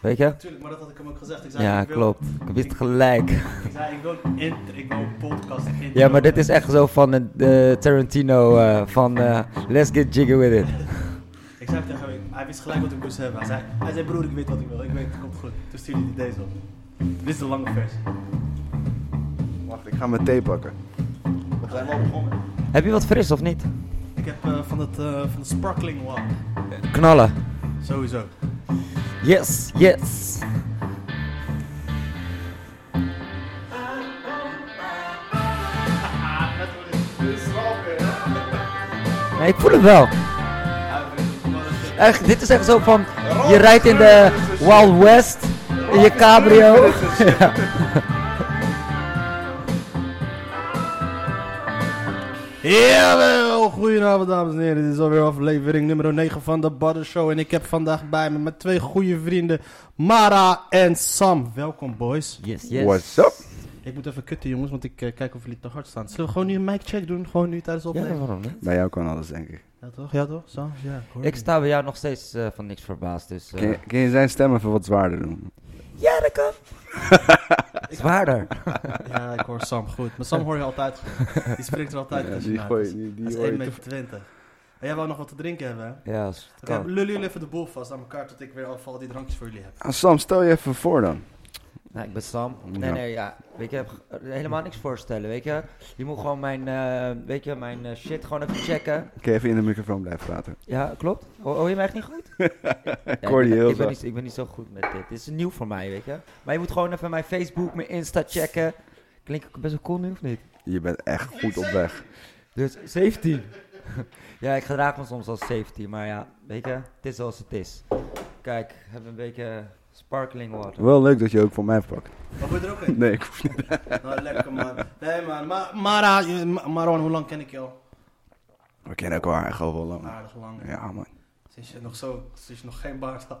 Weet je? Natuurlijk, maar dat had ik hem ook gezegd. Ik zei, Ja, ik wil, klopt. Ik wist gelijk. Ik zei, ik wil, een int- ik wil een podcast in. Ja, maar dit is echt zo van een eh, Tarantino eh, van eh, Let's get jiggy with it. Ik zei tegen hem, hij wist gelijk wat ik moest hebben. Hij zei, hij zei, broer, ik weet wat ik wil. Ik weet, het komt goed. Toen stuurde hij deze op. Dit is de lange versie. Wacht, ik ga mijn thee pakken. We zijn wel begonnen. Heb je wat fris of niet? Ik heb eh, van, het, eh, van de sparkling one. Knallen. Sowieso. Yes, yes. Nee, ik voel het wel. Echt, dit is echt zo van, je rijdt in de Wild West, in je cabrio. Ja. Jawel, goedenavond dames en heren. Dit is alweer aflevering nummer 9 van de Badder Show. En ik heb vandaag bij me mijn twee goede vrienden, Mara en Sam. Welkom boys. Yes, yes. What's up? Ik moet even kutten jongens, want ik eh, kijk of jullie te hard staan. Zullen we gewoon nu een mic check doen? Gewoon nu tijdens Ja, opnemen? Ja, waarom niet? Bij jou kan alles, denk ik. toch? Ja toch? Sam? Ja, ik hoor Ik je. sta bij jou nog steeds eh, van niks verbaasd, dus... eh, Kun je, kun je zijn stem even wat zwaarder doen? Ja, dat kan. Zwaarder. Ja, ik hoor Sam goed. Maar Sam hoor je altijd goed. Die spreekt er altijd Ja, tussen. die uit. gooi die, die Dat is hoor 1,20 je meter. En jij wou nog wat te drinken hebben, hè? Ja, als het Oké, kan. lullen jullie even de boel vast aan elkaar tot ik weer al die drankjes voor jullie heb. Ah, Sam, stel je even voor dan. Nou, ik ben Sam. Nee, Ja. nee, ja. Weet je, er helemaal niks voorstellen, weet je. Je moet gewoon mijn, eh, weet je, mijn eh, shit gewoon even checken. Kun je even in de microfoon blijven praten? Ja, klopt. Ho- hoor je mij echt niet goed? Ja, ik, hoor je ben, heel ik, ben zacht. niet, ik ben niet zo goed met dit. Dit is nieuw voor mij, weet je. Maar je moet gewoon even mijn Facebook, mijn Insta checken. Klink ik best wel cool nu, of niet? Je bent echt goed op weg. Dus 17. ja, ik gedraag me soms als 17, maar ja, weet je, het is zoals het is. Kijk, hebben een beetje sparkling water. Wel leuk dat je ook voor mij pakt. Wat wil je er ook in? Nee, ik hoef niet. Nou, lekker man. Nee man, maar, Mara, je- Ma- Marwan, hoe lang ken ik jou? We kennen elkaar echt al wel lang. Aardig lang. Oh. Ja, man. Sinds je nog zo, sinds je nog geen baard had.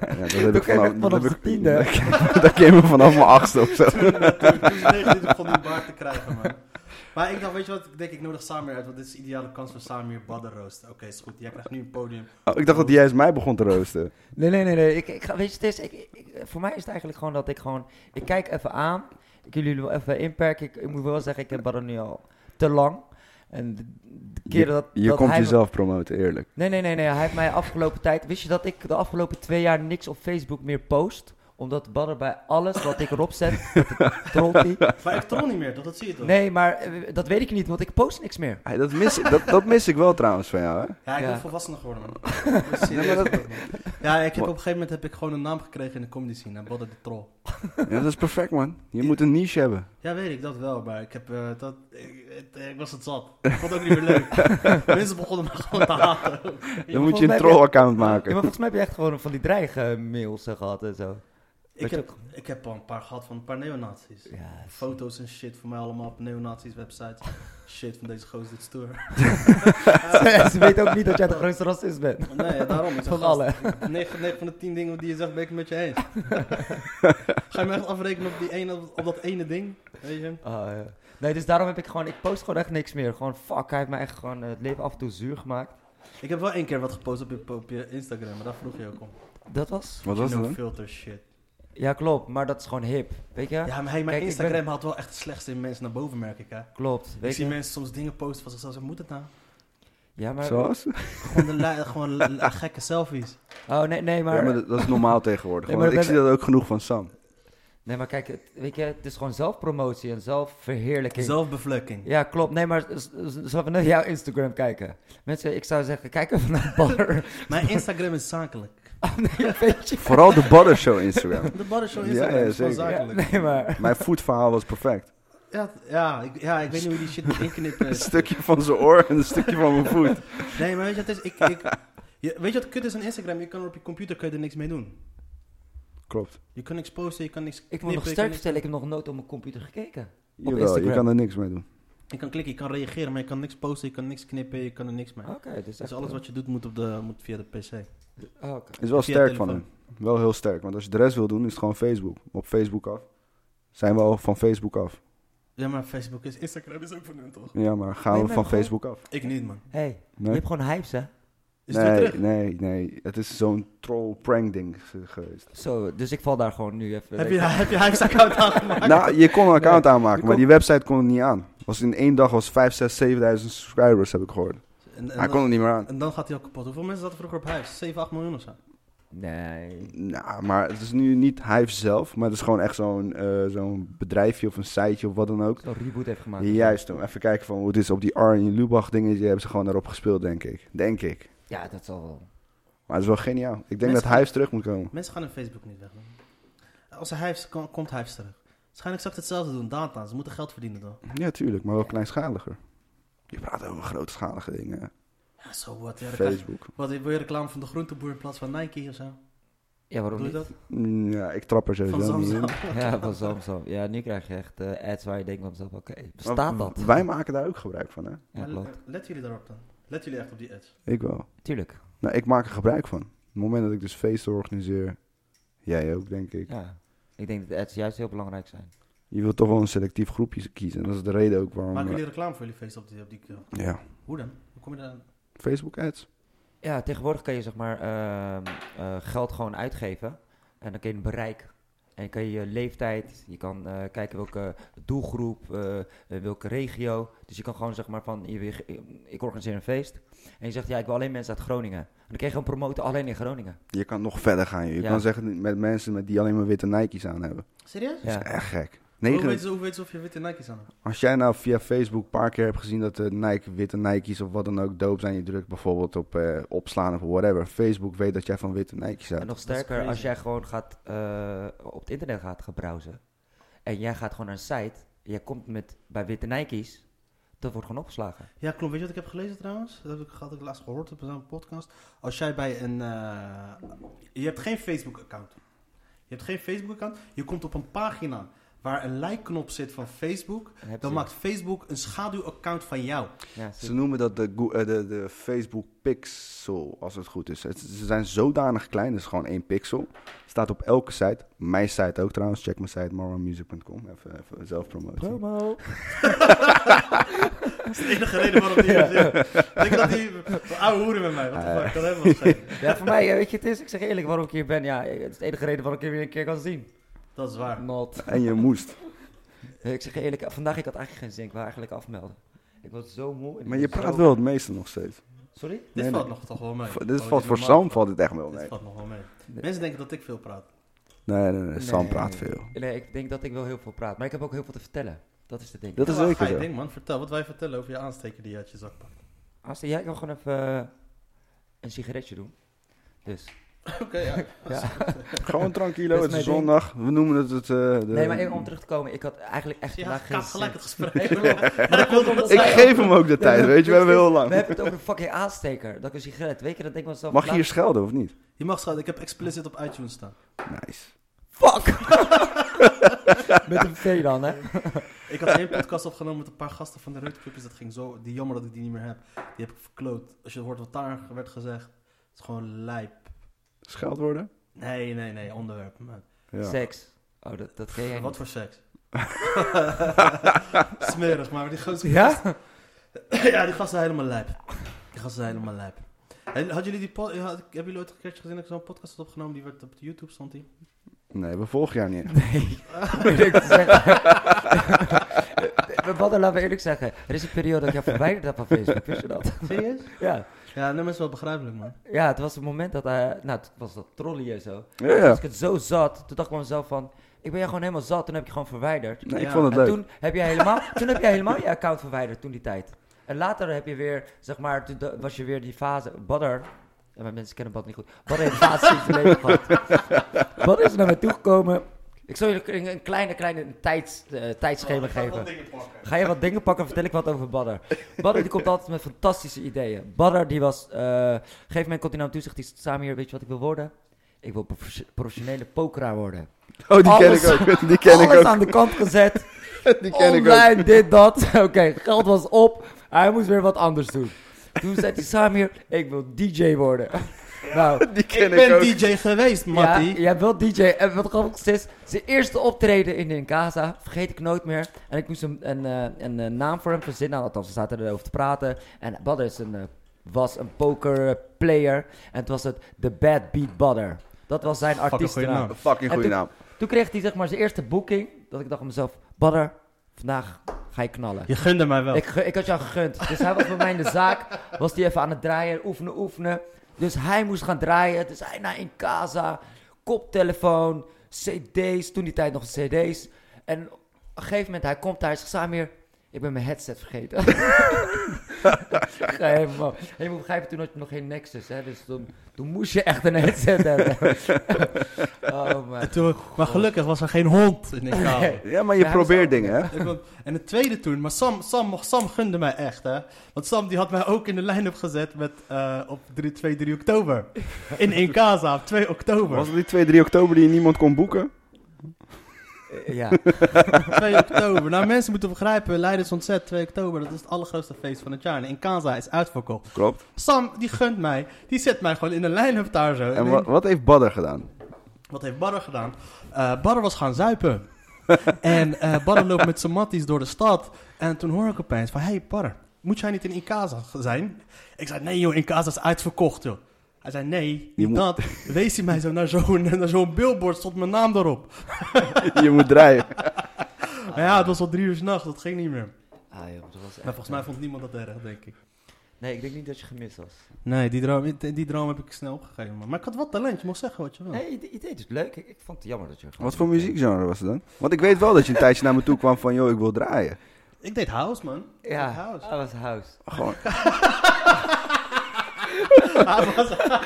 Ja, dat heb Toen ik ken je vanaf, me dat vanaf heb z'n ik- tiende. dat ken- Dat ken je me vanaf mijn achtste of zo. Toen toen ik 29 begon dus die baard te krijgen man. Maar ik dacht, weet je wat, ik denk ik nodig Samir uit, want dit is de ideale kans voor Samir badden roosten. Oké, is goed. Jij krijgt nu een podium. Oh, ik dacht dat hij juist mij begon te roosten. Nee, nee, nee, nee. Ik, ik ga, weet je, het is, ik, ik- voor mij is het eigenlijk gewoon dat ik gewoon, ik kijk even aan. Ik wil jullie wel even inperken. Ik, ik moet wel zeggen, ik heb Barra nu al te lang. En de, de keren dat, Je dat komt hij me- jezelf promoten, eerlijk. Nee, nee, nee, nee. Hij heeft mij afgelopen tijd. Wist je dat ik de afgelopen twee jaar niks op Facebook meer post? Omdat Badder bij alles wat ik erop zet, dat trolt hij. Maar ik troll niet meer, toch? dat zie je toch? Nee, maar eh, dat weet ik niet, want ik post niks meer. Hey, dat, mis, ik- dat, dat mis ik wel trouwens van jou, hè? Ja, ik Ja. ben volwassener geworden, man. Ik ben serieus geworden, man. Ja, ik heb op een gegeven moment heb ik gewoon een naam gekregen in de comedy scene. hè, Badder de Troll. Ja, dat is perfect, man. Je moet een niche hebben. Ja, weet ik, dat wel. Maar ik, heb, eh, dat, ik, het- ik was het zat. Ik vond het ook niet meer leuk. Mensen begonnen me gewoon te haten. Dan maar moet je volgens mij een heb je- troll-account Ja, maar maken. volgens mij heb je echt gewoon van die dreigmails eh, gehad en zo. Ik je heb, ik heb al een paar gehad van een paar neonazis. Ja, Foto's en shit voor mij allemaal op neonazis websites. Shit van deze gozer dit stoer. Ze weten ook niet dat jij de grootste racist bent. Nee, ja, daarom. Ik zeg, Van gast, alle. 9, 9 van de 10 dingen die je zegt ben ik het met je eens. Ga je me echt afrekenen op, die ene, op dat ene ding? Weet je? Ah, ja. Nee, dus daarom heb ik gewoon, ik post gewoon echt niks meer. Gewoon fuck, hij heeft mij echt gewoon eh, het leven af en toe zuur gemaakt. Ik heb wel één keer wat gepost op je, op je Instagram, maar daar vroeg je ook om. Dat was? Wat was dat no dan? filter shit. Ja, klopt, maar dat is gewoon hip. Weet je? Ja, maar hey, mijn Kijk, ik Instagram ben- haalt wel echt het slechtste in mensen naar boven, merk ik. Hè? Klopt. Ik Weet zie je? mensen soms dingen posten van zichzelf. Ze moet het nou? Ja, maar. Zoals? Gewoon, de li- gewoon li- li- gekke selfies. Oh nee, nee, Ja, maar. maar dat, dat is normaal tegenwoordig. Nee, want maar ik dat- zie dat ook genoeg van Sam. Nee, maar kijk, het, weet je, het is gewoon zelfpromotie en zelfverheerlijking. Zelfbevlekking. Ja, klopt. Nee, maar z- z- zullen we naar jouw Instagram kijken? Mensen, ik zou zeggen, kijk even naar Badder. Mijn Instagram is zakelijk. Ah, nee, weet je. Vooral de Butter Show Instagram. De Badder Show Ja, Instagram ja, is gewoon zeker. Ja, zakelijk. nee, maar. Mijn voetverhaal was perfect. Ja, t- ja, ik, ja, ik weet niet hoe die shit moet inknippen. Een stukje van zijn oor en een stukje van mijn voet. Nee, maar weet je wat het is? Ik, ik, je- weet je wat kut is aan Instagram? Je kan er op je computer kan je er niks mee doen. Klopt. Je kan niks posten, je kan niks Ik knippen. moet nog je, kan sterk niks- vertellen, ik heb nog nooit op mijn computer gekeken. Jawel, je Instagram. kan er niks mee doen. je kan klikken, je kan reageren, maar je kan niks posten, je kan niks knippen, je kan er niks mee. Oké, dus Dus echt, alles eh, wat je doet moet, op de, moet via de pc. oh, oké. Is wel Via sterk van hem. telefoon. Wel heel sterk. Want als je de rest wil doen, is het gewoon Facebook. Op Facebook af. Zijn we al van Facebook af? Ja, maar Facebook is... Instagram is ook van hun, toch? Ja, maar gaan Nee, we maar van gewoon- Facebook af? Ik niet, man. Hey, je Nee? hebt gewoon hypes, hè? Is het weer nee, terug? nee, nee. Het is zo'n troll prank ding ge- geweest. Zo, dus ik val daar gewoon nu even. Heb je, heb je Hives-account aangemaakt? Nou, je kon een account aanmaken, je maar kon- die website kon het niet aan. Was in één dag was 5, 6, 7000 subscribers, heb ik gehoord. En, en Hij kon dan, het niet meer aan. en dan gaat hij al kapot. Hoeveel mensen zaten vroeger op Hives? 7, 8 miljoen of zo? Nee. Nou, maar het is nu niet Hive zelf, maar het is gewoon echt zo'n eh, zo'n bedrijfje of een siteje of wat dan ook. Zo'n reboot heeft gemaakt. Juist, om even kijken van hoe het is op die Arjen Lubach dingetje hebben ze gewoon daarop gespeeld, denk ik. Denk ik. Ja, dat zal wel. Maar het is wel geniaal. Ik denk Mensen- dat Hives terug moet komen. Mensen gaan hun Facebook niet weg. doen. Als er Hives komt, komt Hives terug. Ze gaan exact hetzelfde doen. Data, ze moeten geld verdienen dan. Ja, tuurlijk, maar wel kleinschaliger. Je praat over grootschalige dingen. Ja, zo wat. Ja, dan krijg je- Facebook. wat, wil je reclame van de groenteboer in plaats van Nike of zo? Ja, waarom Doe je niet? dat? Mm, Ja, ik trap er Van sowieso niet in. Samsung? Ja, van Samsung. Ja, nu krijg je echt eh, ads waar je denkt van zelf, oké, Maar bestaat dat? Wij maken daar ook gebruik van, hè? Ja, Maar klopt. Oh, let- Let jullie daarop dan. Let jullie echt op die ads. Ik wel. Tuurlijk. Nou, ik maak er gebruik van. Op het moment dat ik dus feesten organiseer, jij ook, denk ik. Ja. Ik denk dat ads juist heel belangrijk zijn. Je wilt toch wel een selectief groepje kiezen. En dat is de reden ook waarom... Maken eh, jullie reclame voor jullie feest op die... Op die Ja, hoe dan? Hoe kom je daar aan? Facebook ads. Ja, tegenwoordig kan je zeg maar ehm, eh, geld gewoon uitgeven. En dan kun je een bereik. En je kan je leeftijd, je kan eh, kijken welke doelgroep, eh, eh, welke regio. Dus je kan gewoon zeg maar van, je, wil- ik organiseer een feest. En je zegt, ja, ik wil alleen mensen uit Groningen. En dan kun je gewoon promoten alleen in Groningen. Je kan nog verder gaan. Je Je Ja. kan zeggen met mensen met die alleen maar witte Nike's aan hebben. Serieus? Ja. Echt gek. Hoe, Negen, weten ze, hoe weten ze of je witte Nike's aan hebt? als jij nou via Facebook een paar keer hebt gezien dat de Nike, witte Nike's of wat dan ook doop zijn. Je drukt bijvoorbeeld op eh, opslaan of whatever. Facebook weet dat jij van witte Nike's En hebt. nog dat is sterker, crazy. als jij gewoon gaat eh, op het internet gaat gaan browsen. En jij gaat gewoon naar een site. Jij komt met bij witte Nike's. Dat wordt gewoon opgeslagen. Ja, klopt. Weet je wat ik heb gelezen trouwens? Dat heb ik, had ik laatst gehoord op een podcast. Als jij bij een... eh, je hebt geen Facebook-account. Je hebt geen Facebook-account. Je komt op een pagina waar een like-knop zit van Facebook. Dan heb Dan je- maakt Facebook een schaduw-account van jou. Ja, Ze noemen dat de, Go- eh, de, de Facebook pixel, als het goed is. Het- ze zijn zodanig klein, het is gewoon één pixel. Staat op elke site. Mijn site ook trouwens. Check mijn site marwanmusic.com. Even, even zelfpromotie. Promo. Dat is de enige reden waarom die... Denk dat die... Oude hoeren met mij. Wat Eh. de fuck? Dat hebben we gezegd. Ja, voor mij, eh, weet je, het is, ik zeg eerlijk waarom ik hier ben. Ja, eh, het is de enige reden waarom ik je weer een keer kan zien. Dat is waar. Not. En je moest. Eh, Ik zeg je eerlijk, vandaag ik had eigenlijk geen zin. Ik wou eigenlijk afmelden. Ik was zo moe. en ik Maar je was praat zo- wel het meeste nog steeds. Sorry? Dit Nee, valt nee. nog toch wel mee. Va- dit Oh, valt voor normaal- Sam valt het echt wel Dit mee. valt nog wel mee. Mensen denken dat ik veel praat. Nee, nee, nee. Sam Nee. praat veel. Nee, ik denk dat ik wel heel veel praat. Maar ik heb ook heel veel te vertellen. Dat is de ding. Dat is Ja, zeker ga je zo. ding, man. Vertel wat wij vertellen over je aansteker die je uit je zak pakt. Als jij kan gewoon even eh, een sigaretje doen. Dus. Oké, ja. Ja. Gewoon tranquilo, Dat is het mijn ding. is zondag. We noemen het het... eh, de- Nee, maar even om terug te komen. Ik had eigenlijk echt Ja, vandaag geen kaat zin. gelijk het gesprek. Ik wil- maar ik wilde omdat Ik zij- geef hem ook de tijd, weet je. We hebben heel We lang. hebben het over een fucking aansteker. Dat ik een sigaret. Weet je, dat denk ik mezelf... Mag je laat- hier schelden of niet? Je mag schat, ik heb explicit op iTunes staan. Nice. Fuck! Met een V dan, hè? Ik had één podcast opgenomen met een paar gasten van de Reuterclubjes. Dat ging zo... Die jammer dat ik die niet meer heb. Die heb ik verkloot. Als je hoort wat daar werd gezegd. Het is gewoon lijp. Scheld worden? Nee, nee, nee. Onderwerp. man. Ja. Seks. Oh, dat, dat ken jij niet. Wat voor seks? Smerig, maar die gozer... Ja? ja, die gasten zijn helemaal lijp. Die gasten zijn helemaal lijp. En hadden jullie die pod- had, hebben jullie ooit een keertje gezien dat ik zo'n podcast had opgenomen? Die werd op YouTube stond die. Nee, we volgen jou niet. Nee. Moet ik zeggen. We Badden, laten we eerlijk zeggen. Er is een periode dat ik jou verwijderd heb van Facebook. Wist je dat? Serieus? Ja. Ja, nummer is wel begrijpelijk, man. Ja, het was het moment dat... eh nou, het was dat trolley en zo. Ja, Als ja. ik het zo zat, toen dacht ik bij mezelf van... Ik ben jou gewoon helemaal zat. Toen heb ik je gewoon verwijderd. Nee, ik Ja. vond het En leuk. toen heb jij helemaal, toen heb jij helemaal je account verwijderd toen die tijd. En later heb je weer, zeg maar, toen da- was je weer die fase. Badder, ja, maar mensen kennen Badder niet goed. Badder heeft een fase in zijn leven gehad. Badder is naar mij toegekomen. Ik zal je een, een kleine, kleine tijds, eh, tijdschema geven. Ga je wat dingen pakken, vertel ik wat over Badder. Badder die komt altijd met fantastische ideeën. Badder die was, eh, op een gegeven moment komt hij naar hem toe, zegt hij, Samir, weet je wat ik wil worden? Ik wil profes- professionele pokeraar worden. Oh, die ken Alles- ik ook. Die ken ik Alles ook. aan de kant gezet. Die ken ik ook. Online, Oh dit, dat. Oké, geld was op. Hij moest weer wat anders doen. Toen zei hij Samir, ik wil DJ worden. Nou, Die Ik ken ik, ben ook. DJ geweest, ja, Matty. jij wil DJ. En wat grappig is, zijn eerste optreden in in Casa, vergeet ik nooit meer. En Nou, ik moest een, een, eh, een, eh, naam voor hem verzinnen. Althans, we zaten erover te praten. En Badder is een eh, was een poker player en het was het The Bad Beat Butter. Dat was zijn Fucking goeie artiestennaam. naam. Fucking En goede toen- naam. Toen kreeg hij zeg maar zijn eerste boeking, dat ik dacht aan mezelf, Badder, vandaag ga je knallen. Je gunde mij wel. Ik, ge- ik had jou gegund. Dus hij was bij mij in de zaak. Was hij even aan het draaien, oefenen, oefenen. Dus hij moest gaan draaien. Dus hij naar in casa, koptelefoon, CD's. Toen die tijd nog CD's. En op een gegeven moment, hij komt daar, hij zegt Samir, ik ben mijn headset vergeten. Ga helemaal. En je moet begrijpen, toen had je nog geen Nexus, hè? Dus toen, toen moest je echt een headset hebben. oh man. En toen- maar gelukkig was er geen hond in de kamer. Nee. Ja, maar je Ja, probeert zo. dingen, hè? Ik wou- En het tweede toen, maar Sam, Sam, mocht- Sam gunde mij echt, hè. Want Sam die had mij ook in de line-up gezet met, eh, op 3, 2, 3 oktober. In Incasa, op 2 oktober. Was het die 2, 3 oktober die niemand kon boeken? Ja. 2 oktober. Nou, mensen moeten begrijpen, Leidens Ontzet, 2 oktober, dat is het allergrootste feest van het jaar. En Incasa is uitverkocht. Klopt. Sam, die gunt mij, die zet mij gewoon in de line-up daar zo. En En wat, wat heeft Badder gedaan? Wat heeft Barre gedaan? Eh Barre was gaan zuipen. en eh Barre loopt met zijn matties door de stad. En toen hoor ik opeens van... hey, Barre, moet jij niet in Incasa zijn? Ik zei, nee joh, Incasa is uitverkocht joh. Hij zei, nee, Je niet moet- dat. Wees hij mij zo naar zo'n naar zo'n billboard, stond mijn naam erop. Je moet draaien. Maar ja, het was al drie uur 's nachts, dat ging niet meer. Ah, joh, dat was echt- Maar volgens mij vond niemand dat erg, denk ik. Nee, ik denk niet dat je gemist was. Nee, die droom, die, die droom heb ik snel opgegeven. man. Maar ik had wat talent, je mocht zeggen wat je wil. Nee, je, je deed het dus leuk. Ik, ik vond het jammer dat je... gewoon Wat voor niet deed. muziekgenre was het dan? Want ik weet wel dat je een tijdje naar me toe kwam van, joh, ik wil draaien. Ik deed house, man. Ik Ja, deed house. dat was house. Gewoon, Hij was-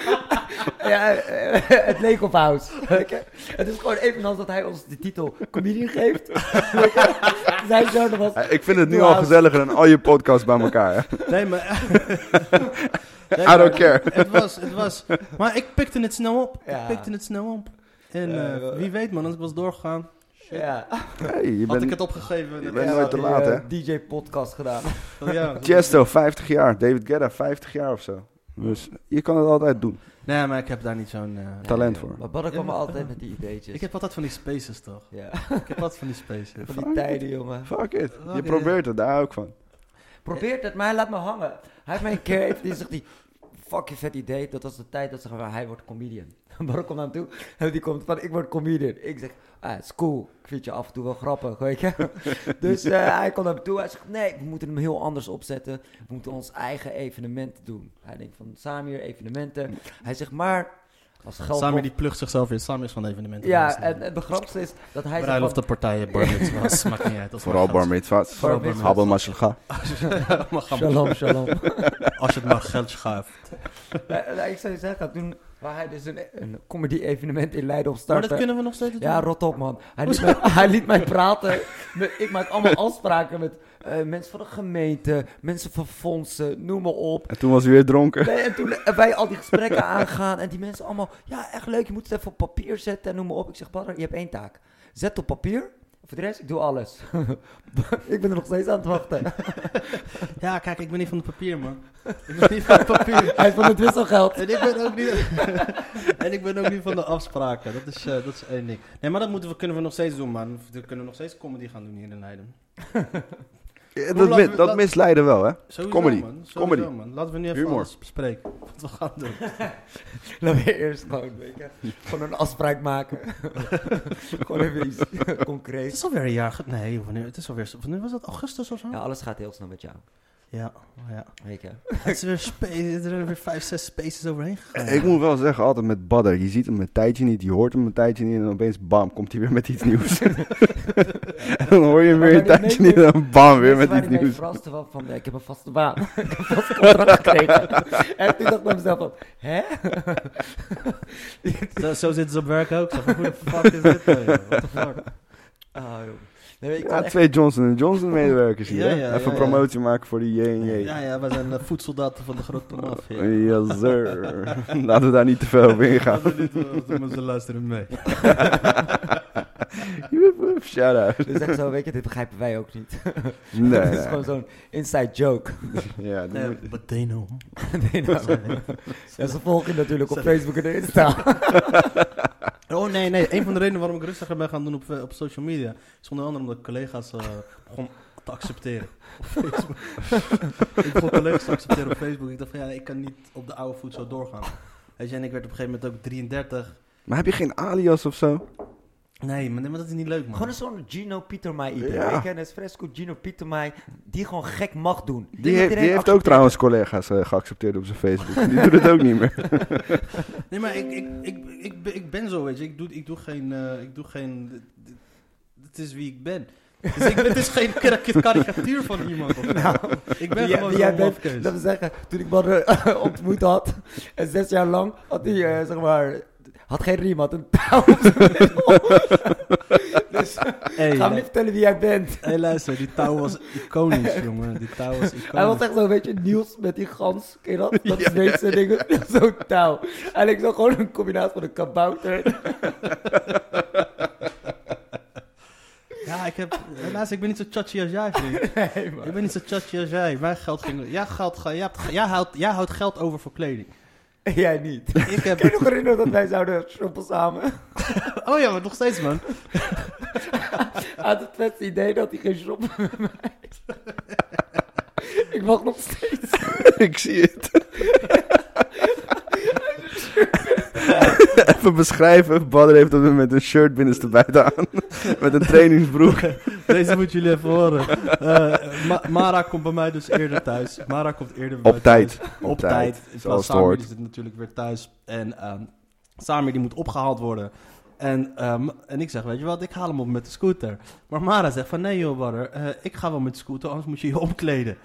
Ja, eh, het leek op house. het is gewoon evenals dat hij ons de titel comedian geeft. Zijn zo nog was... Eh, ik vind het nu al gezelliger dan al je podcasts bij elkaar. hè. Nee, maar... Nee, I maar- don't care. Het was, het was... Maar ik pikte het snel op. Ja. Ik pikte het snel op. En Ja, eh, wel. wie weet man, als ik was doorgegaan, Ja, Hey, je had ik bent het opgegeven. je Dat- bent Ja, nooit te die, laat, eh, hè? DJ-podcast gedaan. dat- ja, dat- Chesto, 50 jaar. David Guetta, 50 jaar of zo. Dus je kan het altijd doen. Nee, maar ik heb daar niet zo'n... eh, Talent voor. Maar Badden kwam Ja, maar- altijd met die ideetjes. Ik heb altijd van die spaces toch? Ja, Ik heb altijd van die spaces. van die tijden, jongen. Fuck it. Fuck Je it. probeert het, daar hou ik van. Probeert het, maar hij laat me hangen. Hij heeft mij een keer even, die zegt die, fuck je vet idee, dat was de tijd dat ze gaan, hij wordt comedian. Baron komt naar hem toe en die komt van, ik word comedian. Ik zeg, ah, het is cool, ik vind je af en toe wel grappig, weet je. Dus eh, hij komt naar hem toe, hij zegt, nee, we moeten hem heel anders opzetten. We moeten ons eigen evenement doen. Hij denkt van, Samir, evenementen. Hij zegt, maar, als geld... Samir die plucht zichzelf weer. Samir is van de evenementen. Ja, en, en de grapste is dat hij zegt, Bruiloft van, de partijen, bar mitzvahs, maakt niet uit. dat is Vooral maar bar geld. mitzvahs. Bar mitzvahs. Habba mashallah. Maar ga maar. shalom, shalom. Als je het maar geld schuift. Eh, eh, ik zou je zeggen, toen... Waar hij dus een, een comedy-evenement in Leiden op Maar startte. dat kunnen we nog steeds doen. eh, Ja, rot op man. Hij liet mij, hij liet mij praten. Met- ik maak allemaal afspraken met eh, mensen van de gemeente, mensen van fondsen, noem maar op. En toen was hij weer dronken. Nee, en toen hebben wij al die gesprekken aangaan en die mensen allemaal, ja echt leuk, je moet het even op papier zetten en noem maar op. Ik zeg, Badder, je hebt één taak. Zet op papier, voor de rest, ik doe alles. ik ben er nog steeds aan het wachten. ja, kijk, ik ben niet van het papier, man. Ik ben niet van het papier. Hij is van het wisselgeld. En ik ben ook niet, en ik ben ook niet van de afspraken. Dat is, eh, dat is één ding. Nee, maar dat moeten we, kunnen we nog steeds doen, man. We kunnen we nog steeds comedy gaan doen hier in Leiden. Ja, Hoe Dat, lang- mi- dat laat- misleiden wel, hè? Sowieso, Comedy. Man. Sowieso, Comedy. man. Laten we nu even Humor. alles bespreken. Wat we gaan doen. Laten we eerst gewoon, weet je, gewoon een afspraak maken. gewoon even iets Het concreets. is alweer een jaar... ge- Nee, wanneer, het is alweer... Wanneer was dat? Augustus of zo? Ja, Ja, alles gaat heel snel met jou, ja. weet je. Het is weer spa- er zijn weer vijf, zes spaces overheen gegaan. Ik moet wel zeggen, altijd met Badder. Je ziet hem een tijdje niet, je hoort hem een tijdje niet en opeens bam, komt hij weer met iets nieuws. en dan hoor je hem Maar weer een waar die tijdje niet meeste- en dan bam, weer Mensen met waren iets die nieuws. verrast van, van eh, ik heb een vaste baan. ik heb een vast contract gekregen. en toen dacht ik bij mezelf van, hè? Zo, zo zitten ze op werk ook. Zo van, Hoe de fuck is dit? nou, joh? What the fuck? Ah, joh. nee, weet je, ik Ja, kan echt- twee Johnson Johnson medewerkers hier. Ja, hè? ja, ja, Even ja. promotie maken voor die J&J. Ja, ja, wij zijn eh, voedsoldaten van de grote mafia. Yes, sir. Laten we daar niet te veel op ingaan. Laten we dit, eh, we moeten luisteren mee. Woep, woep, Shout out. dus echt zo, weet je, dit begrijpen wij ook niet. Nee, dat is nee. gewoon zo'n inside joke. Ja, die moet- but they know. nee, nou. ja, ze volgen je natuurlijk op Facebook en Insta. Oh nee, nee. Een van de redenen waarom ik rustiger ben gaan doen op, eh, op social media is onder andere omdat collega's eh, begon te accepteren. Op Facebook. ik begon te leuk te accepteren op Facebook. Ik dacht van ja, ik kan niet op de oude voet zo doorgaan. Weet je, en ik werd op een gegeven moment ook 33. Maar heb je geen alias of zo? Nee, maar, nee, maar dat is niet leuk, man. Gewoon zo'n Gino Pietermai idee. Ja. Ik ken Esfresco Gino Pietermai die gewoon gek mag doen. Die, heeft- die heeft ook trouwens collega's eh, geaccepteerd op zijn Facebook. Die doet het ook niet meer. Nee, maar ik, ik, ik, ik, ben- ik ben zo, weet je. Ik doe, ik doe geen... eh, ik doe geen dit- dit- dit is wie ik ben. Dus ik, het is geen kar- karikatuur van iemand. of zo. ik ben Ja, gewoon jij zo'n bent- mafkees. Dat wil zeggen, toen ik Badr ontmoet had, en zes jaar lang, had hij, eh, zeg maar, had geen riem, had een touw op zijn middel. Dus Hey, ga me niet vertellen wie jij bent. hey, luister, die touw was iconisch, jongen. Die touw was Hij was iconisch. echt zo, weet je, Niels met die gans, ken je dat? Dat Zweedse ding, zo'n touw. En ik zag gewoon een combinatie van een kabouter. Ja, ik heb... Helaas, ik ben niet zo chachi als jij, vriend. Nee, man. Ik ben niet zo chachi als jij. Mijn geld ging... Jij, geld, ga- jij, hebt- jij, houdt, jij houdt geld over voor kleding. Jij niet. Ik Kan je heb... nog herinneren dat wij zouden shoppen samen? Oh ja, maar nog steeds, man. Hij had het beste idee dat hij ging shoppen met mij. Ik wacht nog steeds. ik zie het. Even beschrijven. Badder heeft op dit moment een shirt binnenstebuiten aan. Met een trainingsbroek. Deze moeten jullie even horen. Eh, Ma- Mara komt bij mij dus eerder thuis. Mara komt eerder bij mij Op thuis. tijd. Op, Op tijd, tijd. zoals het Zoals Samir hoort. die zit natuurlijk weer thuis. En ehm Samir die moet opgehaald worden. En, ehm, en ik zeg, weet je wat, ik haal hem op met de scooter. Maar Mara zegt van, nee joh, brother, eh, ik ga wel met de scooter, anders moet je je omkleden.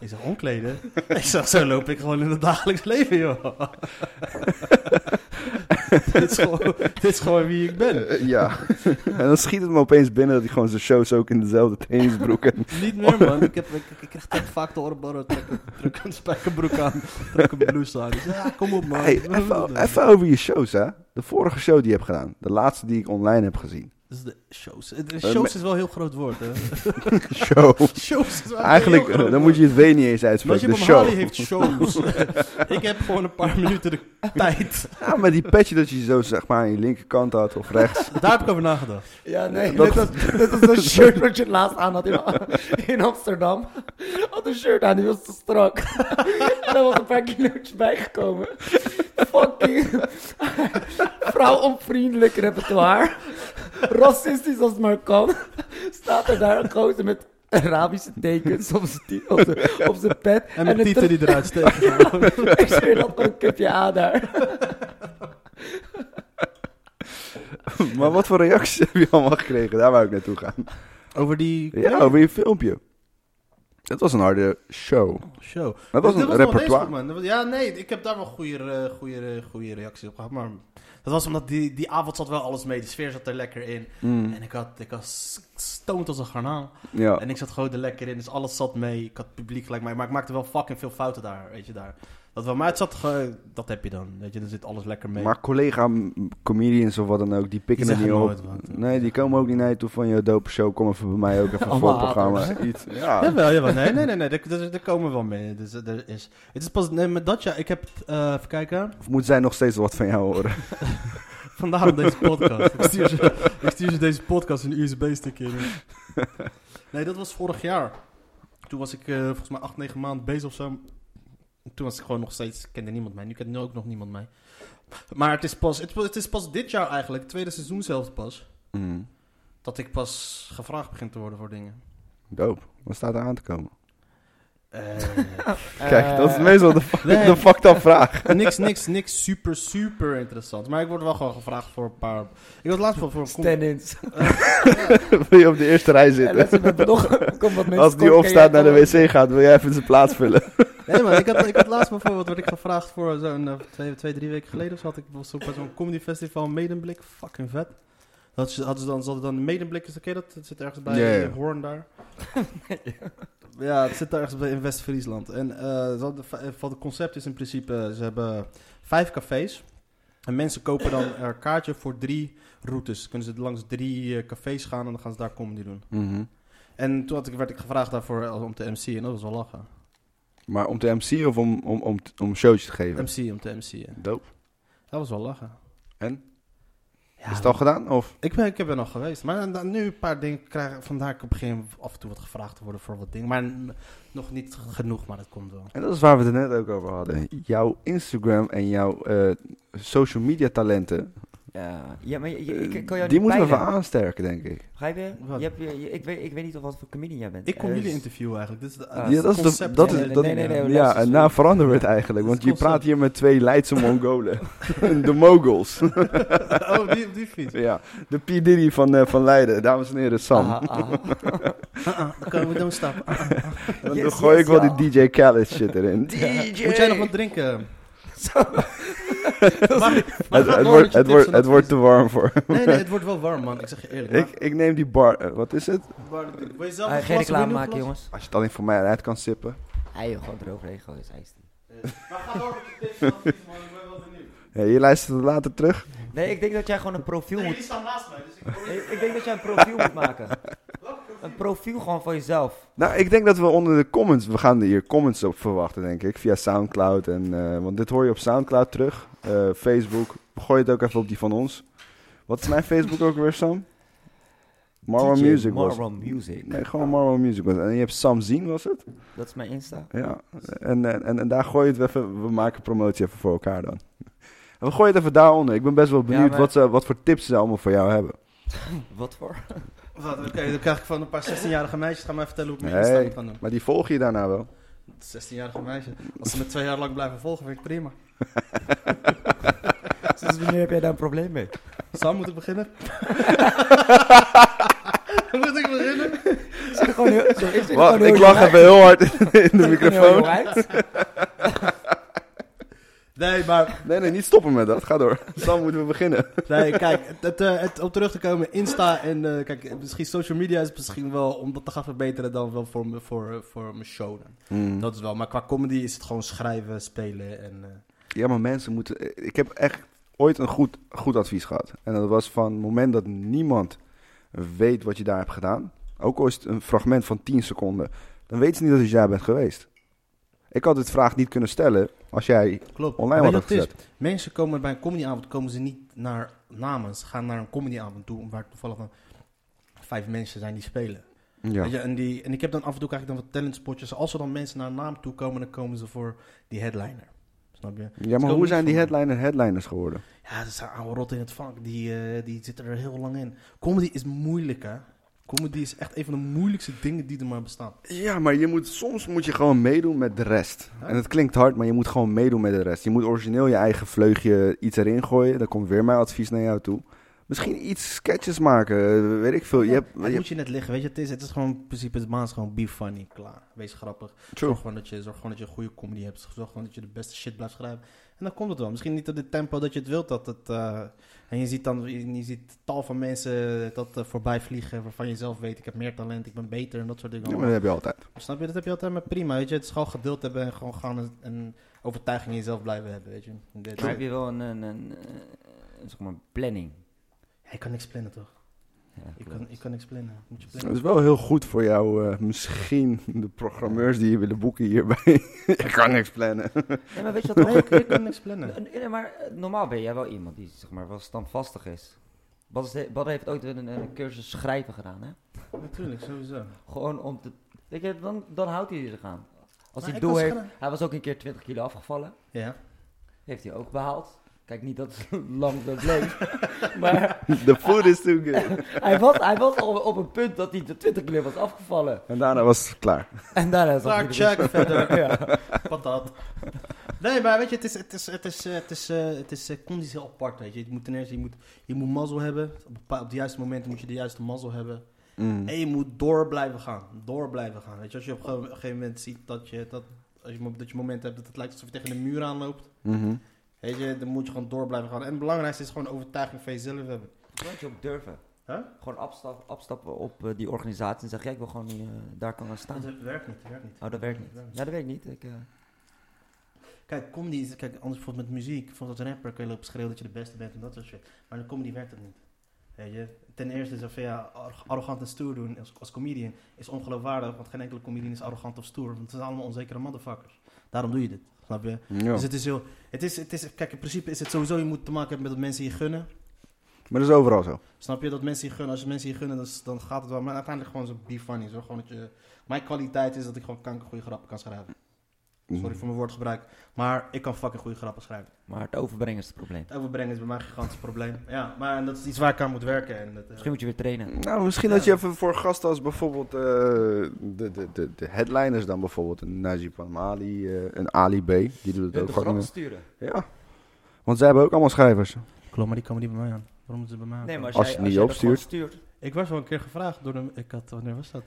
Ik zeg, omkleden? ik zeg, zo loop ik gewoon in het dagelijks leven, joh. dit, is gewoon, dit is gewoon wie ik ben. Eh, ja. en dan schiet het me opeens binnen dat hij gewoon zijn shows ook in dezelfde trainingsbroek en Niet meer, man. Ik, heb, ik, ik krijg echt vaak de oren trek, een- trek een spijkerbroek aan, trek een blouse aan. Dus ja, kom op, man. Hey, Wat wil je even, doen? even over je shows, hè. De vorige show die je hebt gedaan. De laatste die ik online heb gezien. Dus de shows. De shows is wel een heel groot woord, hè. Show. shows is wel Eigenlijk, een heel groot eh, dan moet je het W niet eens woord. uitspreken. De Najib Amhali show. heeft shows. ik heb gewoon een paar minuten de tijd. Ja, maar die petje dat je zo zeg maar aan je linkerkant had of rechts. Daar heb ik over nagedacht. Ja, nee, Dat- dat was dat was dat shirt dat je laatst aan had in, in Amsterdam. Had een shirt aan, die was te strak. en daar was een paar kilo's bijgekomen. Fucking vrouwonvriendelijk repertoire. Racistisch als het maar kan. Staat er daar een gozer met Arabische tekens op zijn ti- op zijn- op zijn pet. En mijn een tieten die eruit steken. Ik zweer dat gewoon een kipje aan daar. maar wat voor reacties heb je allemaal gekregen? Daar wou ik naartoe gaan. Over die Ja, over je filmpje. Dat was een harde show. show. Dat was Dus een dit wel repertoire. deze, man. Dat was- Ja, nee, ik heb daar wel goede, goede, goede reacties op gehad. Maar dat was omdat die, die avond zat wel alles mee. De sfeer zat er lekker in. Mm, En ik, had, ik was stoned als een garnaal. ja. En ik zat gewoon er lekker in, dus alles zat mee. Ik had publiek gelijk mij, maar ik maakte wel fucking veel fouten daar, weet je, daar. Dat wel, maar het zat ge- dat heb je dan, weet je, dan zit alles lekker mee. Maar collega m, comedians of wat dan ook, die pikken Die het niet zeggen op. nooit wat. eh. nee, die komen ook niet naar je toe van je dope show. Kom even bij mij ook even voor het Allemaal programma. Iets. Ja. Jawel, jawel, nee, nee, nee, nee, er, er- er komen wel mee. Dus, er is, het is pas, nee, met dat ja, ik heb, eh, even kijken, Of moet zij nog steeds wat van jou horen? vandaar op deze podcast. ik, stuur ze, ik stuur ze deze podcast in een USB-stick in. Nee, dat was vorig jaar. Toen was ik eh, volgens mij acht, negen maanden bezig of zo. Toen was ik gewoon nog steeds, kende niemand mij. Nu kent nu ook nog niemand mij. Maar het is pas, het, het is pas dit jaar eigenlijk, het tweede seizoen zelfs pas, Mm. dat ik pas gevraagd begin te worden voor dingen. Dope. Wat staat er aan te komen? Eh, Kijk, dat is Eh, meestal de, fuck, nee. de fucked up vraag. niks, niks, niks super, super interessant. Maar ik word wel gewoon gevraagd voor een paar... Ik was laatst voor, voor een... com- Stand-ins. Wil je op de eerste Eh, rij En zitten? mensen met nog, kom wat mensen Als die kort, ken opstaat jij naar de gewoon- wc gaat, wil jij even zijn plaats vullen? Nee man, ik had, ik had laatst bijvoorbeeld, werd ik gevraagd voor zo'n eh, twee, twee, drie weken geleden of zo, had ik was op zo'n comedy festival Medemblik, fucking vet. Dat ze, hadden ze dan, ze hadden dan Medemblik, is dat, ken je dat? Het zit ergens bij Ja, ja. eh, Hoorn daar. Ja, het zit daar ergens bij in West-Friesland. En eh, ze hadden v- eh, van het concept is in principe, eh, ze hebben vijf cafés. En mensen kopen dan een kaartje voor drie routes. Kunnen ze langs drie eh, cafés gaan en dan gaan ze daar comedy doen. En toen had ik, werd ik gevraagd daarvoor eh, om te MC en dat was wel lachen. Maar om te MC'en of om, om, om, om een showtje te geven? MC, om te MC'en. Dope. Dat was wel lachen. En? Ja, Is het al gedaan? Of? Ik, ben, ik heb er nog geweest. Maar dan- dan nu een paar dingen krijgen. Vandaar ik op een gegeven moment af en toe wat gevraagd te worden voor wat dingen. Maar mm, nog niet genoeg, maar dat komt wel. En dat is waar we het er net ook over hadden. Jouw Instagram en jouw eh, social media talenten, Ja, ja maar je- je- eh, ik kan jou die niet moeten we even peilen. aansterken, denk ik. Begrijp je? Wat? je, hebt, je- je- ik, weet, ik weet niet of wat voor comedian jij bent. Ik kom Eh, jullie interviewen eigenlijk. Dit is de, Ah, ja, dat is de, concept dat nee, is, nee, dat, nee, nee, nee, ja, luister, en daar veranderen we het eigenlijk. Dat Want is je praat concept. hier met twee Leidse Mongolen. de Mogols. oh, die, die fiets. ja, de P. Diddy van, eh, van Leiden. Dames en heren, Sam. aha, aha. Ah, ah, dan kunnen we doen stappen. Ah, ah. Dan Yes, gooi yes, ik wel ja. die DJ Khaled shit erin. DJ! Moet jij nog wat drinken? Zo. Maar- maar het, ga het, door met wordt, je het, tips wordt, en het wordt te adviezen. warm voor. Nee, nee, het wordt wel warm, man. Ik zeg je eerlijk. ik, ik neem die bar. eh, wat is het? Maar- maar- wil je zelf Ah, een geen glas, wil je reclame nog maken, een glas? jongens. Als je het alleen voor mij uit kan sippen. Hij joh, gewoon droog regen, gewoon is ijs. Maar ga door met de tips en adviezen, man. Ik ben wel benieuwd. Ja, je luistert het later terug. Nee, ik denk dat jij gewoon een profiel Nee, moet... jullie staan naast mij, dus ik Nee, Ik denk dat jij een profiel moet maken. Een profiel gewoon van jezelf. Nou, ik denk dat we onder de comments, we gaan hier comments op verwachten, denk ik, via Soundcloud. En, eh, want dit hoor je op Soundcloud terug, eh, Facebook. Gooi het ook even op die van ons. Wat is mijn Facebook ook weer, Sam? Marwa DJ Music was. Marwa Music. Nee, gewoon Marwa Music was. En je hebt Sam Zien, was het? Dat is mijn Insta. Ja. En, eh, en, en daar gooi je het even, we maken promotie even voor elkaar dan. En we gooien het even daaronder. Ik ben best wel benieuwd maar- wat, ze, wat voor tips ze allemaal voor jou hebben. Wat voor? Wat, oké, dan krijg ik van een paar 16-jarige meisjes. Ga maar vertellen hoe ik mijn Nee. Insta moet gaan doen. Maar die volg je daarna wel. 16-jarige meisjes. Als ze me twee jaar lang blijven volgen, vind ik prima. Sinds Dus wanneer heb jij daar een probleem mee? Sam, moet ik beginnen? moet ik beginnen? Zit er gewoon heel... zo- ik zit er gewoon Wacht, heel ik lach jong even heel hard in de uit. Ik zit er gewoon heel microfoon. jong uit. Nee, maar Nee, nee, niet stoppen met dat. Ga door. Dan moeten we beginnen. nee, kijk, het, het, eh, het- om terug te komen, Insta en eh, kijk, misschien social media is misschien wel om dat te gaan verbeteren dan wel voor, me- voor, eh, voor mijn show. Dan. Dat is wel, maar qua comedy is het gewoon schrijven, spelen en. eh, Ja, maar mensen moeten... Ik heb echt ooit een goed, goed advies gehad. En dat was van het moment dat niemand weet wat je daar hebt gedaan... ook al is het een fragment van 10 seconden... dan weten ze niet dat het jij bent geweest. Ik had dit vraag niet kunnen stellen als jij... klopt. Online Weet wat je het opgezet. is? Mensen komen bij een comedyavond, komen ze niet naar namen. Ze gaan naar een comedyavond toe, waar toevallig dan vijf mensen zijn die spelen. Ja, Weet je, en, die, en ik heb dan af en toe krijg ik dan wat talentspotjes. Als er dan mensen naar een naam toe komen, dan komen ze voor die headliner. Snap je? ja maar komen hoe niet zijn die van- headliner headliners geworden? Ja, dat zijn oude rotten in het vak. Die, eh, die zitten er heel lang in. Comedy is moeilijk, hè? Comedy is echt een van de moeilijkste dingen die er maar bestaan. Ja, maar je moet, soms moet je gewoon meedoen met de rest. En het klinkt hard, maar je moet gewoon meedoen met de rest. Je moet origineel je eigen vleugje iets erin gooien. Dan komt weer mijn advies naar jou toe. Misschien iets sketches maken, eh, weet ik veel. Je hebt, je dat hebt- moet je net liggen, weet je. Het is, het is gewoon, in principe, het maand is gewoon be funny, klaar. Wees grappig. True. Zorg gewoon, dat je, zorg gewoon dat je een goede comedy hebt. Zorg gewoon dat je de beste shit blijft schrijven. En dan komt het wel. Misschien niet op dit tempo dat je het wilt. Dat het, eh, en je ziet dan je, je ziet tal van mensen dat eh, voorbij vliegen. Waarvan je zelf weet, ik heb meer talent, ik ben beter en dat soort dingen. Ja, maar dat heb je altijd. Snap je? Dat heb je altijd maar prima, weet je. Het is gewoon geduld hebben en gewoon gaan en, en overtuiging in jezelf blijven hebben, weet je. Dit- Maar heb je wel een, een, een, eh, zeg maar, planning? Ja, je kan niks plannen, toch? Ja, Je klopt. kan, je kan niks plannen. Moet je Dat plannen. is wel heel goed voor jou, eh, misschien de programmeurs die je willen boeken hierbij. ik kan niks plannen. Nee, maar weet je wat Nee, ook... je kan niks plannen. Nee, nee, maar eh, normaal ben jij wel iemand die zeg maar, wel standvastig is. Bas he- Badder heeft ooit een, een cursus schrijven gedaan, hè? Natuurlijk, sowieso. Gewoon om te... Weet je, dan, dan houdt hij zich aan. Als Maar hij ik doel was heeft... gewoon- Hij was ook een keer 20 kilo afgevallen. Ja. Heeft hij ook behaald. Kijk, niet dat het lang dat bleef. maar The food is too good. hij was, hij was al op een punt dat hij de 20 kilo was afgevallen. En daarna was het klaar. En daarna is Klaar, dat check, verder. Ja. Patat. Nee, maar weet je, het is, het is, het is, eh, het is, eh, het is eh, conditie heel apart, weet je. Je moet ten eerste, je moet, je moet mazzel hebben. Op, bepaal- op de juiste momenten moet je de juiste mazzel hebben. Mm. En je moet door blijven gaan. Door blijven gaan, weet je. Als je op een ge- gegeven moment ziet dat je, dat, als je, mo- dat je momenten hebt dat het lijkt alsof je tegen de muur aanloopt. Mhm. Weet je, dan moet je gewoon door blijven gaan. En het belangrijkste is gewoon overtuiging van jezelf hebben. Moet je ook durven. Huh? Gewoon afstap, afstappen op eh, die organisatie en zeggen, ja, ik wil gewoon niet, eh, daar kan gaan staan. Dat werkt niet, dat werkt niet. Oh, dat werkt niet. Ja, dat werkt niet. Ik, eh, Kijk, comedy is, kijk, anders bijvoorbeeld met muziek, bijvoorbeeld als rapper kun je lopen schreeuwen dat je de beste bent en dat soort shit. Maar in de comedy werkt dat niet. Weet je? Ten eerste is dat van, ja, arro- arrogant en stoer doen als, als comedian is ongeloofwaardig, want geen enkele comedian is arrogant of stoer, want het zijn allemaal onzekere motherfuckers. Daarom doe je dit, snap je? Ja. Dus het is heel, het is, het is, kijk, in principe is het sowieso, je moet te maken hebben met wat mensen je gunnen. Maar dat is overal zo. Snap je dat mensen je gunnen? Als je mensen je gunnen, dan, is- dan gaat het wel. Maar uiteindelijk gewoon zo'n be funny. Zo gewoon dat je, mijn kwaliteit is dat ik gewoon kanker goede grappen kan schrijven. Mhm. Sorry voor mijn woordgebruik. Maar ik kan fucking goede grappen schrijven. Maar het overbrengen is het probleem. Het overbrengen is bij mij een gigantisch probleem. Ja, maar en dat is iets waar ik aan moet werken. En dat, eh, Misschien moet je weer trainen. Nou, misschien dat je even voor gasten als bijvoorbeeld eh, de, de, de, de headliners dan bijvoorbeeld een Najib Amali, eh, een Ali B, die doet het ook gewoon. sturen. Ja, want zij hebben ook allemaal schrijvers. Klopt, maar die komen niet bij mij aan. Waarom moeten ze bij mij aan? Nee, maar als, Als jij, je het niet jij dat gewoon opstuurt. stuurt. Ik was wel een keer gevraagd door een... Ik had, wanneer was dat?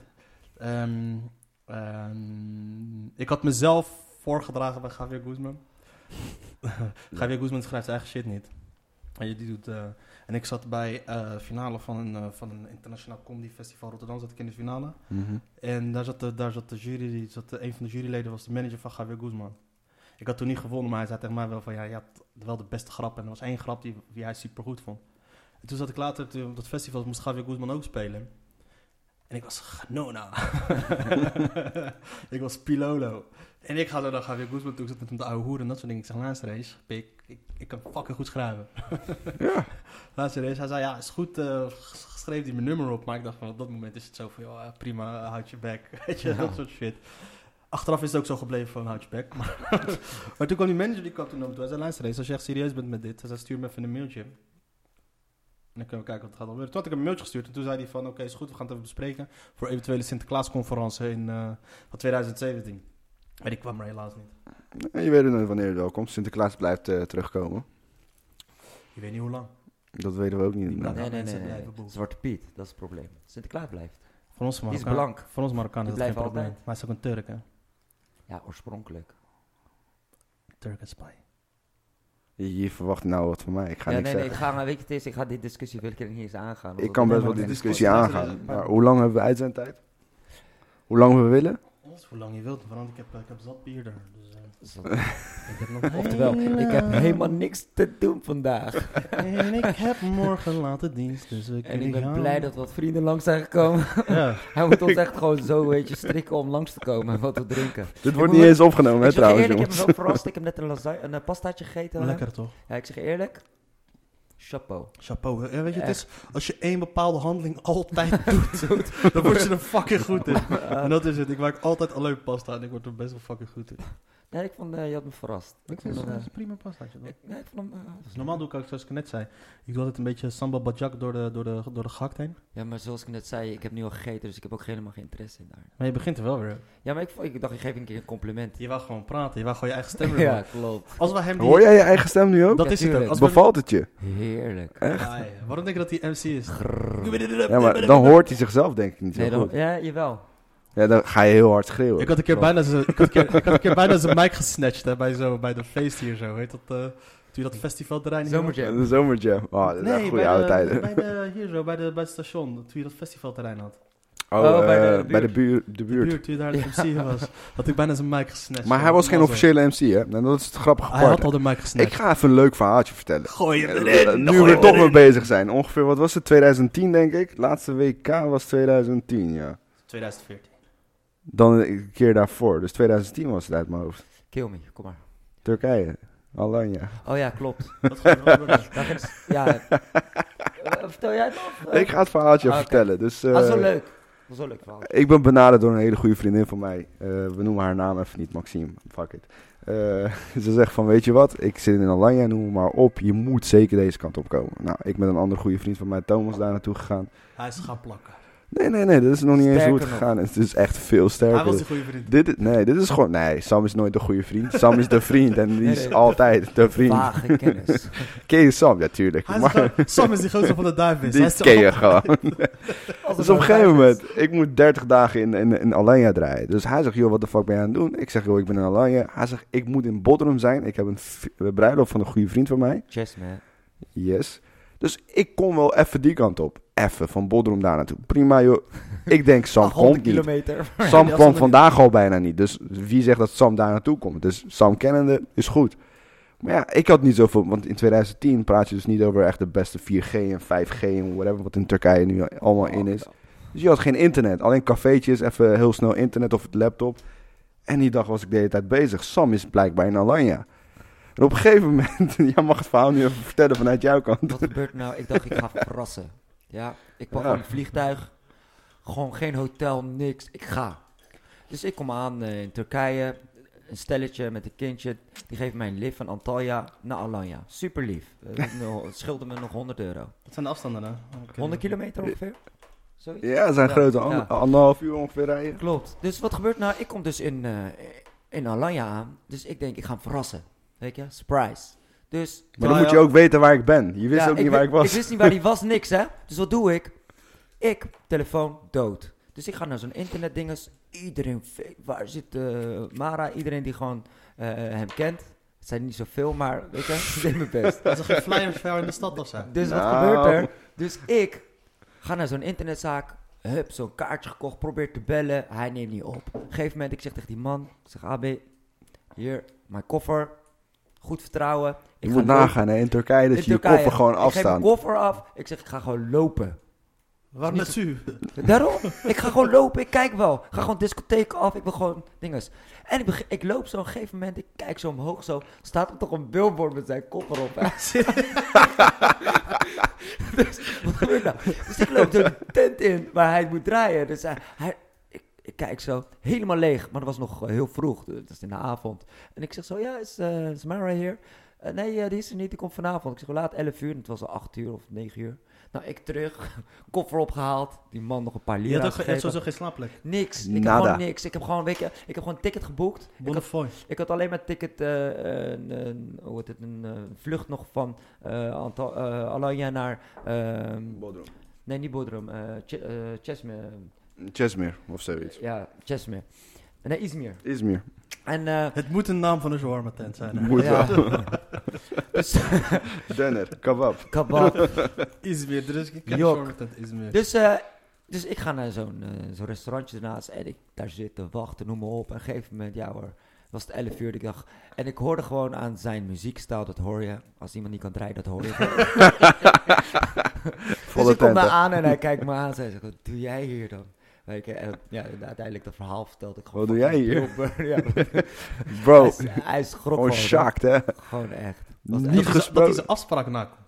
Ehm, ehm, ik had mezelf voorgedragen bij Javier Guzman. Javier Guzman schrijft zijn eigen shit niet. En, je- die doet, eh, en ik zat bij eh finale van een, eh, van een internationaal comedy festival Rotterdam. Zat ik in de finale. Mhm. En daar zat de, daar zat de jury, die zat de- een van de juryleden was de manager van Javier Guzman. Ik had toen niet gewonnen, maar hij zei tegen mij wel van ja, je had wel de beste grap. En er was één grap die, die hij super goed vond. En toen zat ik later, toen, op dat festival moest Javier Guzman ook spelen. En ik was Ganona. ik was Pilolo. En ik had er dan Javier Guzman toe, ik zat met hem te ouwe hoeren en dat soort dingen. Ik zeg, laatste race, pik, ik, ik kan fucking goed schrijven. Ja. Laatste race, hij zei ja, is goed, eh, schreef hij mijn nummer op. Maar ik dacht van op dat moment is het zo van, ja, prima, eh, houd je bek. Weet je, dat soort shit. Achteraf is het ook zo gebleven van houd je bek. Maar, maar toen kwam die manager, die kwam toen naar me toe. Hij zei, luister eens, als je echt serieus bent met dit, hij zei, stuur me even een mailtje. En dan kunnen we kijken wat er gaat gebeuren. Toen had ik hem een mailtje gestuurd en toen zei hij van, oké, is goed, we gaan het even bespreken. Voor eventuele Sinterklaasconferentie in, eh, van 2017. Maar die kwam er helaas niet. En je weet het nooit wanneer het wel komt. Sinterklaas blijft eh, terugkomen. Je weet niet hoe lang. Dat weten we ook niet. Die maar- Ja, Nee, nee, mensen nee. nee, blijven boeken. Zwarte Piet, dat is het probleem. Sinterklaas blijft. Voor ons Die is Marokkaan, blank. voor ons Marokkaan is Die dat geen blijven probleem. altijd. Maar hij is ook een Turk, hè? Ja, oorspronkelijk. Turk en spy. Je, je verwacht nou wat van mij. Ik ga ja, niks nee, nee, ik zeggen. ga, maar weet je, het is, ik ga dit discussie wil ik er niet eens aangaan. ik, omdat- kan best Nee, wel maar die het is discussie kort. aangaan. Luister, Maar hoe lang hebben we uitzendtijd? Hoe lang we willen? Ons hoe lang je wilt, want ik heb, ik heb zat bier daar. Dus, eh, ik heb nog Oftewel, ik heb helemaal niks te doen vandaag. En ik heb morgen late dienst, dus ik En ik ben blij dat wat vrienden langs zijn gekomen. Ja, Hij moet ons echt gewoon zo, weet je, strikken om langs te komen en wat te drinken. Dit wordt moet- niet eens opgenomen, hè, ik zeg je trouwens, eerlijk, ik heb jongens. hem wel verrast. Ik heb net een, lasagne, een eh, pastaatje gegeten. hè. lekker toch? Ja, ik zeg eerlijk. Chapeau. Chapeau. hè? Ja, weet je, het is, als je één bepaalde handeling altijd doet, dan word je er fucking goed in. En dat is het. Ik maak altijd alleen pasta en ik word er best wel fucking goed in. Nee, ik vond, eh, je had me verrast. Ik vond hem, eh, prima pastaatje. ik- nee, ik vond hem, eh, Dus normaal doe ik ook, zoals ik net zei, ik doe altijd een beetje sambal bajak door de, door de, door de gehakt heen. Ja, maar zoals ik net zei, ik heb nu al gegeten, dus ik heb ook helemaal geen interesse in daar. Maar je begint er wel weer. Ja, maar ik, vond- ik dacht, ik geef een keer een compliment. Je wou gewoon praten, je wou gewoon je eigen stem weer Ja, horen. klopt. Als we hem die... Hoor jij je eigen stem nu ook? Dat Ja, is het ook. tuurlijk. Als we hem- Bevalt het je? Heerlijk. Ja, ja. Waarom denk je dat hij MC is? Ja, maar dan hoort hij zichzelf denk ik niet zo Nee, dan, goed. ja, jawel. Ja, dan ga je heel hard schreeuwen. Ik had een keer bijna zijn- ik had een keer- ik had een keer bijna zijn mic gesnatcht hè, bij, zo, bij de feest hier zo. Heet dat, eh, toen je dat festivalterrein hier had? Zomerjam. De zomerjam. Oh, dat is echt goede bij, oude de, tijden. bij de, hier zo, bij, de, bij het station. Toen je dat festivalterrein had. Oh, Oh, bij de eh, bij de buur- de De buurt. buurt, toen je daar de Ja. MC was. Had ik bijna zijn mic gesnatcht. Maar hè. hij was geen Mazzel. officiële MC, hè? En dat is het grappige Hij had part. al de mic Ik gesnatcht. ga even een leuk verhaaltje vertellen. Gooi Eh, hem erin. Nu gooi we hem er toch erin. mee bezig zijn. Ongeveer, wat was het? 2010, denk ik. Laatste WK was 2010, ja. 2014. Dan een keer daarvoor. Dus 2010 was het uit mijn hoofd. Kill me, kom maar. Turkije. Alanya. Oh ja, klopt. Wat gaat er gebeuren? Daar ging s- ja. Eh, vertel jij het nog? Ik ga het verhaaltje Ah, oké. vertellen. Dus, eh, Dat is wel leuk. Dat is wel leuk verhaal. Ik ben benaderd door een hele goede vriendin van mij. Eh, we noemen haar naam even niet, Maxime. Fuck it. Eh, ze zegt van, weet je wat, ik zit in Alanya, noem me maar op. Je moet zeker deze kant op komen. Nou, ik met een andere goede vriend van mij, Thomas, daar naartoe gegaan. Hij is gaan plakken. Nee, nee, nee, dit is nog niet eens hoe het Sterker nog. gegaan is. Het is echt veel Hij sterker. was een goede vriend. Dit is, nee, dit is gewoon... Nee, Sam is nooit de goede vriend. Sam is de vriend en die Nee, is nee. altijd de vriend. Vage kennis. Ken je Sam? Ja, tuurlijk. Hij is Maar gewoon- Sam is die grootste van de duivels. Hij is dit de ken je gewoon. Als Dus op een gegeven moment, ik moet 30 dagen in, in, in Alanya draaien. Dus hij zegt, joh, wat de fuck ben je aan het doen? Ik zeg, joh, ik ben in Alanya. Hij zegt, ik moet in Bodrum zijn. Ik heb een v- een bruiloft van een goede vriend van mij. Chess, man. Yes. Dus ik kom wel even die kant op. Even, van Bodrum daar naartoe. Prima, joh. Ik denk, Sam 100 komt niet. kilometer. Sam Ja, kwam Sam- vandaag al bijna niet. Dus wie zegt dat Sam daar naartoe komt? Dus Sam kennende is goed. Maar ja, ik had niet zoveel. Want in 2010 praat je dus niet over echt de beste 4G en 5G en whatever. Wat in Turkije nu allemaal in is. Dus je had geen internet. Alleen cafeetjes, even heel snel internet of het laptop. En die dag was ik de hele tijd bezig. Sam is blijkbaar in Alanya. En op een gegeven moment, jij mag het verhaal nu even vertellen vanuit jouw kant. Wat gebeurt er nou? Ik dacht, ik ga verrassen. Ja, ik pak Ja. gewoon een vliegtuig. Gewoon geen hotel, niks. Ik ga. Dus ik kom aan eh, in Turkije. Een stelletje met een kindje. Die geeft mij een lift van Antalya naar Alanya. Super lief. Het scheelde me nog 100 euro. Wat zijn de afstanden dan? Oké. 100 kilometer ongeveer? Zoiets? Ja, het zijn Ja, grote ja. ander- anderhalf uur ongeveer rijden. Klopt. Dus wat gebeurt nou? Ik kom dus in, eh, in Alanya aan. Dus ik denk, ik ga hem verrassen. Weet je? Surprise. Dus Maar Nou dan moet je ja. ook weten waar ik ben. Je wist Ja, ook niet ik waar wi- ik was. Ik wist niet waar die was, niks hè. Dus wat doe ik? Ik, telefoon, dood. Dus ik ga naar zo'n internetdinges. Iedereen, ve- waar zit eh, Mara? Iedereen die gewoon eh, hem kent. Het zijn niet zoveel, maar weet je, ik deed mijn best. Dat is een flyer fair in de stad of zo. Dus wat Nou. gebeurt er? Dus ik ga naar zo'n internetzaak. Hup, zo'n kaartje gekocht. Probeer te bellen. Hij neemt niet op. Op een gegeven moment, ik zeg tegen die man. Ik zeg, AB, hier, mijn koffer. Goed vertrouwen. je Ik moet ga nagaan hè, in Turkije dat in je je Turkije. koffer gewoon Ik geef mijn afstaan. koffer af. Ik zeg, ik ga gewoon lopen. Waarom Niet met u? Daarom. ik ga gewoon lopen. Ik kijk wel. Ik ga gewoon discotheek af. Ik wil gewoon dinges. En ik, beg- ik loop zo op een gegeven moment. Ik kijk zo omhoog. Zo staat er toch een billboard met zijn kop erop. dus wat gebeurt nou? Dus ik loop door de tent in waar hij moet draaien. Dus hij, hij- ik, ik kijk zo. Helemaal leeg. Maar dat was nog eh, heel vroeg. Dus dat is in de avond. En ik zeg zo. Ja, is, eh is Mara hier? Eh, nee, eh, die is er niet. Die komt vanavond. Ik zeg, hoe laat 11 uur. En het was al 8 uur of 9 uur. Nou, ik terug, koffer opgehaald, die man nog een paar Je lira's had ook ge- je had gegeven. sowieso geen slaapplek. Niks, ik Nada. heb gewoon niks. Ik heb gewoon, weet je, ik heb gewoon een ticket geboekt. Ik had, Bonnefoy. ik had alleen maar ticket, eh, een, een- hoe heet het, een eh, vlucht nog van eh Antal, eh, Alanya naar, ehm, Bodrum. nee niet Bodrum, eh Ch- eh, Chesme, Chesmere of zoiets. ja, Chesme. Nee, Izmir. Izmir. En, eh, Het moet een naam van een shawarma tent zijn. hè? Moet ja, wel. dus, Denner, kebab. kabab. Izmir, er is geen Jok. shawarma tent Izmir. Dus, eh, dus ik ga naar zo'n eh, zo'n restaurantje ernaast en ik daar zitten, wachten, noem maar op. En op een gegeven moment, ja hoor, was het 11 uur, ik dacht. En ik hoorde gewoon aan zijn muziekstijl, dat hoor je. Als iemand niet kan draaien, dat hoor je. dus Volle ik kom tent. daar hè. aan en hij kijkt me aan en zegt, wat doe jij hier dan? Weet je, en ja, uiteindelijk dat verhaal vertelde ik gewoon. Wat doe fucking jij hier? Oh. blubber, ja. Bro, Hij, is- hij is grok gewoon gewoon. shocked hè. Gewoon echt. Was Niet echt- Dat is- Dat gesproken. is een afspraak nakomt.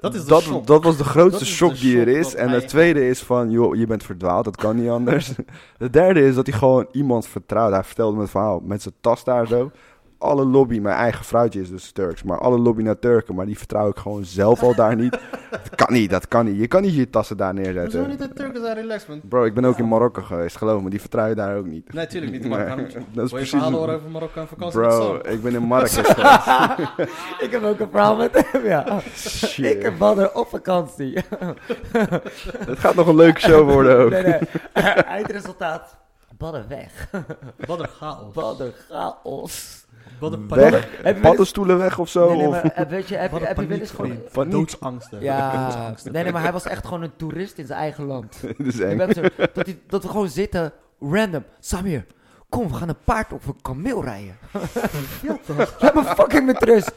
Dat is de dat, shock. dat was de Dat grootste is de shock die er shock is. dat En het hij- tweede is van, joh, je bent verdwaald, dat kan niet anders. De derde is dat hij gewoon iemand vertrouwde. Hij vertelde me het verhaal met zijn tas daar zo. Alle lobby, mijn eigen vrouwtje is dus Turks, maar alle lobby naar Turken, maar die vertrouw ik gewoon zelf al daar niet. Dat kan niet, dat kan niet. Je kan niet je tassen daar Hoezo niet neerzetten. dat Turken zijn relaxed, man? Bro, ik ben ook in Marokko geweest, geloof me, die vertrouw je daar ook niet. Nee, tuurlijk niet. Maar waarom moet je- Nee, Wil dat is je precies. verhalen horen over Marokko en vakantie? Bro, ik ben in Marrakesh geweest. ik heb ook een verhaal met hem, ja. Shit. Ik heb Badder op vakantie. Het gaat nog een leuke show worden ook. Nee, nee. Eindresultaat. Badden weg. Wat een chaos. Badden chaos. Wat een paniek. Weg, Heb je paddenstoelen weg of zo. Nee, nee, of- maar, eh, weet je, heb, je- Wat een heb je wel eens paniek. gewoon... vriend. Paniek. Doodsangsten. Ja, nee, nee, maar hij was echt gewoon een toerist in zijn eigen land. Dit is Je eng. bent zo- dat, die- dat we gewoon zitten, random. Samir, kom, we gaan een paard op een kameel rijden. Ja, toch. Laat me fucking met rust.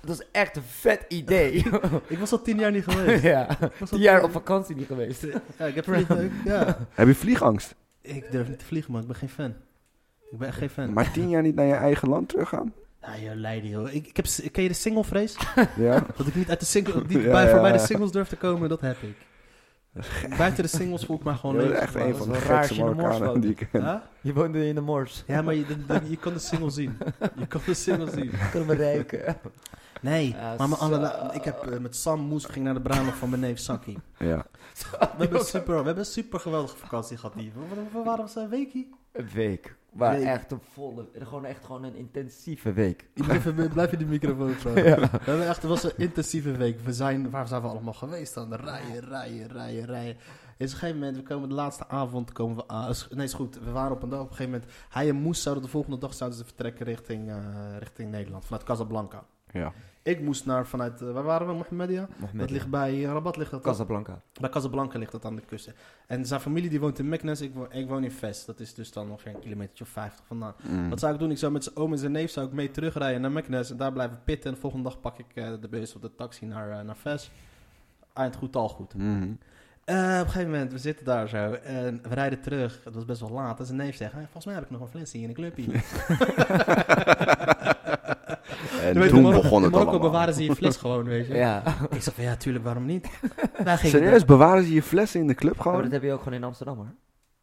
Dat is echt een vet idee. Ik was al tien jaar niet geweest. ja, Ik was al tien jaar op vakantie niet geweest. Ja, ik heb er niet... ik- Ja. Heb je vliegangst? Ik durf niet te vliegen, man. Ik ben geen fan. Ik ben echt geen fan. Maar tien jaar niet naar je eigen land teruggaan? Nou, joh, Leiden, joh. Ik, ik heb, s- ken je de singlevrees? Ja. Dat ik niet uit de single, niet Ja, bij, ja, voorbij de ja. singles durf te komen, dat heb ik. Buiten de singles voel ik me Oh, gewoon Dat is leeg. echt Maar een dat van de is wel raar als gekste je in de Moors Marokkanen woont. die ik is- ken. Huh? Je woonde in de Mors. Ja, maar je, je- je kan de single zien. Je kan de single zien. Kunnen we rijken. Nee, Ja, maar mijn zo. allerla- ik heb eh, met Sam Moes ging naar de bruiloft van mijn neef Saki. Ja. We hebben, super, we hebben een super geweldige vakantie gehad. Die. We, we- we waren op zijn weekie. Een week. Maar Week. echt een volle, gewoon echt gewoon een intensieve week. Blijf, blijf in die microfoon zo. Ja. We hebben echt, het was een intensieve week. We zijn, waar zijn we allemaal geweest dan? Rijden, rijden, rijden, rijden. Is op een gegeven moment, we komen de laatste avond, komen we aan. is- Nee, is goed. We waren op een dag, op een gegeven moment, hij en Moes zouden de volgende dag zouden ze vertrekken richting, eh, richting Nederland, vanuit Casablanca. ja. Ik moest naar vanuit, eh, waar waren we, Mohammedia? Mohammed. Dat ligt bij eh, Rabat, ligt dat? Casablanca. Bij Casablanca ligt dat aan de kust. En zijn familie die woont in Meknes, ik, wo- ik woon in Vest. Dat is dus dan ongeveer een kilometertje of 50 vandaan. Mm. Wat zou ik doen? Ik zou met zijn oom en zijn neef zou ik mee terugrijden naar Meknes en daar blijven pitten. En de volgende dag pak ik eh, de bus of de taxi naar, eh, naar Ves. Eind goed, al goed. Mhm. Eh, op een gegeven moment, we zitten daar zo en we rijden terug. Het was best wel laat. En zijn neef zegt, "Hey, volgens mij heb ik nog een flesje in de club hier. Hé, en weet je, toen in Marokko- begon in het Marokko allemaal. bewaren ze je fles gewoon, weet je. Ja. Maar Ik zeg van ja, tuurlijk, waarom niet? Daar ging het Serieus, bewaren ze je flessen in de club gewoon? Oh, dat heb je ook gewoon in Amsterdam hoor.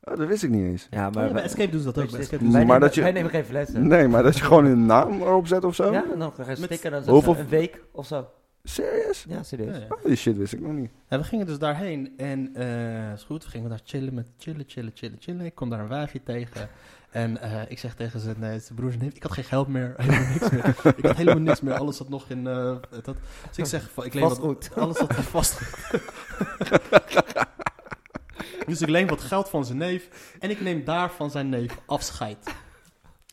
Oh, dat wist ik niet eens. Ja, Maar maar... bij Escape doen ze dat ook. Bij Weet je, Escape wij, doen ze nemen, dat. Maar dat je- wij nemen geen flessen. Nee, maar dat je gewoon een naam erop zet of zo? Ja, en dan krijg je Met- sticker. Dan Hoeveel- Hoeveel... Een week of zo. Serieus? Ja, serieus. Ja, ja. Oh, die shit wist ik nog niet. En we gingen dus daarheen en eh is goed, we gingen daar chillen met chillen, chillen, chillen, chillen. Ik kom daar een wijfje tegen en eh, ik zeg tegen zijn, eh, zijn broers en neef, ik had geen geld meer, helemaal niks meer. Ik had helemaal niks meer, alles zat nog in eh, dat. Dus ik zeg, van, ik leen wat, Vastgoed. alles zat in vast. dus ik leen wat geld van zijn neef en ik neem daar van zijn neef afscheid.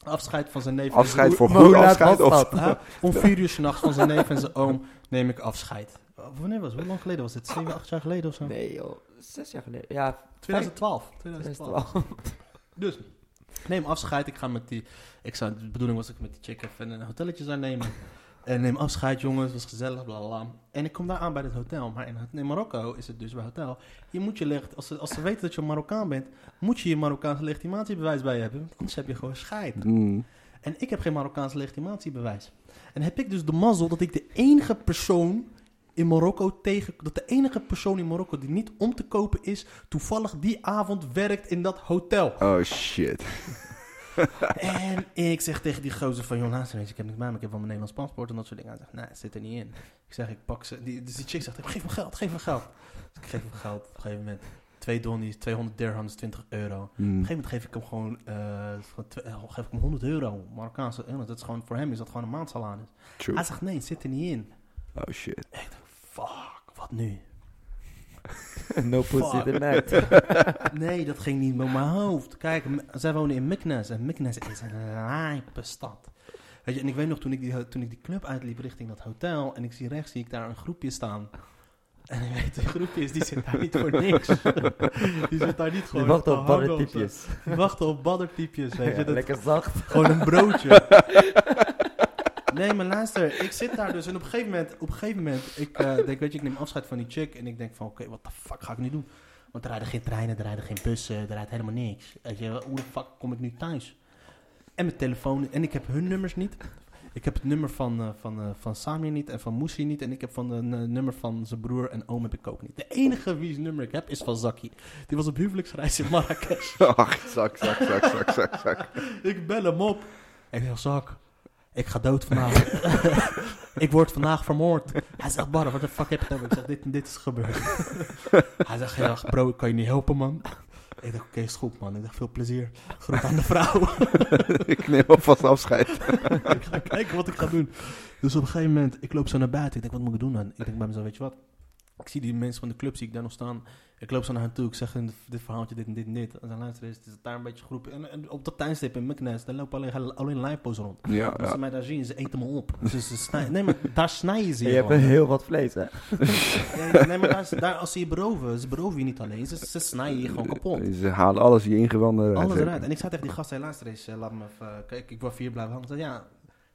Afscheid van zijn neef. en zijn Afscheid broer. voor Maar hoe goed, laat afscheid was of... dat? Ja, om vier uur 's nachts van zijn neef en zijn oom neem ik afscheid. Oh, Wanneer was het? Hoe lang geleden was dit? Zeven, acht jaar geleden of zo? Nee joh, zes jaar geleden. Ja, 2012. 2012. 2012. Dus, neem afscheid. Ik ga met die... Ik zou, de bedoeling was dat ik met die chick even een hotelletje zou nemen. En neem afscheid, jongens. Het was gezellig, bla, bla, bla. En ik kom daar aan bij het hotel. Maar in, in Marokko is het dus bij hotel. Je moet je licht... Als ze, als ze weten dat je een Marokkaan bent... moet je je Marokkaanse legitimatiebewijs bij je hebben. want Anders heb je gewoon scheid. Hmm. En ik heb geen Marokkaans legitimatiebewijs. En heb ik dus de mazzel dat ik de enige persoon in Marokko tegen... dat de enige persoon in Marokko die niet om te kopen is... toevallig die avond werkt in dat hotel. Oh shit. en ik zeg tegen die gozer van... joh, luister eens, ik heb niks bij me, ik heb wel mijn Nederlands paspoort en dat soort dingen. Hij zegt, nee, het zit er niet in. Ik zeg, ik pak ze... Die, dus die chick zegt, geef me geld, geef me geld. Dus ik geef hem geld op een gegeven moment. Twee donnies, 200 dirhams, 20 euro. Hmm. Op een gegeven moment geef ik hem gewoon, eh, gewoon twe- eh, geef ik hem 100 euro, Marokkaanse euro. Dat is gewoon, voor hem is dat gewoon een maandsalaris. True. Hij zegt, nee, het zit er niet in. Oh shit. Ik dacht, fuck, wat nu? no pussy Fuck. the night. Nee, dat ging niet door mijn hoofd. Kijk, m- zij wonen in Meknes en Meknes is een rijpe stad. Weet je, en ik weet nog, toen ik, die, eh, toen ik die club uitliep richting dat hotel en ik zie rechts, zie ik daar een groepje staan. En ik weet, die groepje is, die zit daar niet voor niks. Die zit daar niet Die gewoon wacht te op hangen barre of zo. tipjes. Die wachten op baddertypjes, weet je. Ja, dat- lekker zacht. Gewoon een broodje. Nee, maar luister, ik zit daar dus en op een gegeven moment, op een gegeven moment, ik eh, denk, weet je, ik neem afscheid van die chick en ik denk van, oké, wat de fuck ga ik nu doen? Want er rijden geen treinen, er rijden geen bussen, er rijdt helemaal niks. Weet je, hoe de fuck kom ik nu thuis? En mijn telefoon, en ik heb hun nummers niet. Ik heb het nummer van, eh, van, eh, van Samir niet en van Moesie niet. En ik heb van een eh, nummer van zijn broer en oom heb ik ook niet. De enige wie's nummer ik heb is van Zaki. Die was op huwelijksreis in Marrakesh. Ach, zak, zak, zak, zak, zak, zak. Ik bel hem op. Ik zeg, Zak, ik ga dood vandaag. ik word vandaag vermoord. Hij zegt, Barre, wat de fuck heb je het over? Ik zeg, dit en dit is gebeurd. Hij zegt, ja, bro, ik kan je niet helpen, man. Ik dacht, oké, is goed, man. Ik dacht, veel plezier. Groet aan de vrouw. Ik neem alvast afscheid. ik ga kijken wat ik ga doen. Dus op een gegeven moment, ik loop zo naar buiten. Ik denk, wat moet ik doen dan? Ik denk bij mezelf, weet je wat? Ik zie die mensen van de club, zie ik daar nog staan. Ik loop zo naar hen toe. Ik zeg hun dit verhaaltje, dit en dit en dit. En dan luisteren is het daar een beetje groep. En, en op dat tijdstip in McNess, daar lopen alleen, alleen livepo's rond. Ja, Als ze ja. mij daar zien, ze eten me op. Ze, ze snij- nee, maar daar snijden ze Je je hebt gewoon. heel wat vlees hè. Nee, nee, maar daar, daar, als ze je beroven, ze beroven je niet alleen. Ze, ze snijden je gewoon kapot. Eh, Ze halen alles je ingewanden eruit. Alles eruit. En ik zei tegen die gast, hé, luister eens, eh, laat me even... eh, kijk, ik wil vier blijven hangen. Ze zei, ja,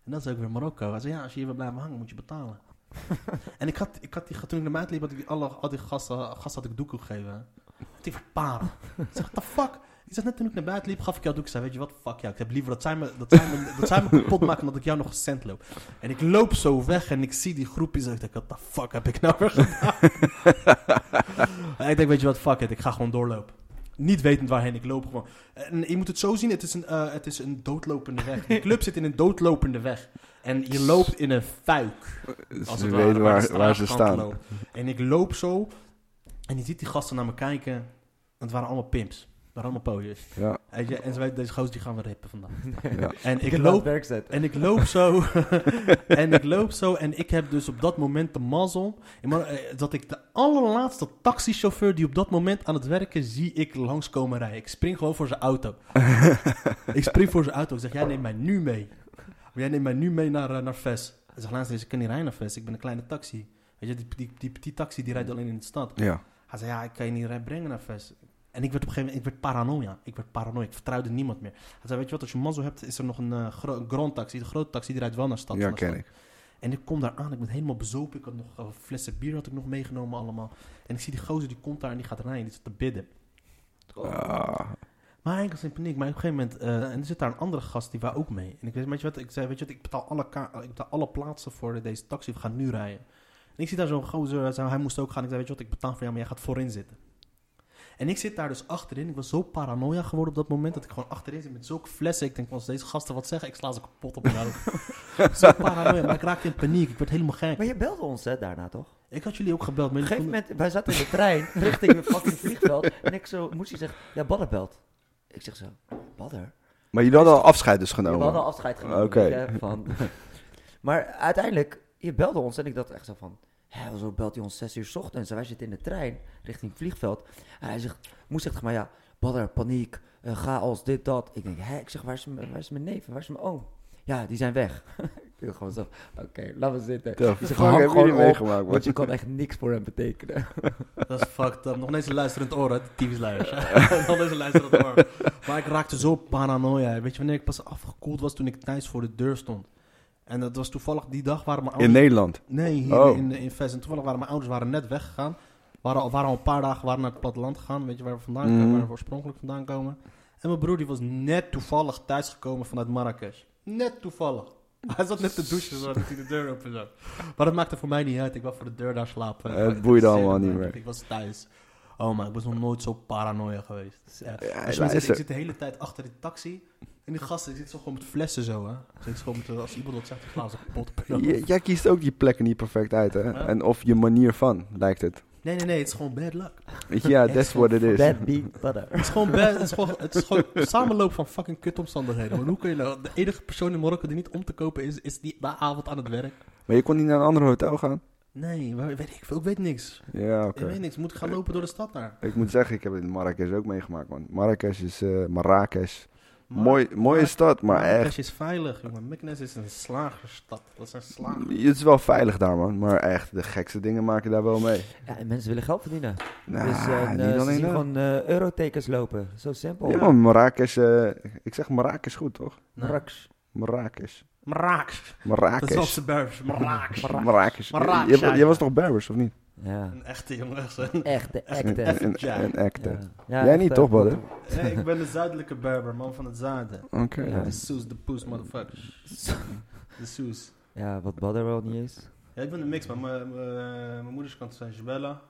en dat is ook weer Marokko. Hij zei, ja, als je hier wil blijven hangen, moet je betalen. en ik had, ik had die, toen ik naar buiten liep, had ik die- alle, al die gasten, gasten had ik doekoe gegeven. Die verparen. ik zeg, what the fuck? Ik zeg, net toen ik naar buiten liep, gaf ik jou doek. Ik zei, weet je wat, fuck jou. Ik heb liever dat zij me, dat zij me, dat zij me kapot maken dan dat ik jou nog een cent loop. En ik loop zo weg en ik zie die groepjes. En ik denk, what the fuck heb ik nou weer gedaan? ik denk, weet je wat, fuck it. Ik ga gewoon doorlopen. Niet wetend waarheen, ik loop gewoon. En je moet het zo zien, het is een, eh, het is een doodlopende weg. De club zit in een doodlopende weg. En je loopt in een fuik. Als Ze het weten ware, Dus waar, de waar ze straatkant staan. loopt. En ik loop zo. En je ziet die gasten naar me kijken. En het waren allemaal pimps. Het waren allemaal pooiers. Ja, Weet je, En ze weten, deze gozer die gaan we rippen vandaag. ja. En ik heb wel het loop werk zetten. en ik loop zo. en ik loop zo. En ik heb dus op dat moment de mazzel. in Mar- eh, Dat ik de allerlaatste taxichauffeur die op dat moment aan het werken zie ik langskomen rijden. Ik spring gewoon voor zijn auto. ik spring voor zijn auto. Ik zeg, jij neemt mij nu mee. Jij neemt mij nu mee naar, eh, naar Ves. Hij zegt, laatst eens, ik kan niet rijden naar Ves. Ik ben een kleine taxi. Weet je, die, die, die, die taxi die rijdt alleen in de stad. ja. Hij zei, ja, ik kan je niet rijden brengen naar Ves. En ik werd op een gegeven moment, ik werd paranoia. Ik werd paranoia, ik vertrouwde niemand meer. Hij zei, weet je wat, als je mazzel hebt, is er nog een eh, gro- een grand taxi. De grote taxi, die rijdt wel naar stad. ja, naar ken stad. ik. En ik kom daar aan, ik ben helemaal bezopen. Ik had nog eh, flessen bier had ik nog meegenomen allemaal. En ik zie die gozer, die komt daar en die gaat rijden, die zit te bidden. Ah, Maar Maar ik was in paniek. Maar op een gegeven moment... eh, en er zit daar een andere gast, die wou ook mee. En ik weet, weet je wat? Ik zei, weet je wat? Ik betaal alle, ka- ik betaal alle plaatsen voor deze taxi. We gaan nu rijden. En ik zie daar zo'n gozer. eh, hij zei, Hij moest ook gaan. Ik zei, weet je wat? Ik betaal voor jou, maar jij gaat voorin zitten. En ik zit daar dus achterin. Ik was zo paranoia geworden op dat moment dat ik gewoon achterin zit met zulke flessen. Ik denk, als deze gasten wat zeggen, ik sla ze kapot op mijn hoofd. zo paranoia. Maar ik raakte in paniek. Ik werd helemaal gek. Maar je belde ons hè, daarna toch? Ik had jullie ook gebeld. Op Maar een jullie gegeven konden- moment, wij zaten in de trein richting een fucking vliegveld. En ik zo, moest hij zeggen, ja, Badder belt. Ik zeg zo, Badder? Maar jullie hadden al afscheid dus Ja, genomen. we hadden al afscheid genomen. Oké. dus, eh, van. maar uiteindelijk, je belde ons en ik dacht echt zo van... Hé, zo belt hij ons zes uur 's ochtends en wij zitten in de trein richting het vliegveld. En hij zegt, moest zegt maar ja, badder, paniek, eh, ga als dit, dat. Ik denk, hè, ik zeg, waar is, m- waar is mijn neef en waar is mijn oom? Ja, die zijn weg. ik dacht gewoon zo, oké, laten we zitten. Ja, Die fuck, zegt, hang hebben gewoon jullie op, meegemaakt, man. want je kan echt niks voor hem betekenen. Dat is fucked up. Nog ineens een luisterend oor, hè? Typisch luiers. Nog ineens een luisterend oor. Maar ik raakte zo paranoia. Weet je wanneer ik pas afgekoeld was toen ik thuis voor de deur stond? En dat was toevallig die dag waar mijn In ouders... Nederland. nee, hier Oh. in, in Vest. En toevallig waren mijn ouders waren net weggegaan. Waren al, waren al een paar dagen waren naar het platteland gegaan. Weet je waar we vandaan Mhm. komen, waar we oorspronkelijk vandaan komen. En mijn broer die was net toevallig thuisgekomen vanuit Marrakesh. Net toevallig. Hij zat net te douchen zodat hij de deur open zat. Maar dat maakte voor mij niet uit. Ik wou voor de deur daar slapen. Eh, het boeide allemaal niet Ik- meer. Ik was thuis. Oh man, ik was nog nooit zo paranoia geweest. Dus, eh, Ja, als je me zegt, luister. ik zit de hele tijd achter die taxi. En die gasten die zitten zo gewoon met flessen zo, hè. Ze zitten gewoon met, eh, als iemand dat zegt, ik sla ze kapot. op je hoofd. J- jij kiest ook die plekken niet perfect uit, hè? Ja. En of je manier van, lijkt het. Nee, nee, nee, het is gewoon bad luck. Ja, that's what it is. Bad be badder. Het is gewoon, bad, het is gewoon, het is gewoon een samenloop van fucking kutomstandigheden. Want hoe kun je nou, de enige persoon in Marokko die niet om te kopen is, is die de avond aan het werk. Maar je kon niet naar een ander hotel gaan? Nee, maar weet ik, veel, ik weet niks. Ja, oké. Ik weet niks, moet ik gaan lopen door de stad daar. Ik moet zeggen, ik heb het in Marrakesh ook meegemaakt, man. Marrakesh is eh Marrakesh. Maar- Mooi, mooie stad, maar echt. Marrakesh is veilig, jongen. Meknes is een slagerstad. Dat zijn slagers. Het is wel veilig daar, man. Maar echt, de gekste dingen maken daar wel mee. Ja, en mensen willen geld verdienen. Nou, dus eh, niet eh, ze alleen zien dat. gewoon eh, eurotekens lopen. Zo simpel. Nou. Ja, man, Marrakesh. eh, ik zeg Marrakesh goed, toch? Marrakesh. Marrakesh. Maraaks. Dat is als Marrakesh. de Berbers. Maraaks. Marrakesh. Marrakesh, Je- je- ja, Jij ja. was toch Berbers, of niet? Ja. Een echte jongen. Echte, Een, echte. echt. een, Ja. een acte. Ja. Ja, Jij echt, niet, eh, toch, Badder? Nee, ik ben de zuidelijke Berber, man van het zuiden. Oké. Ja. De Soes, de Poes, motherfuckers. De Soes. Ja, wat Badder wel niet is. Ja, ik ben een mix, maar mijn- eh, mijn mijn moeders kant zijn Jebella.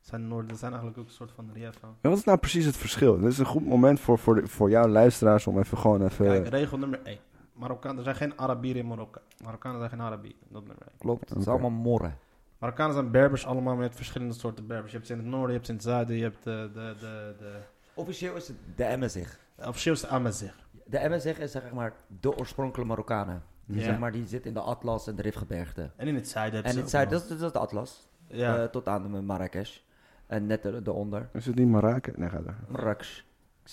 Zijn Noorden, zijn eigenlijk ook een soort van Rief. Ja, Wat is nou precies het verschil? Dit is een goed moment voor, voor, de- voor jouw luisteraars om even gewoon even... Kijk, regel nummer 1. Marokkaan, er zijn geen Arabieren in Marokko. Marokkanen zijn geen Arabieren. Dat nummer 1. Klopt, het is Oké. allemaal morren. Marokkanen zijn Berbers allemaal met verschillende soorten Berbers. Je hebt ze in het noorden, je hebt ze in het zuiden, je hebt de... de, de, de Officieel is het de Amazig. officieel is het Amazigh. De Amazig is zeg maar de oorspronkelijke Marokkanen. Die, Ja. zeg maar, die zit in de Atlas en de Rifgebergte. En in het zuiden hebben En ze het ook zuiden, nog. dat, is- dus dat is de Atlas. Ja. eh, tot aan de Marrakesh. En net er- eronder. Is het niet Marrakesh? Nee, ga daar. Marrakesh. Ik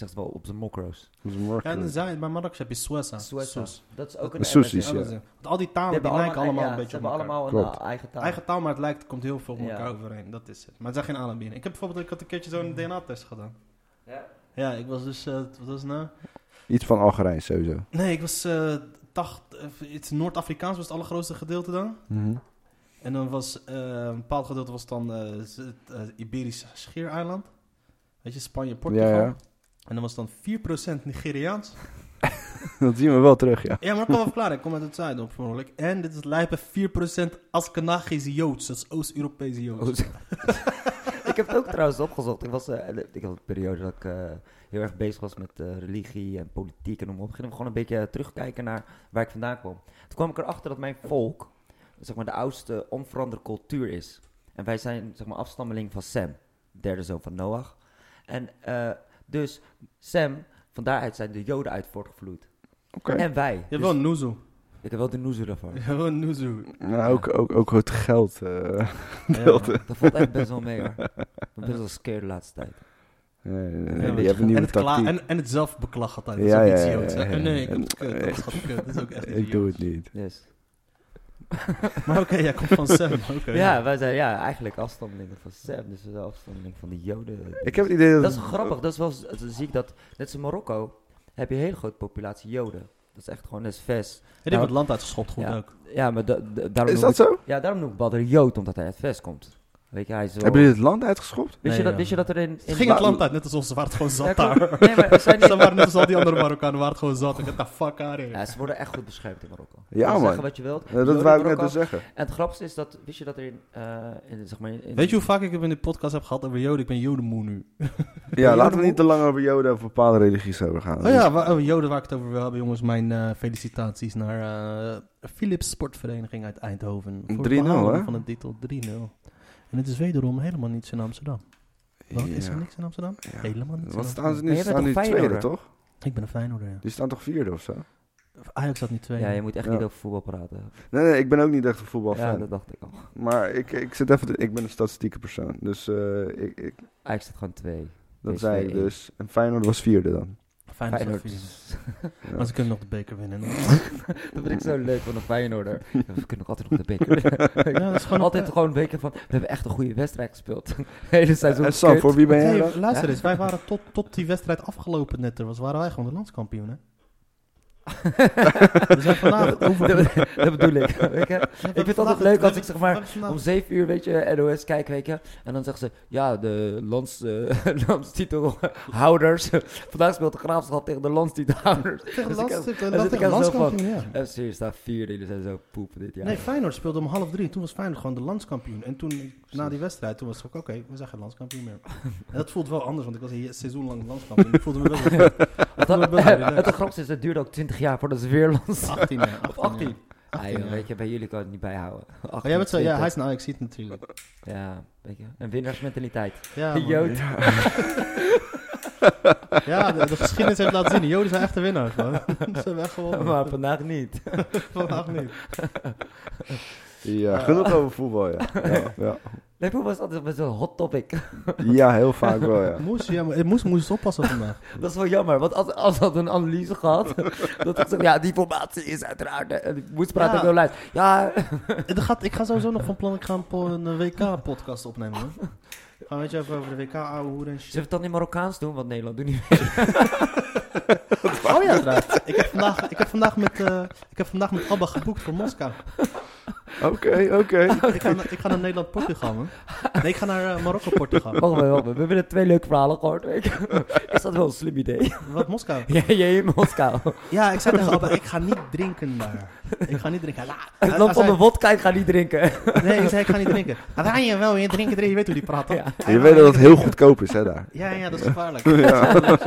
zeg het wel op zijn mokro's. Dat is Ja, en Marrakesh. in Zuid, bij Marokko heb je Suessa. Suessa. Soes. Dat is ook een De Soes Amazigh. is, ja. Amazigh. Want al die Die talen Oh, die hebben lijken allemaal ja, een ze beetje op hebben elkaar. allemaal een Klopt. eh, eigen taal. Eigen taal, maar het lijkt, komt heel veel op Ja. elkaar overeen. Dat is het. Maar het zijn geen Arabieren. Ik heb bijvoorbeeld, ik had een keertje zo'n DNA-test gedaan. Ja. Ja, ik was dus, eh, wat was het nou? Iets van Algerijn, sowieso. Nee, ik was eh tacht, eh, het Noord-Afrikaans was het allergrootste gedeelte dan. En dan was eh, een bepaald gedeelte was dan eh, z- het eh, Iberisch Schiereiland. Weet je, Spanje, Portugal. Ja, ja. En dan was dan 4% Nigeriaans. Dat zien we wel terug, ja. Ja, maar ik kan wel verklaren. Ik kom uit het zuiden oorspronkelijk. En dit is lijpen 4% Askenagisch Joods. Dat is Oost-Europese Joods. Oh, zo. ik heb het ook trouwens opgezocht. Ik, was, eh, ik had een periode dat ik eh, heel erg bezig was met eh, religie en politiek en noem maar op. Ik ging gewoon een beetje terugkijken naar waar ik vandaan kwam. Toen kwam ik erachter dat mijn volk, zeg maar, de oudste onveranderde cultuur is. En wij zijn, zeg maar, afstammeling van Sem, derde zoon van Noach. En eh, dus Sem, van daaruit zijn de Joden uit voortgevloeid. Oké. En wij. Je Dus hebt wel een Nuzu. ik heb wel de noezer daarvan. Je hebt wel een Nuzu. Nou, ook, ook, ook het geld. eh, Ja. Dat valt echt best wel mee hoor. Ik ben best wel scared de laatste tijd. nee, nee, nee, Ja, Eh, die hebben een en, nieuwe het kla- tactiek. en, en het zelfbeklag altijd. Ja, dat is ook ja, iets ja, Joods. ja, ja. Eh, Nee, ik heb En- het kut. Dat is gewoon kut. Dat is ook echt Ik doe het niet. Yes. Maar oké, jij komt van Sam. Oké. Ja, wij zijn ja, eigenlijk afstammelingen van Sam, dus we zijn afstammelingen van de Joden. Ik heb het idee dat... Dat is grappig, dat is wel z- zie ik dat, net als in Marokko, heb je een hele grote populatie Joden. Dat is echt gewoon een vest. Het nou- heeft het land uitgeschopt, goed Ja. ook. Ja, maar da- da- daarom, Is noem dat ik, zo? ja, daarom noem ik Badr Jood, omdat hij uit vest komt. Weet je, hij is wel... Hebben jullie het land uitgeschopt? Wist, je Nee, dat, ja. wist je dat er in... in Het ging het land uit, net als ons. Ze waren het gewoon Ja, zat klopt. daar. Nee, maar er zijn Ze waren net als al die andere Marokkanen, waren het gewoon zat. Ik had de fuck aan Ja, ze worden echt goed beschermd in Marokko. Ja, Je mag man. Zeggen wat je wilt. Eh, Je Dat hoort wou in ik net Marokko- dus zeggen. En het grappigste is dat, wist je dat er in, eh, in zeg maar... in- Weet je hoe vaak ik het in de podcast heb gehad over Joden? Ik ben Jodenmoe nu. Ja, laten we niet te lang over Joden of bepaalde religies over gaan. Oh ja, wa- oh, Joden waar ik het over wil hebben, jongens. Mijn eh, felicitaties naar eh Philips Sportvereniging uit Eindhoven. Voor het 3-0, behalen hè? van de titel 3-0. En het is wederom helemaal niets in Amsterdam. Wat? Is er Ja. niks in Amsterdam? Ja. Helemaal niets in Wat staan ze Maar Amsterdam. nu? jij Ze bent staan nu toch tweede, Feyenoorder? toch? Ik ben een Feyenoorder, ja. Die staan toch vierde of zo? Ajax had niet twee. Ja, je moet echt Ja. niet over voetbal praten. Nee, nee, ik ben ook niet echt een voetbalfan. Ja, dat dacht ik al. Maar ik, ik zit even... te- ik ben een statistieke persoon. Dus eh, ik, ik, Ajax staat gewoon twee. dat PSV zei ik één. dus. En Feyenoord was vierde dan. Feyenoord. Feyenoord. had vier. Ja. Maar ze kunnen nog de beker winnen. Dat vind ik zo leuk van een Feyenoorder. We kunnen nog altijd nog de beker. ja, dat is gewoon altijd gewoon een beker van, we hebben echt een goede wedstrijd gespeeld. Hele seizoen en Eh, Sam, kut. voor wie ben jij Hey, dan? luister eens, wij waren tot, tot die wedstrijd afgelopen net er was, waren wij gewoon de landskampioen, hè? We zijn vandaag over... dat, dat bedoel ik. Weet je? Ik vind het altijd leuk als ik zeg maar om Vandaag, zeven uur, weet je, NOS kijk, weet je. En dan zeggen ze, ja, de lands, eh, landstitelhouders. Vandaag speelt de Graafschap tegen de landstitelhouders. tegen dus ik heb- land- tegen- dus ik tegen heb zo van- landskampioen, ja. FC staat vierde, jullie zijn zo poep dit jaar. Nee, Feyenoord speelde om half drie. Toen was Feyenoord gewoon de landskampioen. En toen, na die wedstrijd, toen was het ook, oké, we zijn geen landskampioen meer. En dat voelt wel anders, want ik was een seizoen lang landskampioen. Ik voelde me wel... ik voelde me Dat, wel relaxed. het grootste is, het duurde ook 20 jaar voordat ze weer lands. 18, ja. 18, ja. Ah, joh, weet je, bij jullie kan ik het niet bijhouden. Maar jij bent zo, ja, hij is een Ajaxiet natuurlijk. Ja, weet je, een winnaarsmentaliteit. Ja, man. Jood. Ja, de, de geschiedenis heeft laten zien. De Joden zijn echte winnaars, man. Ze hebben echt gewonnen. maar vandaag niet. Vandaag niet. Ja, genoeg over voetbal, ja. Ja, ja. Nee, voetbal is altijd best wel een hot topic. Ja, heel vaak wel, ja. Moes, ja, maar, moes moest oppassen vandaag. Dat is wel jammer, want als, als dat een analyse gehad, dat ik zeg, ja, die formatie is uiteraard, eh, en ik moest praten Ja. over lijst. Ja, Het gaat, ik ga sowieso nog van plan, ik ga een, po- een WK-podcast opnemen, hoor. Gaan we het even over de WK, ouwe hoeren en ze shit. het dan in Marokkaans doen, want Nederland doet niet meer. Oh ja, inderdaad. Ik heb vandaag, ik heb vandaag, met, eh, ik heb vandaag met Abba geboekt voor Moskou. Oké, oké. Ik ga, naar- ik ga naar Nederland-Portugal, man. Nee, ik ga naar eh, Marokko-Portugal. Wacht even, wacht even. we hebben twee leuke verhalen gehoord, weet je. Is dat wel een slim idee? Wat, Moskou? Jij jij in Moskou. Ja, ik zei tegen Abba, ik ga niet drinken daar. Ik ga niet drinken. Hij la- Het hij- land hij van zei- de vodka, ik ga niet drinken. Nee, ik zei, ik ga niet drinken. Maar Ryan je wel, je drinken erin, je weet hoe die praat, toch? Ja. Je weet dat het heel goedkoop is, hè, daar. Ja, ja, dat is gevaarlijk. Dat is gevaarlijk.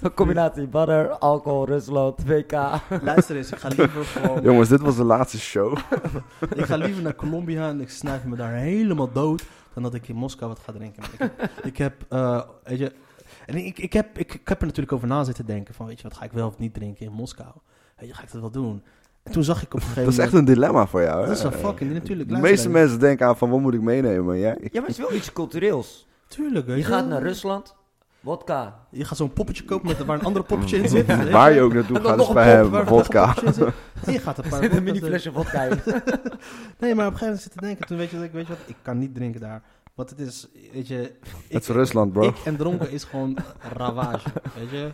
Een combinatie badder, alcohol, Rusland, WK. Luister eens, ik ga liever gewoon... Jongens, dit was de laatste show. Ik ga liever naar Colombia en ik snuif me daar helemaal dood... dan dat ik in Moskou wat ga drinken. Ik heb... Ik heb eh, weet je, en ik, ik, heb, ik, ik heb er natuurlijk over na zitten denken van... weet je, wat ga ik wel of niet drinken in Moskou? Weet je, ga ik dat wel doen? En toen zag ik op een gegeven Dat is moment... echt een dilemma voor jou, hè? Dat is een fucking... Natuurlijk, De luister meeste eens. mensen denken aan van, wat moet ik meenemen? Maar jij- ik- Ja, maar het is wel iets cultureels. Tuurlijk, weet Je gaat naar Rusland, vodka. Je gaat zo'n poppetje kopen met, waar een ander poppetje in zit. weet Waar je ook naartoe En dan gaat, nog is een bij pop hem, waar nog een vodka. poppetje in zit. En je gaat een paar... Met een mini vodka's- flesje vodka in. Nee, maar op een gegeven moment zit te denken, toen weet je, dat ik- weet je wat, ik kan niet drinken daar. Want het is, weet je... Het is ik- Rusland, bro. Ik en dronken is gewoon ravage, weet je.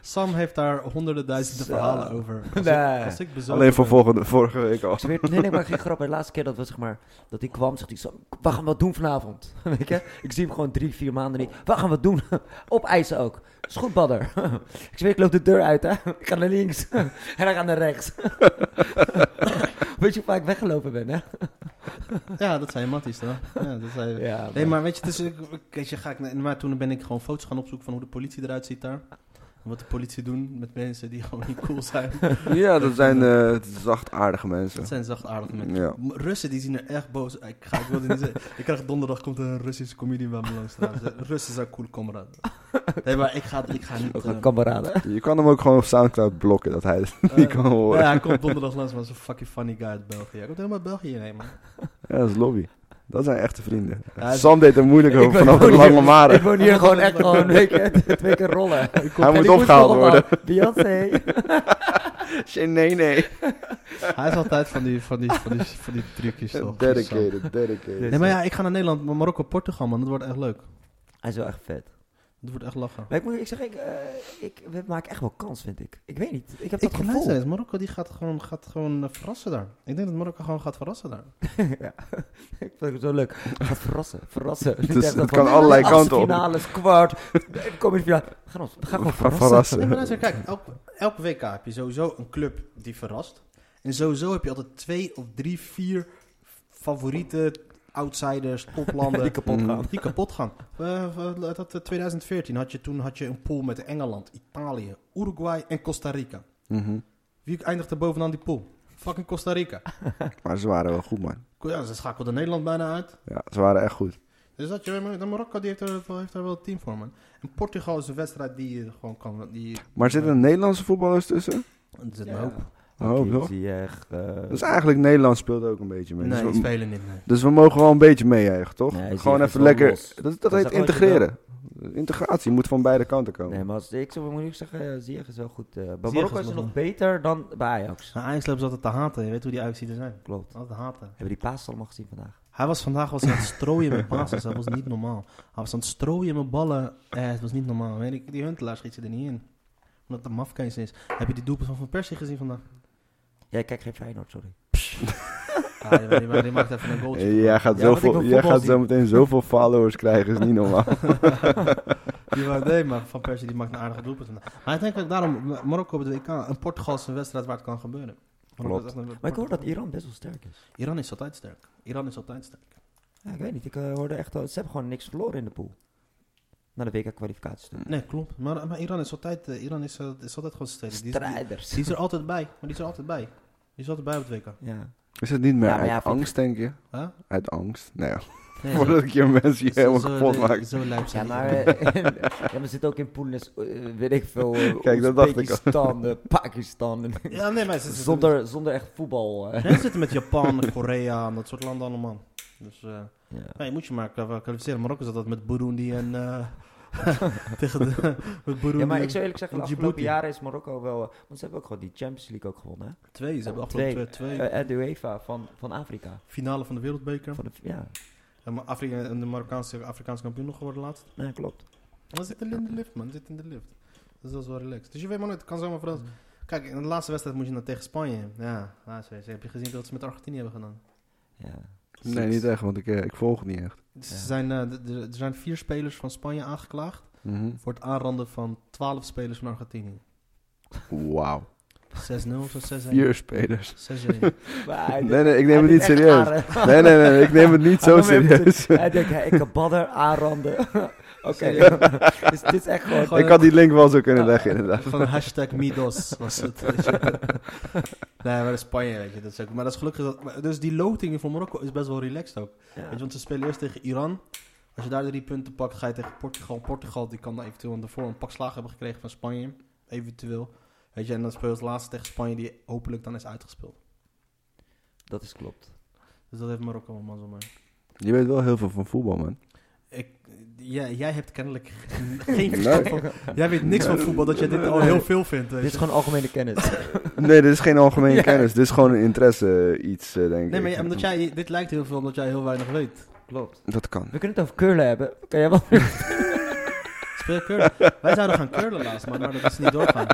Sam heeft daar honderden duizenden Zo. verhalen over. Als Nee. ik, als ik bezopen Alleen voor ben- volgende, vorige week al. Ze weet- nee, nee, maar geen grap. De laatste keer dat, we, zeg maar, dat hij kwam, zegt hij zo, we gaan wat doen vanavond. Weet je? Ik zie hem gewoon drie, vier maanden niet. We gaan wat doen. Op ijs ook. Is goed, badder. Ik zweer, ik loop de deur uit, hè. Ik ga naar links. En hij gaat naar rechts. Weet je hoe vaak ik weggelopen ben, hè? Ja, dat zijn matties, toch? Ja, dat zijn... Ja, Nee, maar weet je, dus, ik, ik- weet je, ga ik, naar- maar toen ben ik gewoon foto's gaan opzoeken van hoe de politie eruit ziet daar. En Wat de politie doen met mensen die gewoon niet cool zijn. Ja, dat zijn eh, zachtaardige Dat mensen. zijn zachtaardige mensen. Ja. M- Russen die zien er echt boos uit. Ik, ga, ik, wilde niet zeggen. ik krijg donderdag komt er een Russische comedian bij me langs. trouwens. Russen zijn cool kameraden. Nee, maar ik ga, ik ga niet... Ook eh, een kameraden. Je kan hem ook gewoon op Soundcloud blokken, dat hij het niet eh, kan horen. Ja, hij komt donderdag langs, maar zo'n fucking funny guy uit België. Hij komt helemaal uit België hierheen, man. Ja, dat is lobby. Dat zijn echte vrienden. Ja, het- Sam deed er moeilijk Ik over ben- vanaf ik de woon lange hier- maren. Ik woon hier gewoon echt gewoon twee keer, twee keer rollen. Hij En moet ik moest opgehaald nog worden. ophouden. Beyoncé. Shit, Nee, nee. Hij is altijd van die, van die, van die, van die trucjes, toch? Dedicated, dedicated. Nee, maar ja, ik ga naar Nederland, maar Marokko, Portugal, man. Dat wordt echt leuk. Hij is wel echt vet. Het wordt echt lachen. Maar ik, moet, ik zeg, ik, eh, ik, we maken echt wel kans, vind ik. Ik weet niet. Ik heb Ik dat vind gevoel. het, Marokko die gaat gewoon, gaat gewoon eh, verrassen daar. Ik denk dat Marokko gewoon gaat verrassen daar. ja. ik vind het zo leuk. Gaat verrassen, verrassen. Niet Dus echt het van, kan allerlei achtste kanten op. finales, kwart, de komende finale. We gaan, ons, we gaan gewoon verrassen. Nee, maar luister, Verrassen. kijk, elk, elk WK heb je sowieso een club die verrast. En sowieso heb je altijd twee of drie, vier favoriete outsiders, toplanden. Die kapot Mm. gaan. die kapot gaan. Eh, eh, dat, eh, 2014 had je toen had je een pool met Engeland, Italië, Uruguay en Costa Rica. Mhm. Wie eindigde bovenaan die pool? Fucking Costa Rica. Maar ze waren wel goed, man. Ja, ze schakelde Nederland bijna uit. Ja, ze waren echt goed. Dus dat je, de Marokko die heeft, er, wel- heeft daar wel een team voor, man. En Portugal is een wedstrijd die je gewoon kan... Die, Maar zitten er Nederlandse voetballers tussen? Er zit Ja. een hoop. Oh, toch? Die echt, eh, Dus eigenlijk Nederland speelt ook een beetje mee. Nee, dus, die we, spelen niet, nee. dus we mogen wel een beetje meejuichen, toch? Nee, zie Gewoon je, even is wel lekker... los. Dat, dat Dat is heet echt wat je wil. integreren. Integratie moet van beide kanten komen. Nee, maar als, ik zou moet ik zeggen, eh, Ziyech is wel goed. eh, bij is Marokko is nog het nog wel- beter dan bij Ajax. Nou, Ajax loopt ze altijd te haten. Je weet hoe die Ajax er zijn. Klopt. Altijd haten. Hebben die paas allemaal gezien vandaag? Hij was vandaag was hij aan het strooien met basis. Dat was niet normaal. Hij was aan het strooien met ballen. Eh, het was niet normaal. Weet ik, die Huntelaar schiet ze er niet in. Omdat de mafkees is. Heb je die doelpunt van Van Persie gezien vandaag? Jij kijkt geen Feyenoord, sorry. Ah, die, die- die maakt even een goaltje. Hey, Jij gaat, Ja, want ik zoveel, wil jij voetbal gaat zien. zo meteen zoveel followers krijgen, is niet normaal. Die maakt- nee, maar Van Persie die maakt een aardige doelpunt vandaag. Maar ik denk dat ik daarom Ma- Marokko op de WK een Portugalse wedstrijd waar het kan gebeuren. Marokko Klopt. is echt een- Maar ik hoor dat Iran best wel sterk is. Iran is altijd sterk. Iran is altijd sterk. Ja, ik weet niet. Ik eh, hoorde echt al, ze hebben gewoon niks verloren in de pool. Na de WK-kwalificaties toen. Nee, klopt. Maar, maar Iran is altijd, eh, Iran is, eh, is altijd gewoon sterk. Die is- die- Strijders. Die is er altijd bij, maar die is er altijd bij. Die is er altijd bij op het WK. Ja. Is het niet meer Ja, maar uit ja, vind- angst, denk je? Huh? Uit angst? Nee, ja. Nee, voordat ik je mensen hier helemaal kapot zo, maak. zo lijp Ja, zijn. maar, eh, ja, maar zit ook in poelen, is, eh, weet ik veel, eh, Kijk, dat dacht ik al. Oezbekistan, eh, Pakistan. en- Ja, nee, maar ze zitten, zonder, zonder echt voetbal. eh. nee, ze zitten met Japan, Korea en dat soort landen allemaal. Dus eh Ja. nee, je moet je maar kwa- kwalificeren. Marokko zat dat met Burundi en... eh tegen de, met Burundi. Ja, maar ik zou eerlijk zeggen, de afgelopen Djibouti. jaren is Marokko wel... eh, want ze hebben ook gewoon die Champions League ook gewonnen, hè? Twee, ze hebben afgelopen twee. twee. Eh, eh, de UEFA van, van Afrika. Finale van de wereldbeker. Van de, ja, En maar Afrika, en de Marokkaanse Afrikaanse kampioen nog geworden laatst. nee, klopt. Maar zit in de lift, man. Zit in de lift. Dus dat is wel relaxed. Dus je weet maar nooit, het kan zomaar verrassen. Kijk, in de laatste wedstrijd moest je dan tegen Spanje. Ja, laatste wedstrijd. Heb je gezien wat ze met Argentinië hebben gedaan? Ja. Nee, niet echt, want ik, eh, ik volg het niet echt. Dus Ja. er zijn, eh, d- d- er zijn vier spelers van Spanje aangeklaagd Mhm. voor het aanranden van twaalf spelers van Argentinië. 6-0 Wauw. of zo, 6-1. Vier spelers. 6-1. Maar, Nee, nee, ik neem het niet serieus. Nee, nee, nee, ik neem het niet zo Hij nam hem serieus. Hij denkt, hè, ik kan badder aanranden. Oké, dus dit is echt gewoon... Ik had die link wel zo kunnen leggen, inderdaad. Van hashtag Midos was het. weet je. nee, maar dat is Spanje, weet je. Dat is ook, maar dat is gelukkig. Dat, maar- dus die loting voor Marokko is best wel relaxed ook. Ja. Weet je, want ze spelen eerst tegen Iran. Als je daar drie punten pakt, ga je tegen Portugal. Portugal die kan dan eventueel aan de voor een pak slagen hebben gekregen van Spanje. Eventueel. Weet je, en dan speel je als laatste tegen Spanje, die hopelijk dan is uitgespeeld. Dat is klopt. Dus dat heeft Marokko allemaal zo maar. Je weet wel heel veel van voetbal, man. Ik, jij, jij hebt kennelijk geen verstand van... Jij weet niks van voetbal, dat jij dit al heel veel vindt. Dit Weet is je. gewoon algemene kennis. Nee, dit is geen algemene kennis. Dit is gewoon een interesse eh, iets, eh, denk Nee, maar ik. ja, omdat jij, dit lijkt heel veel omdat jij heel weinig weet. klopt. Dat kan. We kunnen het over curlen hebben. Kan jij wel... Speel curlen. Wij zouden gaan curlen laatst, man, maar dat is niet doorgaan.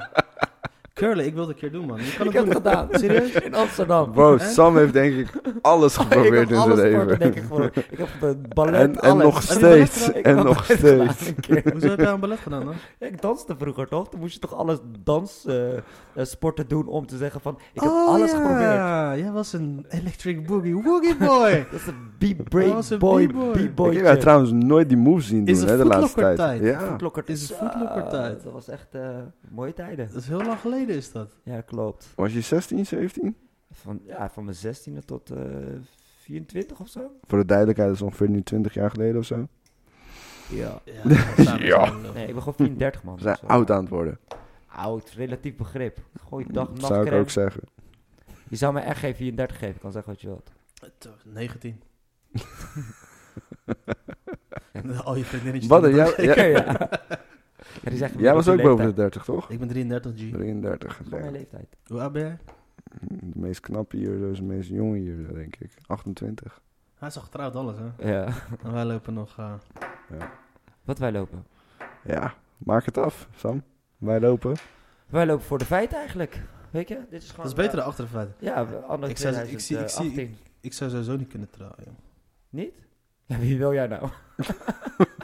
Curlen, ik wil het een keer doen, man. Je kan ik het heb het doen. gedaan. Serieus? In Amsterdam. Bro, Hè? Sam heeft denk ik alles ik geprobeerd heb in zijn alle sporten denk ik leven. gewoon. Ik heb de ballet, En, en alles. nog Heb je ballet steeds. gedaan? Ik heb En nog ballet gedaan steeds. een keer. Hoezo heb jij een ballet gedaan, dan? Ja, ik danste vroeger toch? Toen moest je toch alles danssporten sporten doen om te zeggen van ik heb Oh, alles ja. geprobeerd. Jij was een electric boogie woogie boy. Dat is een Dat b-break was een boy, b-boy. Ik b-boy. heb jou trouwens nooit die moves zien Is doen, het hè, de laatste tijd. voetlokkertijd? Ja. Is het voetlokkertijd? Dat was echt eh, mooie tijden. dat is heel lang geleden is dat. Ja, klopt. Was je 16, 17? Van, ja, van mijn 16e tot eh 24 of zo. Voor de duidelijkheid, dat is ongeveer nu 20 jaar geleden of zo. Ja. Ja. dat zijn we Ja. gewoon, eh. Nee, ik ben gewoon 34 man. We zijn Zo. oud aan het worden. Oud, relatief begrip. Gooi dag, Dat nacht, zou ik crème. ook zeggen. Je zou me echt geen 34 geven, ik kan zeggen wat je wilt. Toch, 19. En Al je vriendinnetjes. Wat, jij, Ja. jij, Ja, die zeggen, jij was ook die boven de leeftijd. 30, toch? Ik ben 33 G. 33. Gewoon mijn denk ik. leeftijd. Hoe oud ben jij? De meest knappe hier, dus de meest jonge hier, denk ik. 28. Hij is al getrouwd alles hè. Ja. En wij lopen nog. eh, Wat wij lopen. Ja, maak het af, Sam. Wij lopen. Wij lopen voor de feiten eigenlijk. Weet je, dit is gewoon... Dat is beter dan achter de feiten. eh, ja, we- andere Ik zou- ik 2018. zie- ik zie- Ik zou sowieso niet kunnen trouwen. joh. Niet? Ja, wie wil jij nou?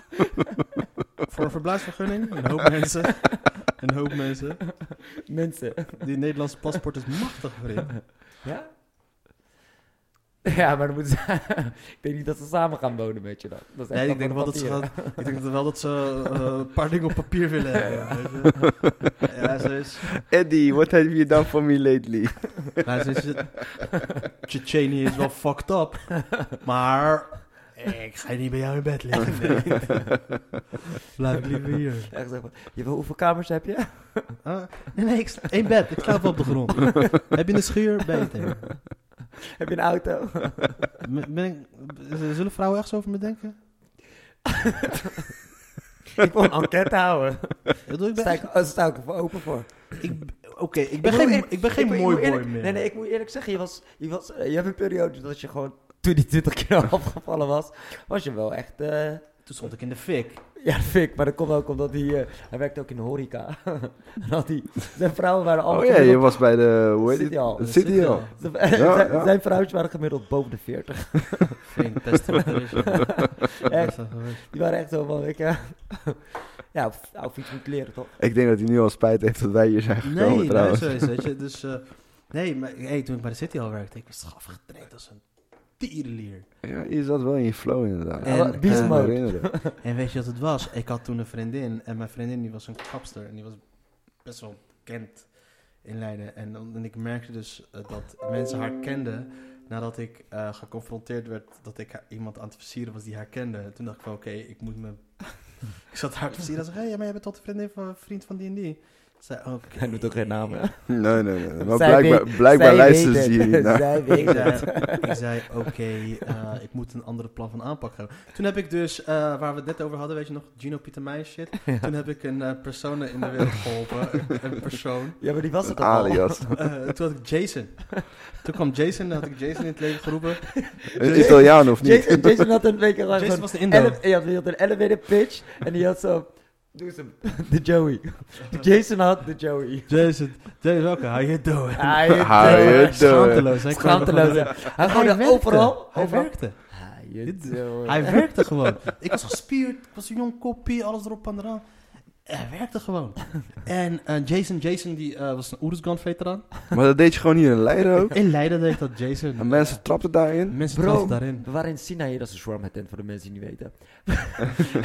Voor een verblijfsvergunning, een hoop mensen. Een hoop mensen. Mensen. Die Nederlandse paspoort is machtig, vriend. Ja? Ja, maar dan moeten ze... ik denk niet dat ze samen gaan wonen met je dan. Dat is echt dan Nee, ik denk, voor wel de dat ze papieren. gaan- ik denk wel dat ze eh, een paar dingen op papier willen hebben. weet je. Ja, zo is. Eddie, what have you done for me lately? Oh, Maar ze is Chechenië is wel fucked up. Maar ik ga niet bij jou in bed liggen. nee. Blijf ik liever hier. Echt zeggen van, je wil- hoeveel kamers heb je? Ah, nee, nee, ik, sla- één bed. Ik slaap wel op de grond. Heb je een schuur? Beter. heb je een auto? M- Ben ik, z- zullen vrouwen echt zo over me denken? ik wil een enquête houden. Ja, doe ik ben Sta ik, echt- oh, sta ik er voor open voor. ik- Oké, ik ben geen, moet ik ben geen moet- ik mooi moet boy eerlijk- meer. Nee, nee, ik moet eerlijk zeggen, je, was, je, was, eh, je hebt een periode dat je gewoon, toen die 20 kilo afgevallen was, was je wel echt, eh, Toen stond ik in de fik. ja, fik. Maar dat komt ook omdat hij, eh, hij werkte ook in de horeca. en had hij, zijn vrouwen waren allemaal... Oh ja, je was bij de... Hoe heet City het? Hall. City City Hall. Hall. Zijn, Ja, zijn- ja. zijn vrouwtjes waren gemiddeld boven de 40. Geen pest wat er is. Echt, die waren echt zo van, ik, eh, ja, op- nou, op iets moet leren toch? Ik denk dat hij nu al spijt heeft dat wij hier zijn gekomen Nee, nee, trouwens. zo is het, weet je. Dus, eh, nee, maar hey, toen ik bij de City al werkte, ik was straf getraind als een tierenlier. Ja, je zat wel in je flow inderdaad. En, Ik kan me beast mode. herinneren. En weet je wat het was? Ik had toen een vriendin en mijn vriendin die was een kapster en die was best wel bekend in Leiden. En, dan- en ik merkte dus eh, dat mensen haar kenden nadat ik eh, geconfronteerd werd dat ik haar- iemand aan het versieren was die haar kende. En toen dacht ik van oké, ik moet me... ik zat haar te versieren en zei, hé, ja, maar jij bent toch de vriendin van vriend van die en die? Ik Zei, oké. Hij doet ook geen namen. Nee, nee, nee. Maar Zij blijkbaar, weet- blijkbaar zij luisteren weet ze het. hier niet naar. Zij Ik weet zei, het. ik zei oké, eh, ik moet een andere plan van aanpak hebben. Toen heb ik dus, eh, waar we het net over hadden, weet je nog, Gino Pieter Meijer shit. Toen heb ik een eh persoon in de wereld geholpen. een, een persoon. Ja, maar die was het al. Alias. Eh, toen had ik Jason. Toen kwam Jason, dan had ik Jason in het leven geroepen. Een Italiaan of niet? Jason, Jason had een beetje lang Jason zo'n was de Indo. ele- ja, die had een elevator pitch en die had zo... Doe ze De Joey. De Jason had de Joey. Jason, Jason welke, how you doing? Hij How you doing? Schaamteloos. hè? Ik kwam Schaamteloos. er hè. gewoon- Hij gooide werkte. overal. Hij overal. werkte. How Dit- you doing? Hij werkte gewoon. Ik was gespierd, ik was een jong koppie, alles erop en eraan. Hij werkte gewoon. En eh, Jason, Jason die, eh, was een Oeruzgan-veteraan. Maar dat deed je gewoon hier in Leiden ook. In Leiden deed dat En Jason. mensen trapten daarin. Mensen Bro. troffen daarin. We waren in Sinaï, dat is een shawarma tent voor de mensen die niet weten. We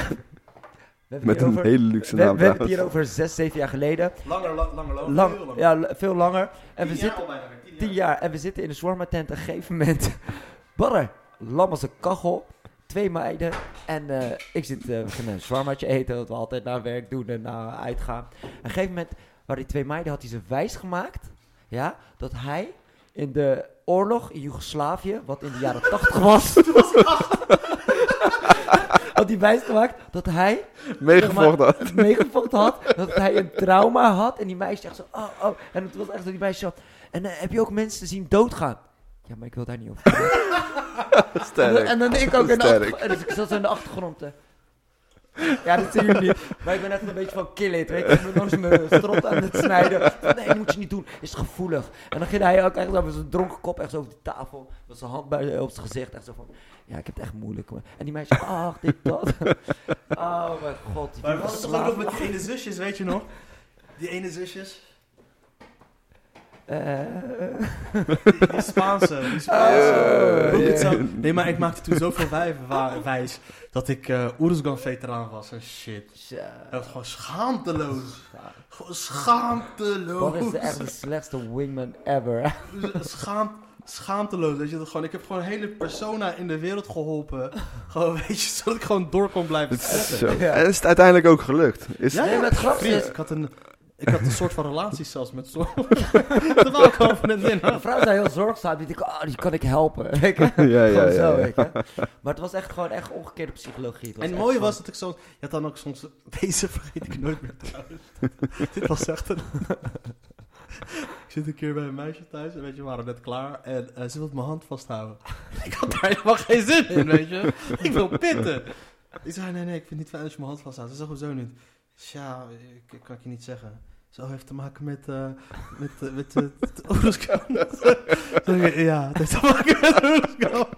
hebben Met het hier een over- hele luxe we, we naam hebben het hier trouwens. over zes, zeven jaar geleden. Langer, langer, Oh, langer. Lang, ja, l- veel langer. En we zitten... bijna. 10 jaar en we zitten in een shawarma tent. Op een gegeven moment, barre, lam als een kachel. Twee meiden en eh, ik zit eh, we gaan een shawarmaatje eten, wat we altijd na werk doen en na uitgaan. Op een gegeven moment waren die twee meiden, had hij ze wijs gemaakt, ja, dat hij in de oorlog in Joegoslavië, wat in de jaren 80 was, had hij wijs gemaakt dat hij Meegevochten. had. meegevochten had. Dat hij een trauma had. En die meisje echt zo, oh, oh. En het was echt dat die meisje had. En eh, heb je ook mensen zien doodgaan? Ja, maar ik wil daar niet over. praten." En, dan- Sterk. en dan ik ook in de Sterk. achtergrond. En dus ik zat zo in de achtergrond. eh. Ja, dat zien jullie niet. Maar ik ben echt een beetje van kill it, weet je. Ik ben langs mijn strot aan het snijden. Van, Nee, moet je niet doen. Is gevoelig. En dan ging hij ook echt zo met zijn dronken kop echt zo over die tafel. Met zijn hand bij, op zijn gezicht. Echt zo van, ja, ik heb het echt moeilijk. man." En die meisje, ach, dit, dat. Oh mijn god. die Maar was het toch Joegoslaven. ook met die ene zusjes, weet je nog? Die ene zusjes. Eh, Die, die Spaanse. Die Spaanse. Oh, Hoe ik het ja. zou- Nee, maar ik maakte toen zoveel wijven wa- wijs dat ik eh Oeruzgan-veteraan was en shit. tja. Dat was gewoon schaamteloos. Gewoon schaamteloos. Boris is echt de slechtste wingman ever. Schaam, schaamteloos. Weet je, dat gewoon, ik heb gewoon een hele persona in de wereld geholpen. Gewoon, weet je, zodat ik gewoon door kon blijven Het is, zetten. zo. En is het uiteindelijk ook gelukt? Is, Nee, maar het grappige is- ik had een... Ik had een soort van relatie zelfs met zo'n... Terwijl ik gewoon vriendin Mijn had. vrouw is daar heel zorgzaam. Die denkt, ah, die kan ik helpen. Weet je? Ja, ja, Gewoon ja, zo, ja. weet je. Maar het was echt gewoon echt omgekeerde psychologie. Het was En het echt mooie gewoon- was dat ik soms... Je had dan ook soms... Deze vergeet ik nooit meer trouwens. Dit was echt een... ik zit een keer bij een meisje thuis. En weet je, we waren net klaar. En eh, ze wilde mijn hand vasthouden. ik had daar helemaal geen zin in, weet je. Ik wil pitten. Ik zei, nee, nee, ik vind het niet fijn als je mijn hand vasthoudt. Ze zag hem zo niet. Tja, ik, ik kan ik je niet zeggen. Zo heeft te maken met. eh met, eh, met, eh, met horoscoop. Sorry, ja, het heeft te maken met horoscoop.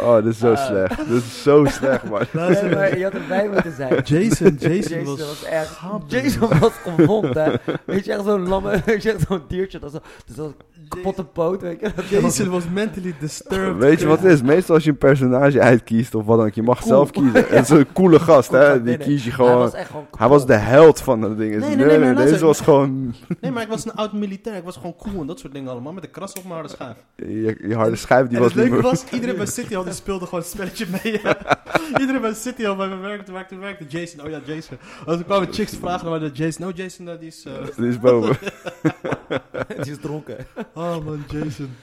Oh, dit is zo Ah. slecht. Dit is zo slecht, man. Nee, Luister, maar je had erbij moeten zijn. Jason, Jason Jason was. was echt. schabber. Jason was gewond, hè? Weet je, echt zo'n lamme. Weet je, echt zo'n diertje. Dat is zo- dus dat is zo'n kapotte poot, weet je? Dat was- Jason was mentally disturbed. Weet je wat het is? Meestal als je een personage uitkiest of wat dan ook, je mag Cool. zelf kiezen. Het is een coole gast, Cool hè? gast, Die nee, kies je Hij gewoon. was echt gewoon. Hij was de held van dat ding. Nee, nee, Nee, nee, nee, maar nee. Deze luister. was gewoon Nee, maar ik was een oud militair. Ik was gewoon cool en dat soort dingen allemaal. Met de kras op mijn harde schaaf. je, je harde schijf, die en was het niet leuke meer. was, iedereen bij City Hall die speelde gewoon een spelletje mee. iedereen bij City Hall bij mijn werk, toen werkte, toen werkte Jason. Oh ja, Jason. Als ik kwamen chicks vragen naar de Jason. Oh, Jason, eh, die is... eh, Die is boven. Die is dronken. Oh man, Jason.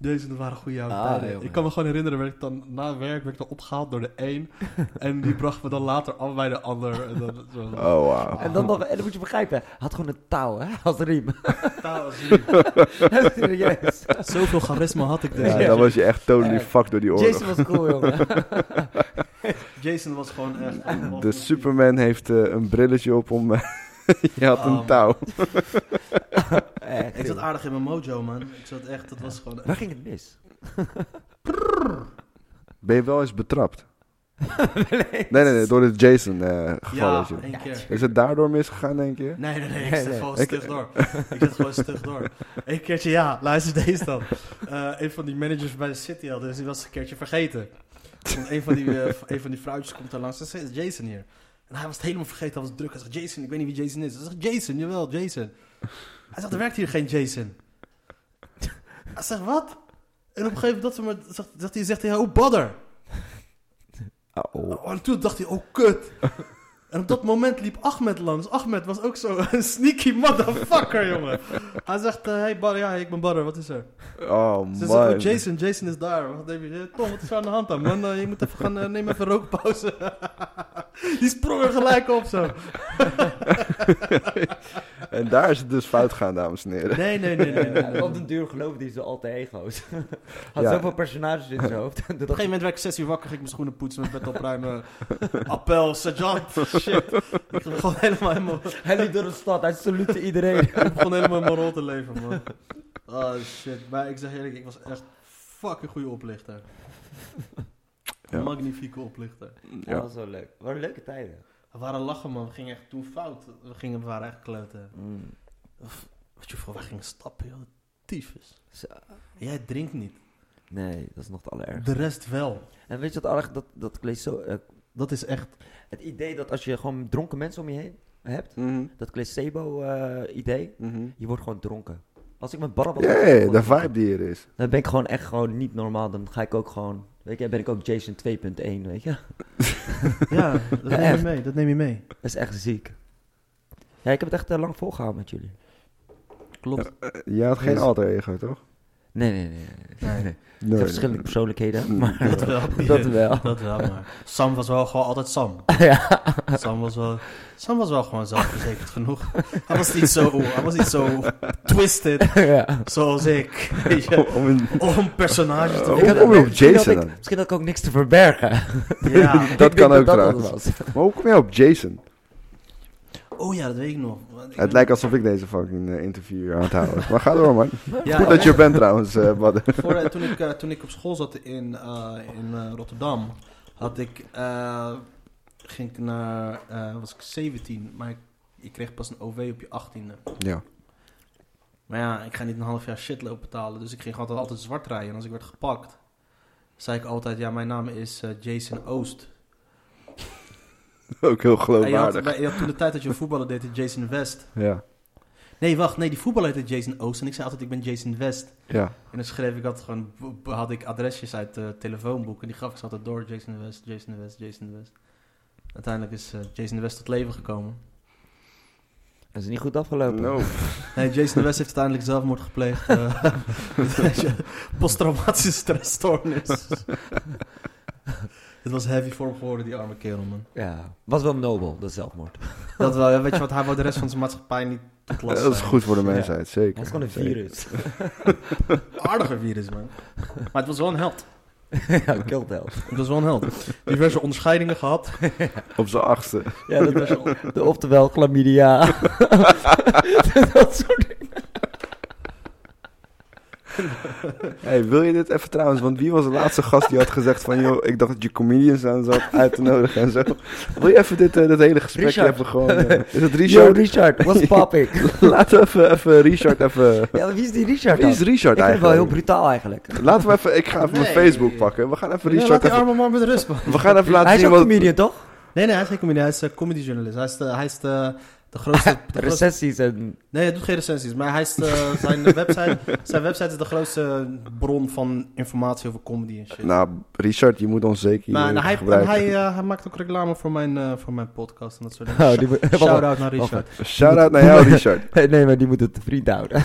Jason, dat waren goede oude Ah, tijden. jongen. Ik kan me gewoon herinneren, werd ik dan, na werk werd ik dan opgehaald door de een. en die bracht me dan later af bij de ander. En dan zo. Oh, wauw. En dan, nog, en dan moet je begrijpen, hij had gewoon een touw, hè? Als riem. Taal als jullie. Serieus. Zoveel charisma had ik dus. Ja, dan was je echt totally fucked door die oorlog. Jason was cool, jongen. Jason was gewoon echt... De Superman heeft eh, een brilletje op om... je had een Oh. touw. Echt, Ik zat jongen. aardig in mijn mojo, man. Ik zat echt, dat was gewoon... Waar ging het mis? Ben je wel eens betrapt? nee, nee, nee. Door het Jason-geval. Ja, één keer. is het daardoor misgegaan, denk je? Nee, nee, nee, ik Nee, zit nee. gewoon Ik- stug door. Ik zit gewoon stug door. Eén keertje, ja, luister deze dan. Eh, een van die managers bij de City al, dus die was een keertje vergeten. Want een van die, eh, v- een van die vrouwtjes komt daar langs en zegt, Jason hier. En hij was het helemaal vergeten, hij was druk. Hij zegt, Jason, ik weet niet wie Jason is. Hij zegt, Jason, jawel, Jason. Hij zegt, er werkt hier geen Jason. Hij zegt, wat? En op een gegeven moment dat ze maar, zegt, zegt hij, zegt hij, oh, badder. Oh. Oh, en toen dacht hij, oh kut. En op dat moment liep Ahmed langs. Ahmed was ook zo een sneaky motherfucker, jongen. Hij zegt, eh, hey Bar, ja, ik ben Barre, wat is er? Oh, Ze zegt, oh man. Jason, Jason is daar. Wat heb je? Eh, Tom, wat is er aan de hand dan, man? Eh, je moet even gaan, eh, neem even een rookpauze. Die sprong er gelijk op zo. En daar is het dus fout gegaan, dames en heren. Nee, nee, nee, nee. nee, nee. Ja, op den duur geloofde hij zo alter ego's. Had Ja. zoveel personages in zijn hoofd. Toen Op een dacht gegeven moment werd ik 6 uur wakker, ging ik mijn schoenen poetsen, mijn bed opruimen. Appel, sergeant, shit. Ik begon helemaal in mijn- hij, hij liep door de stad, hij salute iedereen. Ik begon helemaal in mijn rol te leven, man. Oh shit, maar ik zeg eerlijk, ik was echt fucking goede oplichter. Ja. Magnifieke oplichter. Dat Ja. was wel leuk. Wat een leuke tijden. We waren lachen, man. We gingen echt toen fout. We, gingen, we waren echt kloten. Of, Weet je voor we gingen stappen, joh. Tyfus. Zo. Jij drinkt niet. Nee, dat is nog het allerergste. De rest wel. En weet je wat erg, dat, dat ik lees zo... eh, Dat is echt... het idee dat als je gewoon dronken mensen om je heen hebt, Mhm, dat placebo-idee, mhm. je wordt gewoon dronken. Als ik met barra was, Ja, was ik ja, gewoon de dronken. vibe die er is. dan ben ik gewoon echt gewoon niet normaal. Dan ga ik ook gewoon, weet je, ben ik ook Jason 2.1, weet je. Ja, dat Ja, echt. mee. Dat neem je mee. Dat is echt ziek. Ja, ik heb het echt eh, lang volgehouden met jullie. Klopt. Eh, Je had geen Dus- alter ego, toch? Nee, nee, nee. nee. Nee, Nee. verschillende Mm. persoonlijkheden, maar Dat wel. dat wel. Dat wel, maar Sam was wel gewoon altijd Sam. ja. Sam was wel, Sam was wel gewoon zelfverzekerd genoeg. Hij was niet zo, hij was niet zo twisted ja. zoals ik. Weet je, Om een- om een personage te Oh, Ik had- kom je op misschien had Jason ik- dan? Misschien had ik ook niks te verbergen. Ja. Dat Ik denk kan dat ook dat trouwens. het was. Maar hoe kom je op Jason? Oh ja, dat weet ik nog. Want ik Het ben- lijkt alsof ik deze fucking eh, interview aan het houden. Maar ga door, man. Ja, Goed dat je er bent, trouwens. eh, Badder. voor, eh, toen, ik, eh, toen ik op school zat in, eh, in eh, Rotterdam, had ik, eh, ging ik naar, eh, was ik 17, maar ik, ik kreeg pas een OV op je 18e. ja. Maar ja, ik ga niet een half jaar shitloop betalen. Dus ik ging altijd, altijd zwart rijden. En als ik werd gepakt, zei ik altijd... Ja, mijn naam is eh, Jason Oost. Ook En heel je had, geloofwaardig. bij- je had toen de tijd dat je een voetballer deed, heette Jason West. Ja. Nee, wacht. Nee, die voetballer heette Jason Oost. En ik zei altijd, ik ben Jason West. Ja. En dan schreef ik altijd gewoon... b- b- Had ik adresjes uit de telefoonboek. En die gaf ik ze altijd door. Jason West, Jason West, Jason West. Uiteindelijk is eh, Jason West tot leven gekomen. Dat is niet goed afgelopen. No. Nee, Jason West heeft uiteindelijk zelfmoord gepleegd. eh, met een Posttraumatische stressstoornis. Het was heavy voor hem geworden, die arme kerel, man. Ja, was wel nobel, dat zelfmoord. Dat wel, ja, weet je wat, hij wil de rest van zijn maatschappij niet tot last Dat is zijn. goed voor de Ja. mensheid, zeker. Hij is gewoon een Zeker. virus. Aardige virus, man. Maar het was wel een held. ja, Kilt Held. Dat is wel een held. Diverse onderscheidingen gehad. Op zijn achtste. Ja, dat was de, oftewel chlamydia. dat soort dingen. Hey, wil je dit even trouwens? Want wie was de laatste gast die had gezegd van... joh, ik dacht dat je comedians aan zat uit te nodigen en zo. Wil je even dit, eh, dit hele gesprek Richard. hebben gewoon... eh, is het Yo, Richard? Richard, what's popping? Laten we even, even Richard even... ja, maar wie is die Richard Wie dan? is Ik Richard vind het wel heel eigenlijk? brutaal eigenlijk. Laten we even... Ik ga even mijn Nee. Facebook pakken. We gaan even Ja, laat Richard die even... arme man met rust, man. We gaan even laten Hij is zien ook wat... comedian, toch? Nee, nee, hij is geen comedian. Hij is eh, comedyjournalist. Hij is de, hij is de, de grootste... De grootste Recessies en... nee, hij doet geen recensies. Maar hij is de- zijn, website, zijn website is de grootste bron van informatie over comedy en shit. Nou, Richard, je moet ons zeker Nou, maar hier en hij, en gebruiken. hij, eh, hij maakt ook reclame voor mijn, eh, voor mijn podcast en dat soort Oh, dingen. die moet- Shout-out naar Richard. Shout-out naar jou, Richard. nee, maar die moet het te vriend houden.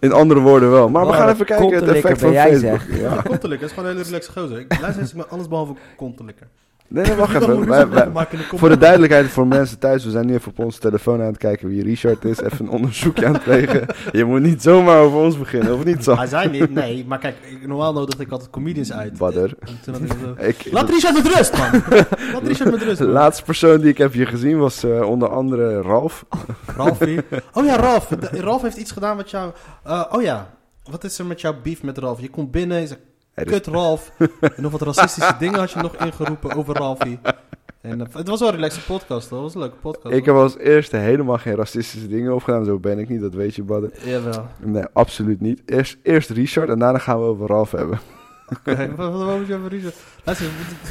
In andere woorden wel. Maar we Wat gaan een even kijken het kontelikker effect van ben jij, Facebook. Ja. Ja, kontelikker. Dat is gewoon een hele relaxe gozer. Ik luister eens met alles behalve kontelikker. Nee, nee, wacht Ik wil even. moeilijk Wij- zeggen, wij- maak in de kom- voor de duidelijkheid voor mensen thuis. We zijn nu even op onze telefoon aan het kijken wie Richard is. Even een onderzoekje aan het plegen. Je moet niet zomaar over ons beginnen, of niet, Sam? Hij zei niet, nee. Maar kijk, ik- normaal nodig ik altijd comedians uit. Badder. En toen had ik zo- Ik, Laat de Richard met rust, man. Laat Richard met rust. man. laatste persoon die ik heb hier gezien was eh, onder andere Ralf. Ralf hier. Oh ja, Ralf. De- Ralf heeft iets gedaan met jou. Eh, oh ja, wat is er met jouw beef met Ralf? Je komt binnen en je zegt, Er is- kut Ralf. En nog wat racistische dingen had je nog ingeroepen over Ralfie. En, eh, het was wel een relaxe podcast, hoor. Het was een leuke podcast. Ik heb hoor. als eerste helemaal geen racistische dingen opgedaan. Zo ben ik niet, dat weet je, Badder. Jawel. Nee, absoluut niet. Eerst, eerst Richard en daarna gaan we over Ralf hebben. Oké, wat- wat- wat moet je over Richard? Luister,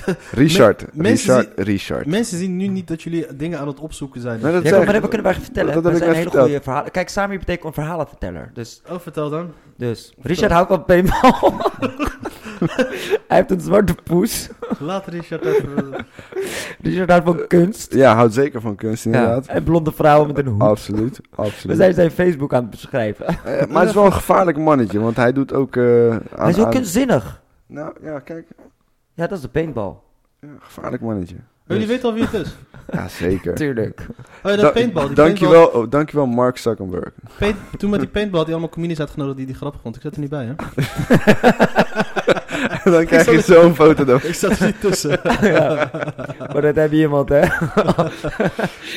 we- Richard, mensen Richard, Richard. mensen zien nu niet dat jullie dingen aan het opzoeken zijn. Nee, dat Ja, zeg maar ik. dat kunnen wij vertellen. Dat Dat, heb ik zijn net hele verteld. goede verhalen. Kijk, Samir betekent een verhalenverteller. Dus, Oh, vertel dan. dus. Richard houdt van paintball. Hij heeft een zwarte poes. Laat Richard even... Oh, Richard houdt van kunst. Ja, houdt zeker van kunst Ja. inderdaad. Oh. En blonde vrouwen met een hoed. Absoluut, We absoluut. zijn zijn Facebook aan het beschrijven. Eh, maar het is wel een gevaarlijk mannetje, want hij doet ook... eh, aan, Hij is ook aan- kunstzinnig. Nou, ja, kijk. Ja, dat is de paintball. Ja, gevaarlijk mannetje. Oh, jullie weten al wie het is. Ja, zeker. Tuurlijk. Oh ja, dat Da- paintball. Die dankjewel, oh, dankjewel, Mark Zuckerberg. Paint- toen met die paintball die allemaal comedians uitgenodigd die die grappig vond. Ik zat er niet bij, hè? Dan krijg zal je het- zo'n foto dan. Ik zat er niet tussen. Ja. Maar dat heb je iemand, hè?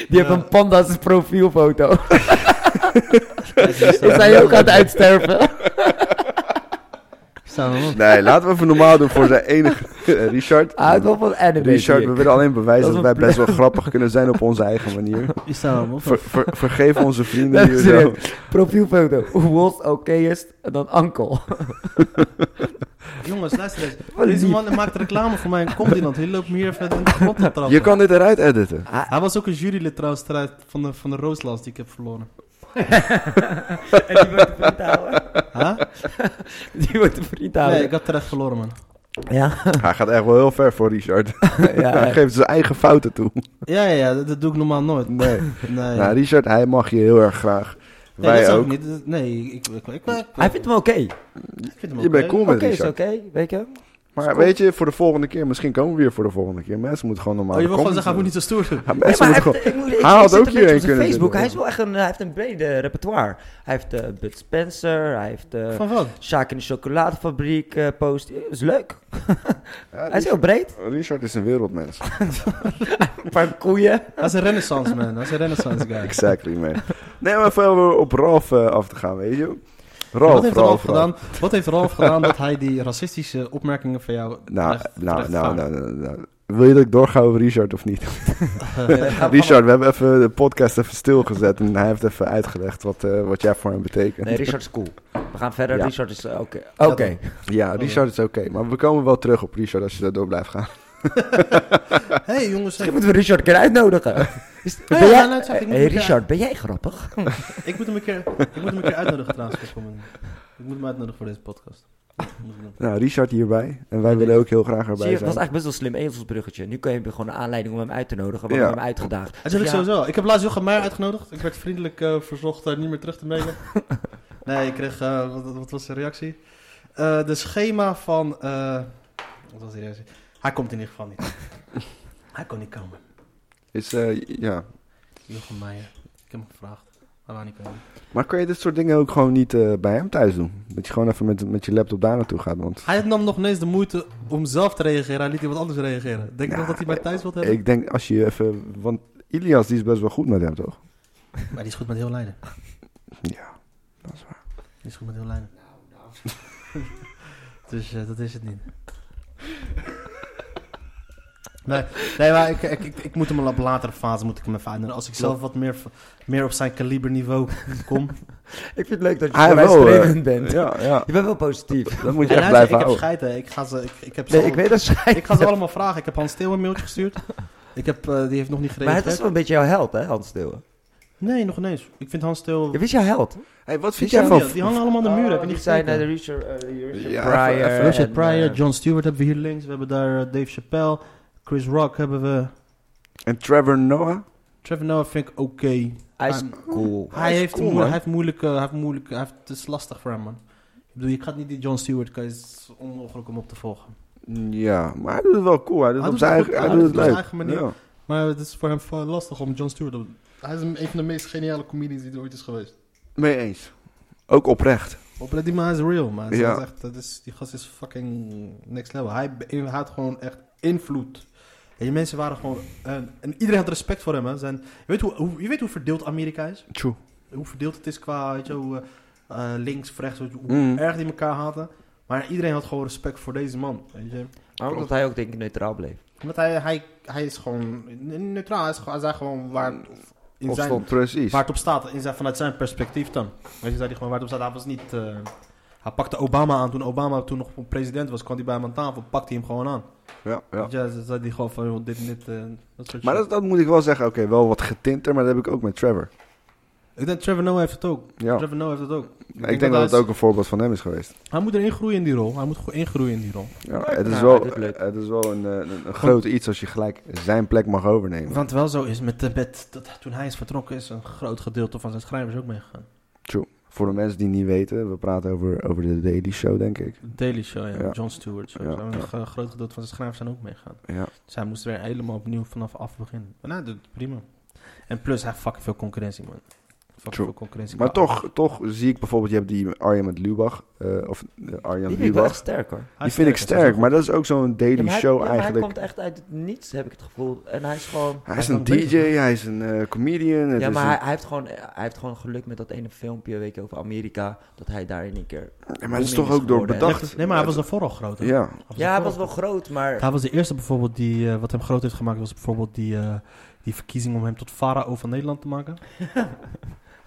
Die heeft Ja. een panda's profielfoto. Is hij ook aan het uitsterven? Staan we op. Nee, laten we even normaal doen voor zijn enige... Eh, Richard. Hij houdt wel van anime. Richard, zie we ik. willen alleen bewijzen Dat dat is wij een best wel grappig kunnen zijn op onze eigen manier. Die staan we op. Ver- ver- vergeef onze vrienden Nee, hier zo. serieus. Profielfoto. World's okayest en dan Ankel. Jongens, luister eens. Wat Deze lief. man maakt reclame voor mij in Comedyland. Hij loopt me hier even in de grond te trappen. Je kan dit eruit editen. Hij was ook een jurylid trouwens strijd van de, van de Rooslands die ik heb verloren. En die wordt de vriend houden. Huh? Die wordt de vriend Nee, ik houden. had terecht verloren, man. Ja, Hij gaat echt wel heel ver voor Richard. ja. Hij echt. geeft zijn eigen fouten toe. Ja, ja, ja, dat, dat doe ik normaal nooit. Nee. Nee. Nee, Nou, Richard, hij mag je heel erg graag. dat Wij zou ook. ik niet. Nee, ik, ik, ik, ik, Hij vindt hem oké. ik vind hem Je oké. bent cool Oké met is oké, Richard. weet je? Maar weet je, voor de volgende keer, misschien komen we weer voor de volgende keer. Mensen moeten gewoon normaal. Oh, je wil gewoon comments zeggen, hij moet niet zo stoer doen. doen. Ja, mensen Nee, maar hij, moeten heeft- ik moet- ik- Hij ik had zit ook een beetje hierin op zijn kunnen Facebook. zitten. Hij, is wel echt een, hij heeft een brede repertoire. Hij heeft eh Bud Spencer, hij heeft eh Van wat? Sjaak in de chocoladefabriek eh, post. Dat is leuk. gewoon- Ja, Hij is heel breed. Richard- Richard is een wereldmens. Een paar koeien. Hij is een renaissance man, hij is een renaissance guy. exactly, man. Nee, maar even om op Ralf eh, af te gaan, weet je. wat, Ralf, heeft Ralf, Ralf Ralf. gedaan, wat heeft Ralf gedaan dat hij die racistische opmerkingen van jou Nou, terecht- nou, terecht nou, vaart? nou, nou, nou. Wil je dat ik doorga over Richard of niet? Gaan we Richard, we hebben even de podcast even stilgezet en hij heeft even uitgelegd wat, eh, wat jij voor hem betekent. Nee, Richard is cool. We gaan verder. Ja. Richard is eh, oké. Oké. Ja, Ja, Oh. Richard is oké, maar we komen wel terug op Richard als je daar door blijft gaan. Hé hey, jongens, hey, Misschien moeten we Richard een keer uitnodigen. Is, ja, ben jij- nou, het zegt, ik moet hey, een keer- Richard, ben jij grappig? ik, moet hem een keer, ik moet hem een keer uitnodigen trouwens. voor komende- Ik moet hem uitnodigen voor deze podcast. Dat moet ik doen. Nou, Richard hierbij. En wij willen ook heel Zie graag je, erbij het was zijn. eigenlijk best wel slim ezelsbruggetje. Nu kun je hem gewoon een aanleiding om hem uit te nodigen. We Ja. hebben hem uitgedaagd. Dat heb ik Ja. sowieso. Ik heb laatst Jochem Meijer uitgenodigd. Ik werd vriendelijk eh, verzocht daar niet meer terug te mailen. nee, ik kreeg... eh, wat, wat was de reactie? Eh, de schema van... eh, wat was die reactie? Hij komt in ieder geval niet. hij kon niet komen. Is, eh, ja. Jochem Meijer. Ik heb hem gevraagd. Hij Dat wou niet kunnen. Maar kun je dit soort dingen ook gewoon niet eh, bij hem thuis doen? Dat je gewoon even met, met je laptop daar naartoe gaat. Want Hij nam nog ineens de moeite om zelf te reageren. Hij liet iemand anders reageren. Denk je nog dat hij mij thuis wilt hebben? ik denk als je even. Want Ilias die is best wel goed met hem, toch? Maar die is goed met heel Leiden. Ja, dat is waar. Nou, Die is goed met heel Leiden. dus eh, dat is het niet. Nee, nee maar ik, ik, ik, ik moet hem al op latere fase moet ik hem even uitnodigen. Als ik zelf wat meer, meer op zijn kaliberniveau kom. Ik vind het leuk dat je Hij zo wel, wijssprekend eh, bent. Ja, ja. Je bent wel positief. Dat moet je En luister, echt blijven ik heb houden. scheid, hè. Ik ga ze, ik, ik heb ze Nee, al- ik weet dat schijnt. Ik ga ze allemaal vragen. Ik heb Hans Steeuwen een mailtje gestuurd. Ik heb, eh, die heeft nog niet Maar het gereageerd. is wel een beetje jouw held, hè, Hans Steeuwen? Nee, nog ineens. Ik vind Hans Steeuwen... Je wist jouw held. Hey, wat Die vind jij van. hangen- Die hangen allemaal aan de muur. heb je die niet zijn eh, gekeken? de Richard, eh, de Richard Ja, Pryor. even- even- Richard en, Pryor, eh, John Stewart hebben we hier links. We hebben daar eh, Dave Chappelle. Chris Rock hebben we. En Trevor Noah? Trevor Noah vind ik oké. Hij is Ah, cool. Hij, is heeft cool, moe- man. hij heeft moeilijk, eh, hij heeft moeilijk, hij heeft, het is lastig voor hem man. Ik bedoel, je gaat niet die John Stewart, kan je- het is onmogelijk om op te volgen. Ja, maar hij doet het wel cool. Hij doet Hij het doet op zijn het eigen, goed. Hij hij doet doet het het op leuk. zijn eigen manier. Ja. Maar het is voor hem eh, lastig om John Stewart op Hij is een van de meest geniale comedians die er ooit is geweest. Mee eens. Ook oprecht. Oplet die man is real, man. Ja. Ja. Echt, dat is, die gast is fucking next level. Hij, be- hij had gewoon echt invloed. En die mensen waren gewoon... En, en iedereen had respect voor hem. Hè. Zijn, je, weet hoe, hoe- je weet hoe verdeeld Amerika is? True. Hoe verdeeld het is qua weet je, hoe, eh, eh, links, of rechts. Hoe Mm. erg die elkaar haten. Maar iedereen had gewoon respect voor deze man. Weet je? Maar ook dat hij ook denk ik neutraal bleef. Want hij, hij, hij is gewoon neutraal. Hij is, gewoon- hij zei gewoon waar... In Of zijn, stond precies. Waar het op staat, in zijn, vanuit zijn perspectief dan. Weet je, zei hij gewoon waar het op staat. Hij was niet... eh, hij pakte Obama aan toen Obama toen nog president was. kwam hij bij hem aan tafel, pakte hij hem gewoon aan. Ja, ja. Ja, ze zei hij gewoon van, joh, dit en dit, eh, dat soort Maar shit. dat, dat moet ik wel zeggen. Oké, wel wat getinter, maar dat heb ik ook met Trevor. Ik denk Trevor Noah heeft het ook. Ja. Trevor Noah heeft het ook. Ik, ik denk dat het hij ook een voorbeeld van hem is geweest. is- Hij moet erin groeien in die rol. Hij moet goed ingroeien in die rol. Ja, het, is Ja, wel, nou, dit lukt. het is wel een, eh, een, een groot iets als je gelijk zijn plek mag overnemen. Want wel zo is, met, met, dat, toen hij is vertrokken is een groot gedeelte van zijn schrijvers ook meegegaan. Voor de mensen die niet weten, we praten over, over de Daily Show, denk ik. Daily Show, ja. Ja. John Stewart. Zo. Ja, Een ja. g- groot gedeelte van zijn schrijvers zijn ook meegegaan. Ja. Dus hij moest weer helemaal opnieuw vanaf af beginnen. Maar nou, dat prima. En plus, hij heeft fucking veel concurrentie, man. Fucking True. veel concurrentie. Maar toch, toch zie ik bijvoorbeeld, je hebt die Arjen met Lubach. eh, of eh, Arjen Die met vind ik wel echt Lubach. sterk hoor. Hij Die is vind ik hij is sterk, maar dat is ook zo'n Ja, Daily maar hij- ja, Show maar Hij eigenlijk. komt echt uit het niets, heb ik het gevoel. En hij is gewoon... Hij is Hij een kan DJ, hij is een eh, comedian. het Ja, is maar hij, een- hij, heeft gewoon, hij heeft gewoon geluk met dat ene filmpje, weet je, over Amerika. Dat hij daar in één keer... Ja, maar het booming is toch ook door geworden, hè? bedacht. Nee, maar hij was daarvoor al groot. hè? Ja, Hij was Ja, hij daarvoor was al wel groot. groot, maar... Hij was de eerste bijvoorbeeld die, eh, wat hem groot heeft gemaakt, was bijvoorbeeld die, eh, die verkiezing om hem tot farao van Nederland te maken.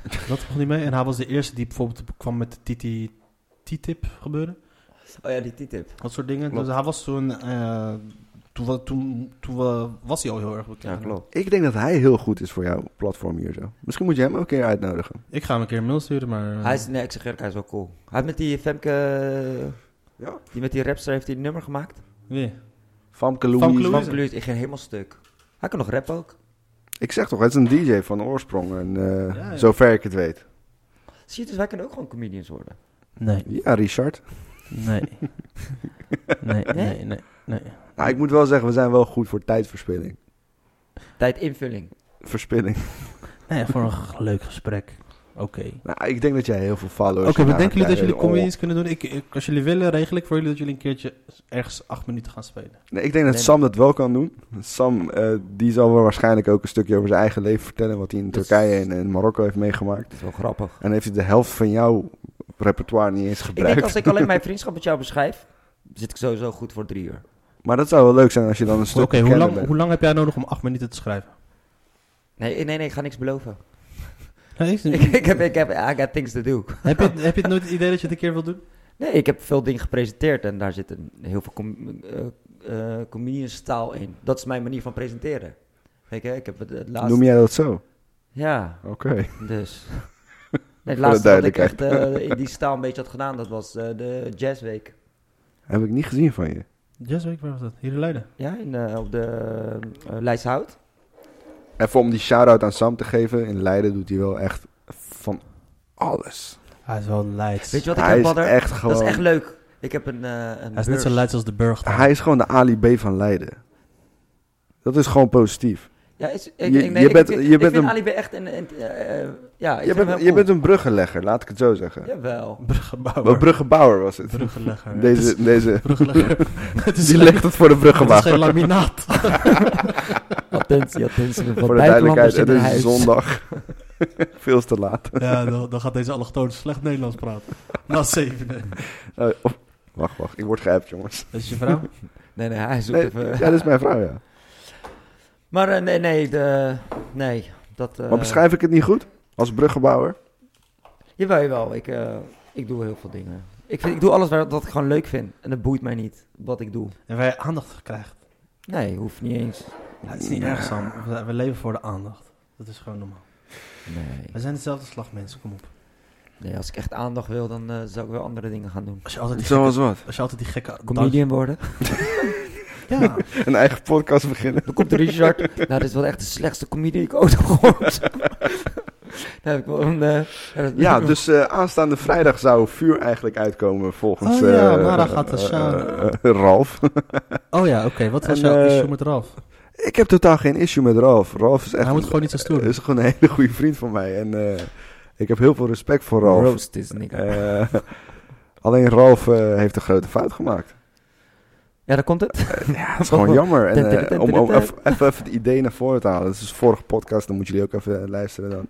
dat mocht niet mee. En hij was de eerste die bijvoorbeeld kwam met de TT TTIP gebeuren. Oh ja, die TTIP. Dat soort dingen. Klopt. Dus hij was toen, eh, toen, we- toen, toen we- was hij al heel erg bekend. Ja, klopt. ik denk dat hij heel goed is voor jouw platform hier zo. Misschien moet je hem ook een keer uitnodigen. Ik ga hem een keer een mail sturen, maar... eh, Hij is, nee, ik zeg eerlijk, hij is wel cool. Hij heeft met die Femke... Ja. Die met die rapster heeft hij een nummer gemaakt. nee. Famke Famke Louise. Louise. Van Blues, ik ging helemaal stuk. Hij kan nog rap ook. Ik zeg toch, het is een DJ van oorsprong. En, eh, Ja, ja. Zover ik het weet. Zie je, dus wij kunnen ook gewoon comedians worden. Nee. Ja, Richard. Nee. nee, nee, nee, Nou, ik moet wel zeggen, we zijn wel goed voor tijdverspilling. Tijd invulling. Verspilling. Nee, voor een g- leuk gesprek. Oké. Nou, ik denk dat jij heel veel followers Oké, hebt wat denken jullie dat aangekrijgen. jullie comedians kunnen doen? Ik, ik- als jullie willen, regel ik voor jullie dat jullie een keertje ergens acht minuten gaan spelen. Oh. Nee, ik denk dat Nee. Sam dat wel kan doen. Sam, eh, die zal wel waarschijnlijk ook een stukje over zijn eigen leven vertellen. Wat hij in Dat is- Turkije en, en Marokko heeft meegemaakt. Dat is wel grappig. En heeft hij de helft van jouw repertoire niet eens Ik denk, gebruikt. als ik alleen mijn vriendschap met jou beschrijf, zit ik sowieso goed voor drie uur. Maar dat zou wel leuk zijn als je dan een Oké, stukje hoe, kenner lang, bent. hoe lang heb jij nodig om acht minuten te schrijven? Nee, nee, nee, ik ga niks beloven. Nee, is- ik, ik heb, ik heb, I got things to do. heb, je, heb je het nooit het idee dat je het een keer wil doen? Nee, ik heb veel dingen gepresenteerd en daar zit een, heel veel com, eh, eh, comedianstaal in. Dat is mijn manier van presenteren. Kijk, hè, ik heb het, het laatste... Noem jij dat zo? Ja, Oké. dus... Nee, het laatste Voor dat de ik echt eh, in die staal een beetje had gedaan, dat was eh, de Jazzweek. Heb ik niet gezien van je. Yes, ik was dat. Hier in Leiden. Ja, in, eh, op de eh, Leidschhout. Even om die shout-out aan Sam te geven. In Leiden doet hij wel echt van alles. Hij is wel Leids. Weet je wat ik hij heb, is Badder? echt gewoon... Dat is echt leuk. Ik heb een, eh, een Hij is net zo beurs. Leids als de Burg. Hij is gewoon de Ali B van Leiden. Dat is gewoon positief. Ja, is, ik, Je- ik- nee, je ik- bent- ik, je ik bent vind een- Ali B echt een... een- eh, eh, ja, ik Je vind hem bent, heel je bent cool. een bruggenlegger, laat ik het zo zeggen. Jawel. Wel, Bruggenbouwer. bruggenbouwer was het. Bruggenlegger. Deze, deze, Bruggenlegger. Het is die geen- legt het voor de het is geen bruggenwachter. laminaat. Attentie, attentie. Wat Voor de buitenlanders duidelijkheid, in het huis. is zondag. Veel te laat. Ja, dan, dan gaat deze allochtoon slecht Nederlands praten. Na zevende. Eh, of- wacht, wacht. Ik word geappt, jongens. Dat is je vrouw? Nee, nee, hij zoekt Nee, even... ja, dus- dat is mijn vrouw, ja. Maar eh, nee, nee, de, nee. Dat, eh, Maar beschrijf ik het niet goed? Als bruggenbouwer? Jawel, jawel. Ik, eh, ik doe heel veel dingen. Ik, vind, ik doe alles waar, wat ik gewoon leuk vind. En dat boeit mij niet, wat ik doe. En waar je aandacht krijgt. Nee, hoeft niet eens. Ja, het is niet erg, Sam. We- We leven voor de aandacht. Dat is gewoon normaal. Nee. We zijn dezelfde slag mensen, kom op. nee als ik echt aandacht wil, dan eh zou ik wel andere dingen gaan doen. Als je altijd die gekke... Zoals wat? Als je altijd die gekke... Comedian worden. Ja. Een eigen podcast beginnen. Dan komt Richard. nou, dit is wel echt de slechtste comedian die ik ooit heb gehoord. Dan heb ik wel een... eh, dat- Ja, dus eh, aanstaande vrijdag zou vuur eigenlijk uitkomen volgens... Oh ja, eh, maar dan gaat de eh, Sjaan. eh, eh, Ralf. Oh ja, oké. Wat was En, jouw eh, issue met Ralf? Ik heb totaal geen issue met Ralf. Ralf is echt... Hij moet gewoon niet zo stoer doen. is gewoon een hele goede vriend van mij. En eh, ik heb heel veel respect voor Ralf. Roast is nigga. Eh, alleen Ralf eh, heeft een grote fout gemaakt. Ja, daar komt het. Ja, dat is gewoon jammer. En, eh, om om even, even even het idee naar voren te halen. Dat is de vorige podcast, dan moeten jullie ook even eh, luisteren dan.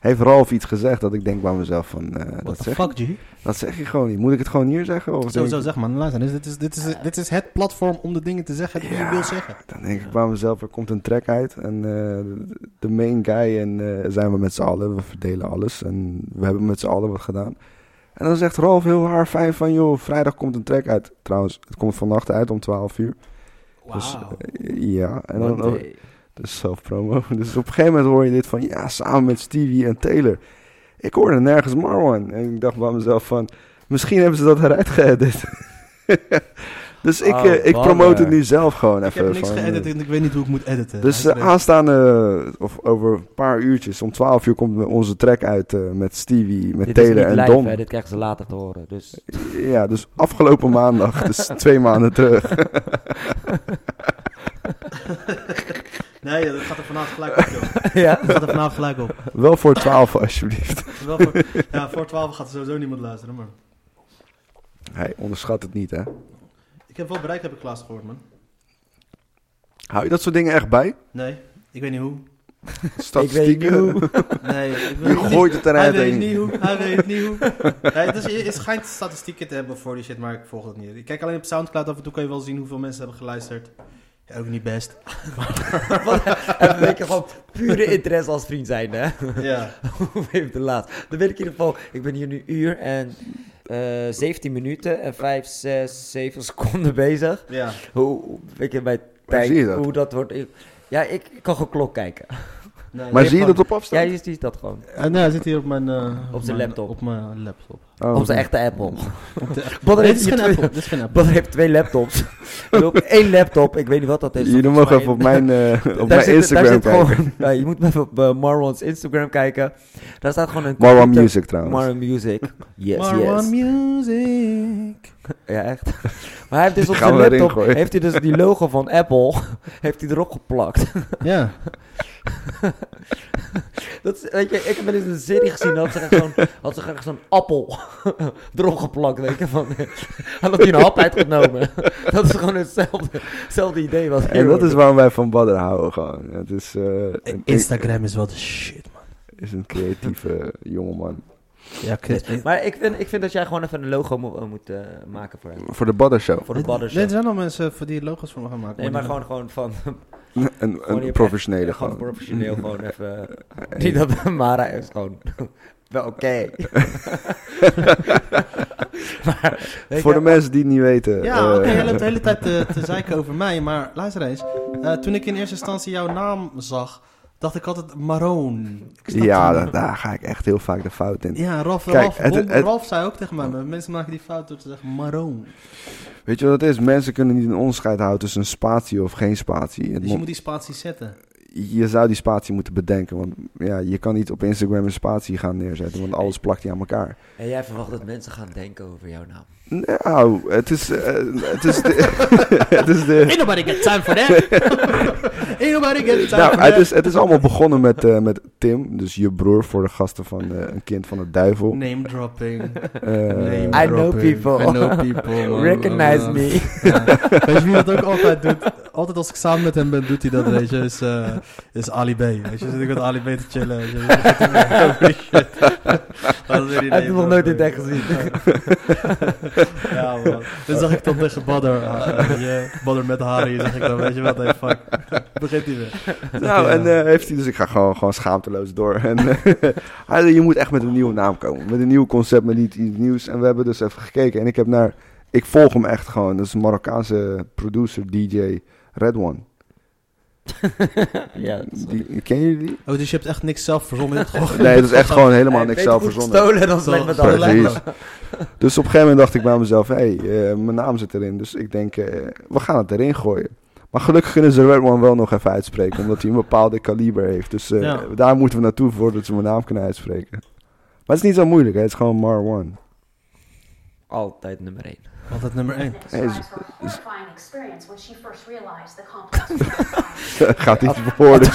Heeft Ralf iets gezegd dat ik denk bij mezelf van... eh, What dat, the zeg, fuck, G? dat zeg je gewoon niet. Moet ik het gewoon hier zeggen? Of denk Sowieso ik- zeg maar, luister, dit is, dit, is, dit, is, dit is het platform om de dingen te zeggen die je Ja. wil zeggen. Dan denk ik bij mezelf, er komt een track uit. En eh, de main guy en eh, zijn we met z'n allen. We verdelen alles. En we hebben met z'n allen wat gedaan. En dan zegt Ralf heel haar fijn van... joh, vrijdag komt een track uit. Trouwens, het komt vannacht uit om 12 uur. Dus, eh, ja, en dan ook, Nee. dus zelfpromo. Dus op een gegeven moment hoor je dit van, ja, samen met Stevie en Taylor. Ik hoorde nergens Marwan. En ik dacht bij mezelf van, misschien hebben ze dat eruit geëdit. dus ik, Oh, eh, ik promote het bummer. nu zelf gewoon ik even. heb niks van, eh, geëdit en ik weet niet hoe ik moet editen. Dus eh, Hij is er- aanstaande, eh, of over een paar uurtjes, om 12 uur komt onze track uit eh, met Stevie, met Dit is Taylor niet en live, Don. hè. Dit krijgen ze later te horen. Dus Ja, dus afgelopen maandag, dus twee maanden terug. Nee, dat gaat er vanavond gelijk op, joh. ja. Dat gaat er vanavond gelijk op. Wel voor 12 alsjeblieft. Wel voor, ja, voor 12 gaat er sowieso niemand luisteren, maar... Hij onderschat het niet, hè. Ik heb wel bereik, heb ik laatst gehoord, man. Hou je dat soort dingen echt bij? Nee, ik weet niet hoe. Ik weet niet Statistieken? hoe. Nee, ik Je weet niet. gooit het Hij eruit. weet en- niet hoe, hij weet niet hoe. Nee, dus je, je schijnt statistieken te hebben voor die shit, maar ik volg het niet. Ik kijk alleen op Soundcloud, af en toe kan je wel zien hoeveel mensen hebben geluisterd. Ja, ook niet best. Wat, en weet je gewoon pure interesse als vriend zijn, hè? Ja. Hoe heeft de laat? Dan weet ik in ieder geval, ik ben hier nu een uur en eh 17 minuten en 5, 6, 7 seconden bezig. Ja, Hoe, hoe- weet je, bij Waar tijd, zie je dat? hoe dat wordt. ik- ja, ik, ik kan gewoon klok kijken. nee, Maar nee, zie je gewoon- dat op Ja, afstand? je ziet dat gewoon. Eh, nee, hij zit hier op mijn... eh, Op zijn mijn- laptop. Op mijn laptop. Oh, Op zijn echte Apple. Op de- Badder Nee, heeft, dit is hier geen twee, Apple. Dit is geen Apple. Badder heeft twee laptops. En op één laptop, ik weet niet wat dat is. Jullie mogen even op mijn, eh, op Daar zit- mijn daar Instagram zit kijken. gewoon- Ja, je moet maar even op eh, Marwan's Instagram kijken. Daar staat gewoon een... Marwan computer- Music trouwens. Marwan Music. Yes, Marwan yes. Music. Ja, echt. Maar hij heeft dus op Gaan zijn we erin laptop gooien. heeft hij dus die logo van Apple heeft hij erop geplakt. Ja. Dat is, weet je, ik heb eens een serie gezien, dat ze echt zo'n, had ze echt zo'n appel erop geplakt, weet je, van, hij had hij een hap uitgenomen. Dat is gewoon hetzelfde, hetzelfde idee was. En dat is waarom wij van Badder houden gewoon. Het is, eh, een, Instagram is wel de shit, man. is een creatieve jongeman. Ja, ik- dit- Maar ik vind, ik vind dat jij gewoon even een logo mo- moet eh, maken voor hem, Voor de Badder Show. voor de dit baddershow. zijn allemaal mensen voor die logo's voor me gaan maken. Nee, maar die- gewoon, gewoon van, Een, Gewoon een je- professionele gewoon gewoon. professioneel, gewoon even, eh, niet dat Mara is gewoon, wel oké. maar, weet Voor je, de mensen die het niet weten. Ja, eh, oké, jij loopt de hele tijd eh, te, te zeiken over mij, maar luister eens. Eh, toen ik in eerste instantie jouw naam zag, dacht ik altijd Maroon. Ik snap ja, het daar, niet. daar ga ik echt heel vaak de fout in. Ja, Ralf, Kijk, Ralf, het- Bom- het- Ralf zei ook tegen mij, maar mensen maken die fout door te zeggen Maroon. Weet je wat het is? Mensen kunnen niet een onderscheid houden tussen een spatie of geen spatie. Het Dus je mo- moet die spatie zetten. je zou die spatie moeten bedenken. Want ja, je kan niet op Instagram een spatie gaan neerzetten, want alles plakt die aan elkaar. En jij verwacht dat mensen gaan denken over jouw naam. Nou, het is, eh, het is, de, het is de, Ain't nobody got time for that. Ain't nobody get it. Nou, het is, het is allemaal begonnen met, eh, met Tim, dus je broer voor de gasten van eh, Een Kind van de Duivel. Name dropping. Oh. Eh, Name I know dropping. people. I know people. man. Recognize Eh, me. Ja. Weet je wie dat ook altijd doet? Altijd als ik samen met hem ben, doet hij dat, weet je. Is, eh, is Ali B. Weet je, zit ik met Ali B te chillen. Weet je. Holy shit. Dat is weer die Hij heeft name nog nooit dropping. dit echt gezien. Ja, man. Dus zag ik dan tegen Badder. ah, weet je, Badder met Harry, zeg ik dan. Weet je wat, hey, fuck. Begint hij weer. Nou, en eh, heeft hij dus, ik ga gewoon, gewoon schaamteloos door. En, eh, hij zei, je moet echt met een nieuwe naam komen. Met een nieuw concept, met iets, iets nieuws. En we hebben dus even gekeken. En ik heb naar, ik volg hem echt gewoon. Dat is een Marokkaanse producer, DJ, Red One. ja, Die, ken je die? Oh, dus je hebt echt niks zelf verzonnen? je hebt gewoon- Nee, dat is echt gewoon helemaal niks zelf verzonnen. Stolen dan slecht met Zo- alles. Precies. Dus op een gegeven moment dacht ik bij mezelf, hé, hey, eh, mijn naam zit erin. Dus ik denk, eh, we gaan het erin gooien. Maar gelukkig kunnen ze Red One wel nog even uitspreken, omdat hij een bepaalde kaliber heeft. Dus eh, Ja. daar moeten we naartoe voordat ze mijn naam kunnen uitspreken. Maar het is niet zo moeilijk, hè? het is gewoon Mar One. Altijd nummer 1. Altijd nummer 1. Hey, His is- eyes were a horrifying experience when she first realized the complex. was Gaat niet verwoorden.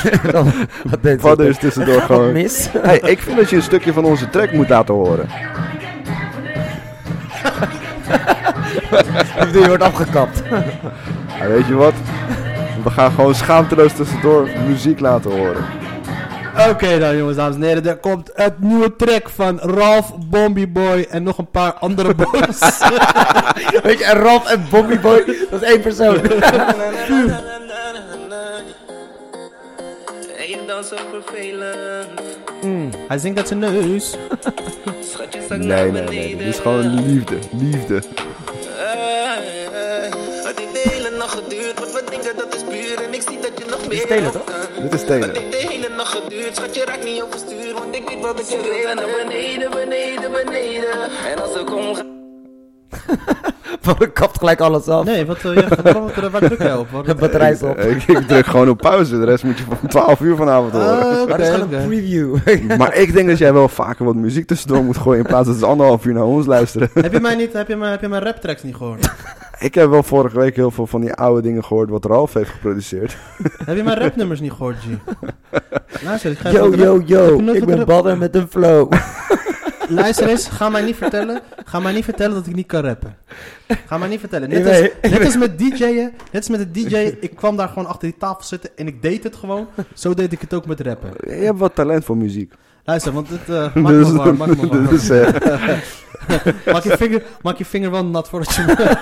Wat deed Vader is tussendoor Wat gewoon. mis? Hey, ik vind dat je een stukje van onze track moet laten horen. Die wordt afgekapt. Maar weet je wat? We gaan gewoon schaamteloos tussendoor muziek laten horen. Oké dan jongens, dames en heren, er komt het nieuwe track van Ralph, Bombi Boy en nog een paar andere boys. Weet je, en Ralf en Bobby Boy, dat is één persoon. En je dans zo vervelend. Hij zingt dat zijn neus. Schat je zak Nee, nee, naar nee. beneden. nee. Dit is gewoon liefde. Liefde. Hey, hey. Het heeft de hele nacht geduurd, want we denken dat is puur. En ik zie dat je nog meer. stelen, toch? Dit is Taylor. Het heeft de hele nacht geduurd, schat je raakt niet overstuur. Want ik weet wat ik je wil. Naar beneden, beneden, beneden. En als ik kom, ga Van kapt gelijk alles af. Nee, wat, eh, ja, wat, wat, eh, waar druk jij op? Wat- De batterij is op. Eh, Ik, ik, ik druk gewoon op pauze. De rest moet je van 12 uur vanavond horen. Ah, Maar oké, dat is gewoon een oké. preview. Maar ik denk dat jij wel vaker wat muziek tussendoor moet gooien. In plaats dat ze anderhalf uur naar ons luisteren. Heb je mij niet, heb je mijn, heb je mijn rap tracks niet gehoord? Ik heb wel vorige week heel veel van die oude dingen gehoord. wat Ralf heeft geproduceerd. heb je mijn rapnummers niet gehoord, G? Luister, ik ga even Yo, wat rap- yo, Heb yo. je nooit Ik wat ben rap- badder met een flow. Luister eens, ga mij niet vertellen, ga mij niet vertellen dat ik niet kan rappen. Ga mij niet vertellen. Net Ik als, weet- net als met DJ'en, net als met het DJ, ik kwam daar gewoon achter die tafel zitten en ik deed het gewoon. Zo deed ik het ook met rappen. Je hebt wat talent voor muziek. Luister, want dit eh maakt me warm, maakt me warm. dus, eh, dus- Maak je vinger, maak je vinger wel nat voordat je...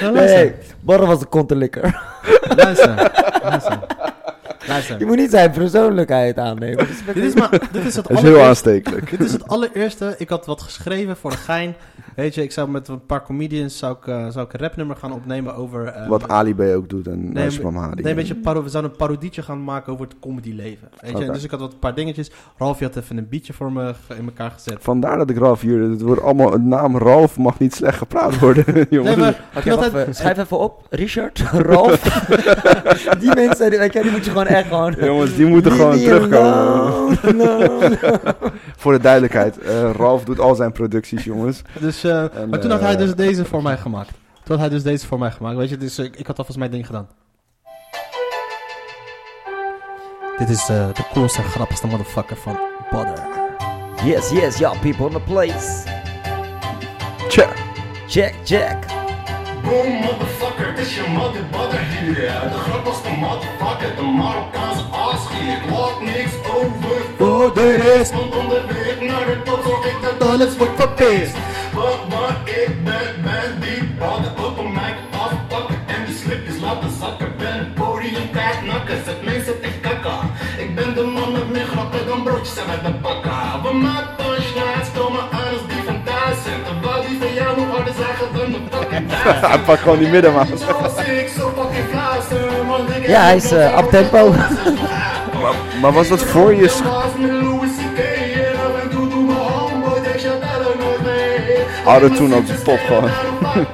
Nou, luister, Nee, Barre was een kontelikker. luister, luister, luister. Je moet niet zijn persoonlijkheid aannemen. Dus Dit is, maar, dit is het dat is heel allereerste. aanstekelijk. Dit is het allereerste. Ik had wat geschreven voor de gein. Weet je, ik zou met een paar comedians zou ik, eh, zou ik een rapnummer gaan opnemen over... eh, Wat Ali B ook doet en Nee, Najib Amhari. Nee, een beetje paro- we zouden een parodietje gaan maken over het comedyleven. Weet je? Oké. En Dus ik had wat een paar dingetjes. Ralf, je had even een beatje voor me ge- in elkaar gezet. Vandaar dat ik Ralf hier... Het wordt allemaal... De naam Ralf mag niet slecht gepraat worden, jongens. Nee, maar Oké, je had wacht het- even. eh, schrijf even op. Richard, Ralf. die mensen, die, weet je, die moet je gewoon echt gewoon... Jongens, die moeten Leave gewoon me terugkomen. alone, alone. Voor de duidelijkheid, eh, Ralf doet al zijn producties, jongens. dus, eh, En, maar toen had eh, hij dus deze voor mij gemaakt. Toen had hij dus deze voor mij gemaakt. Weet je, dus eh, ik, ik had alvast mijn ding gedaan. Dit is eh, de coolste en grappigste motherfucker van Badder. Yes, yes, y'all people in the place. Tja. Check, check. Boom, motherfucker, het is je mother butter hier. De grappigste motherfucker, de Marokkaanse aasgier. Laat niks over voor Oh, de rest. Want onderweg naar de top zorg ik dat alles wordt verpest. Wat waar ik ben, ben die badden op een mic afpakken. En die slipjes laten zakken. Ben een podium kaart nakken, zet mensen te kakken. Ik ben de man met meer grappen dan broodjes en uit de bakken. We maken punchlines, komen aan als die van thuis zijn. Terwijl die van jou nog harder zagen dan de fucking thuis. Hij pakt gewoon die middenmaat. Ja, hij is, eh, up tempo. Maar was dat voor je... sch- Autotune op de top gewoon.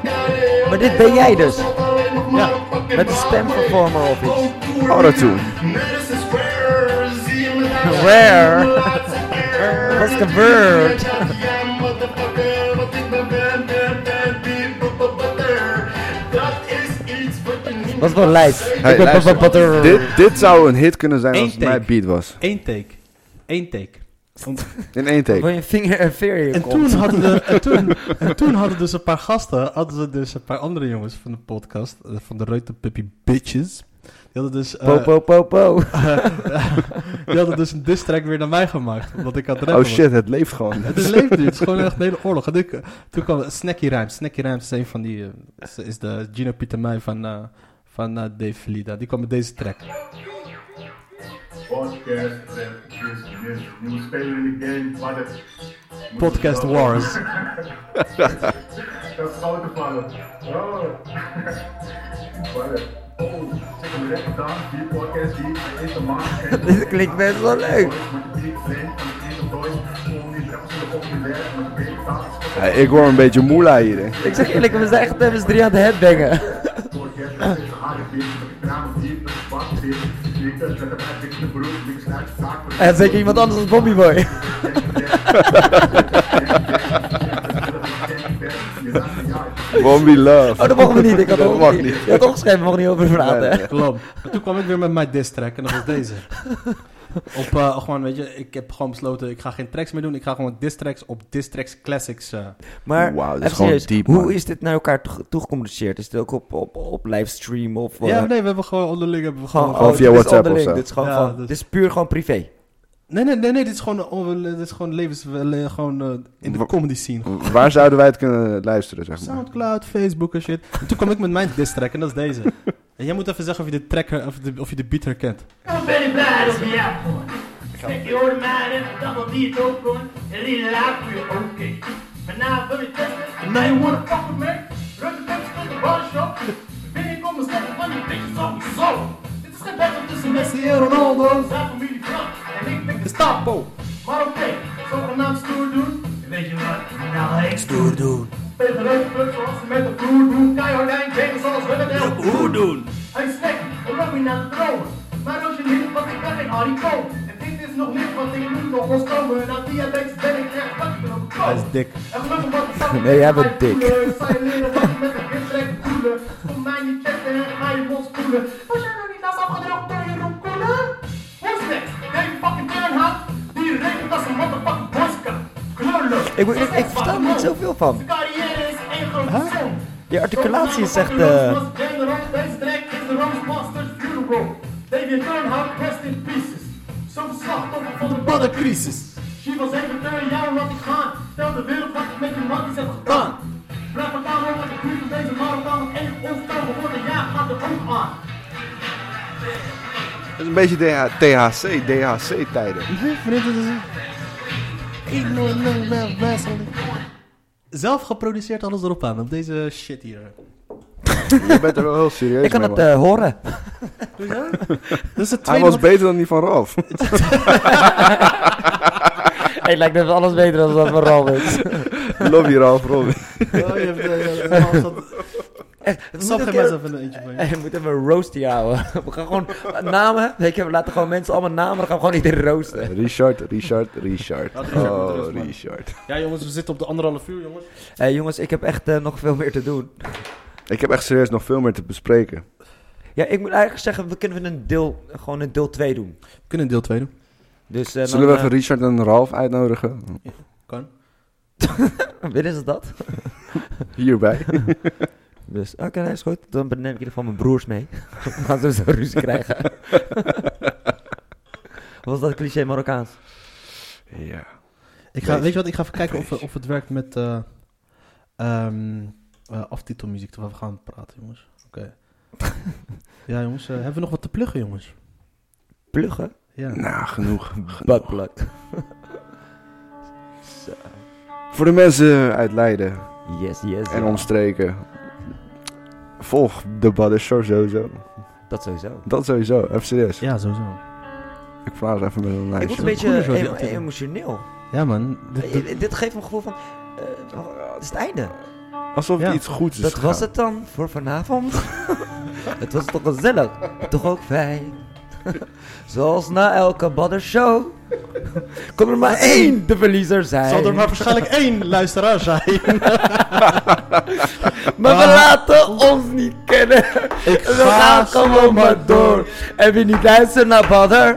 Maar dit ben jij dus. Ja, met de stemvervormer of iets. Autotune. e Rare. What's the word? Dat is iets wat je niet Wat voor lijst? Ik Hey, ben- luister, wat- wat er- dit, dit zou een hit kunnen zijn Eén als het mijn take. beat was. Eén take. Eén take. Om- In één Wil take. je een vinger en veer in je En kont? toen, hadden de, en, toen, en toen hadden dus een paar gasten, hadden ze dus een paar andere jongens van de podcast, eh, van de Reuter Puppy Bitches. Die hadden dus, eh, Po, po, po, po. die hadden dus een diss track weer naar mij gemaakt, omdat ik had rappen Oh was. shit, het leeft gewoon. Het is leeft nu, het is gewoon echt een hele oorlog. En ik, eh, toen kwam Snacky Rhymes. Snacky Rhymes is een van die, eh, is- is de Gino Pietermijn van, eh, van eh, Dave Valida. Die kwam met deze track. Podcast, rap, quiz, quiz. Nieuwe speler in de game, maar dat... Podcast Wars. Dat is grote vallen. Oh. Maar dat- Oh, zet hem recht aan. Die podcast die hij is de man. Dit klinkt best wel eh? leuk. Met de big brain van de eerste boys. Om die rechts en populair. Met de big taas. Ja, ik hoor een beetje moela hier. hè. Ik zeg eerlijk, we zijn echt met z'n drieën aan het headbangen. Podcast dat is een harde beer. Met de kraam diep. Met de bak diep. Ik ben met de dikke broek. Niks uit de zaak. En zeker iemand anders als Bobby Boy. Won't be love. Oh, dat mogen we niet. Ik had Dat ook mag niet. niet. Je had opgeschreven, we mogen niet over praten. Nee, nee. Klopt. En toen kwam ik weer met mijn diss track en dat was deze. Op eh, gewoon, weet je, ik heb gewoon besloten, ik ga geen tracks meer doen. Ik ga gewoon diss tracks op diss tracks classics. eh. Maar Wauw, dit is even gewoon serieus, diep, man. hoe is dit naar elkaar toe- toegecommuniceerd? Is dit ook op, op, op livestream of wat? Ja, nee, we hebben gewoon onderling hebben we gewoon... Gewoon, Gewoon oh, via dit is WhatsApp of onderling, zo. Dit is, gewoon Ja, van- dus- dit is puur gewoon privé. Nee, nee, nee, nee, dit is gewoon, eh, on- dit is gewoon levens... le- Gewoon eh, in de Wa- comedy scene. Waar zouden wij het kunnen luisteren, zeg maar? Soundcloud, Facebook en shit. En toen kwam ik met mijn diss track en dat is deze. En jij moet even zeggen of je de track, her- of, de, of je de beat herkent. I'm very bad on the airport. Take the old man in a double D open and he laughed you okay. But now I'm very tested, and now you wanna fuck with me? Run the bitch to the body shop. Then you go and step on the bitch song so. It's the best of this and that's the Ronaldo. Zap for me to jump and make me Gestapo. Maar oké, zo kan naam stoer doen. En weet je wat? Nou, ga ik stoer doen. Tegen de put zoals ze met de vloer doen. Keihard en tegen zoals we met de vloer doen. Hij snekt, dan loop je naar de troon. Maar als je niet wat ik ben, al die koop. En dit is nog niet wat ik nu nog ontkomen. Na diabetes ben ik echt wat ik op Hij is dik. En gelukkig wat ik zag. Nee, jij bent dik. Zij leren wat je met een witrek koelen. Kom mij niet testen en ga je mond spoelen. Was jij nou niet laatst afgedroogd door je roemkoelen? Who's next? Nee, fucking turnhout. Die rekent als een motherfucking boska. Klullen. Ik, moet- ik, ik versta er niet zoveel van. De carrière is één grote zon. Je articulatie is echt, eh, Deze track is de Rose Masters Funeral. David Turnhout, rest in pieces. Zo'n slachtoffer van de Paddencrisis. She was even 30 jaar wat ik ga. Stel de wereld wat ik met je matties heb gedaan. Blijf maar daar rond met de buurt van deze marathon. En onvertogen worden, ja, gaat de hoek aan. Het is een beetje DH THC, DHC-tijden. Zelf geproduceerd, alles erop aan. Op deze shit hier. Je bent er wel heel serieus Ik kan mee, het man. eh, horen. Dat is het Hij tweede was wat- beter dan die van Ralf. Het lijkt net alles beter dan dat van Ralf is. Love you, Ralf. Oh, Robin. je hebt, eh, je hebt- Het Sam, geef mij eens even een eentje van je. En we moeten even een roast hier houden. We gaan gewoon namen. Weet je, we laten gewoon mensen allemaal namen. Dan gaan we gewoon iedereen roosten. Richard, Richard, Richard. Richard moet Oh, rust, man. Richard. Ja, jongens, we zitten op de anderhalf uur, jongens. Hé jongens, ik heb echt eh, nog veel meer te doen. Ik heb echt serieus nog veel meer te Eh, bespreken. Ja, ik moet eigenlijk zeggen, we kunnen een deel, gewoon een deel 2 doen. We kunnen deel 2 doen. Dus, eh, Zullen we dan, even Richard en Ralf uitnodigen? Kan. eh, willen ze dat? Hierbij. Dus, oké, nee, is goed. Dan neem ik in ieder geval mijn broers mee. Dan ze zo'n ruzie krijgen. Wat was dat cliché Marokkaans? Ja. Ik ga, Beetje. weet je wat, ik ga even kijken of, of het werkt met eh ehm eh aftitelmuziek terwijl we gaan praten, jongens. Oké. ja, jongens, eh, hebben we nog wat te pluggen, jongens? Pluggen? Ja. Nou, genoeg. genoeg. Buttplug. Zo. Voor de mensen uit Leiden Yes, yes. en ja. omstreken. Volg de Badishore sowieso. Dat sowieso. Dat sowieso, even serieus. ja, sowieso. Ik vraag ze even met een Ik word een lijstje. beetje Koen is wel die emo- acteur. emotioneel. Ja, man. Dit- dit- Eh, Dit geeft me een gevoel van... eh, het is het einde. Alsof Ja. iets goeds is Dat was gegaan. het dan voor vanavond. het was toch gezellig. Toch ook fijn. Zoals na elke baddershow. Kon er maar één de verliezer zijn. Zal er maar waarschijnlijk één luisteraar zijn. Maar we laten ons niet kennen. Ah. Ik We gaan gewoon maar door. En wie niet luistert naar Badder,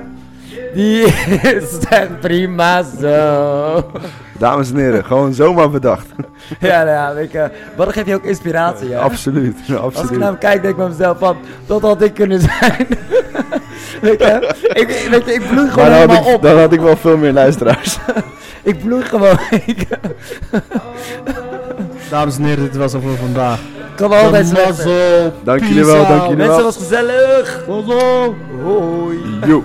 die is echt prima zo. Dames en heren, gewoon zomaar bedacht. Ja, nou ja, weet je, Badder geeft je ook inspiratie, ja. Absoluut, Als ik nou- absoluut. naar hem kijk, denk ik bij mezelf van, dat had ik kunnen zijn. weet, je, ik, weet je, ik bloei gewoon Maar dan had, helemaal ik, op. dan had ik wel veel meer luisteraars. Ik bloei gewoon. ik Dames en heren, dit was het voor vandaag. kan altijd De slechter. mazzel. Dank Peace jullie wel, dank out. jullie Mensen, was gezellig. Mazzel. Hoi. Joep.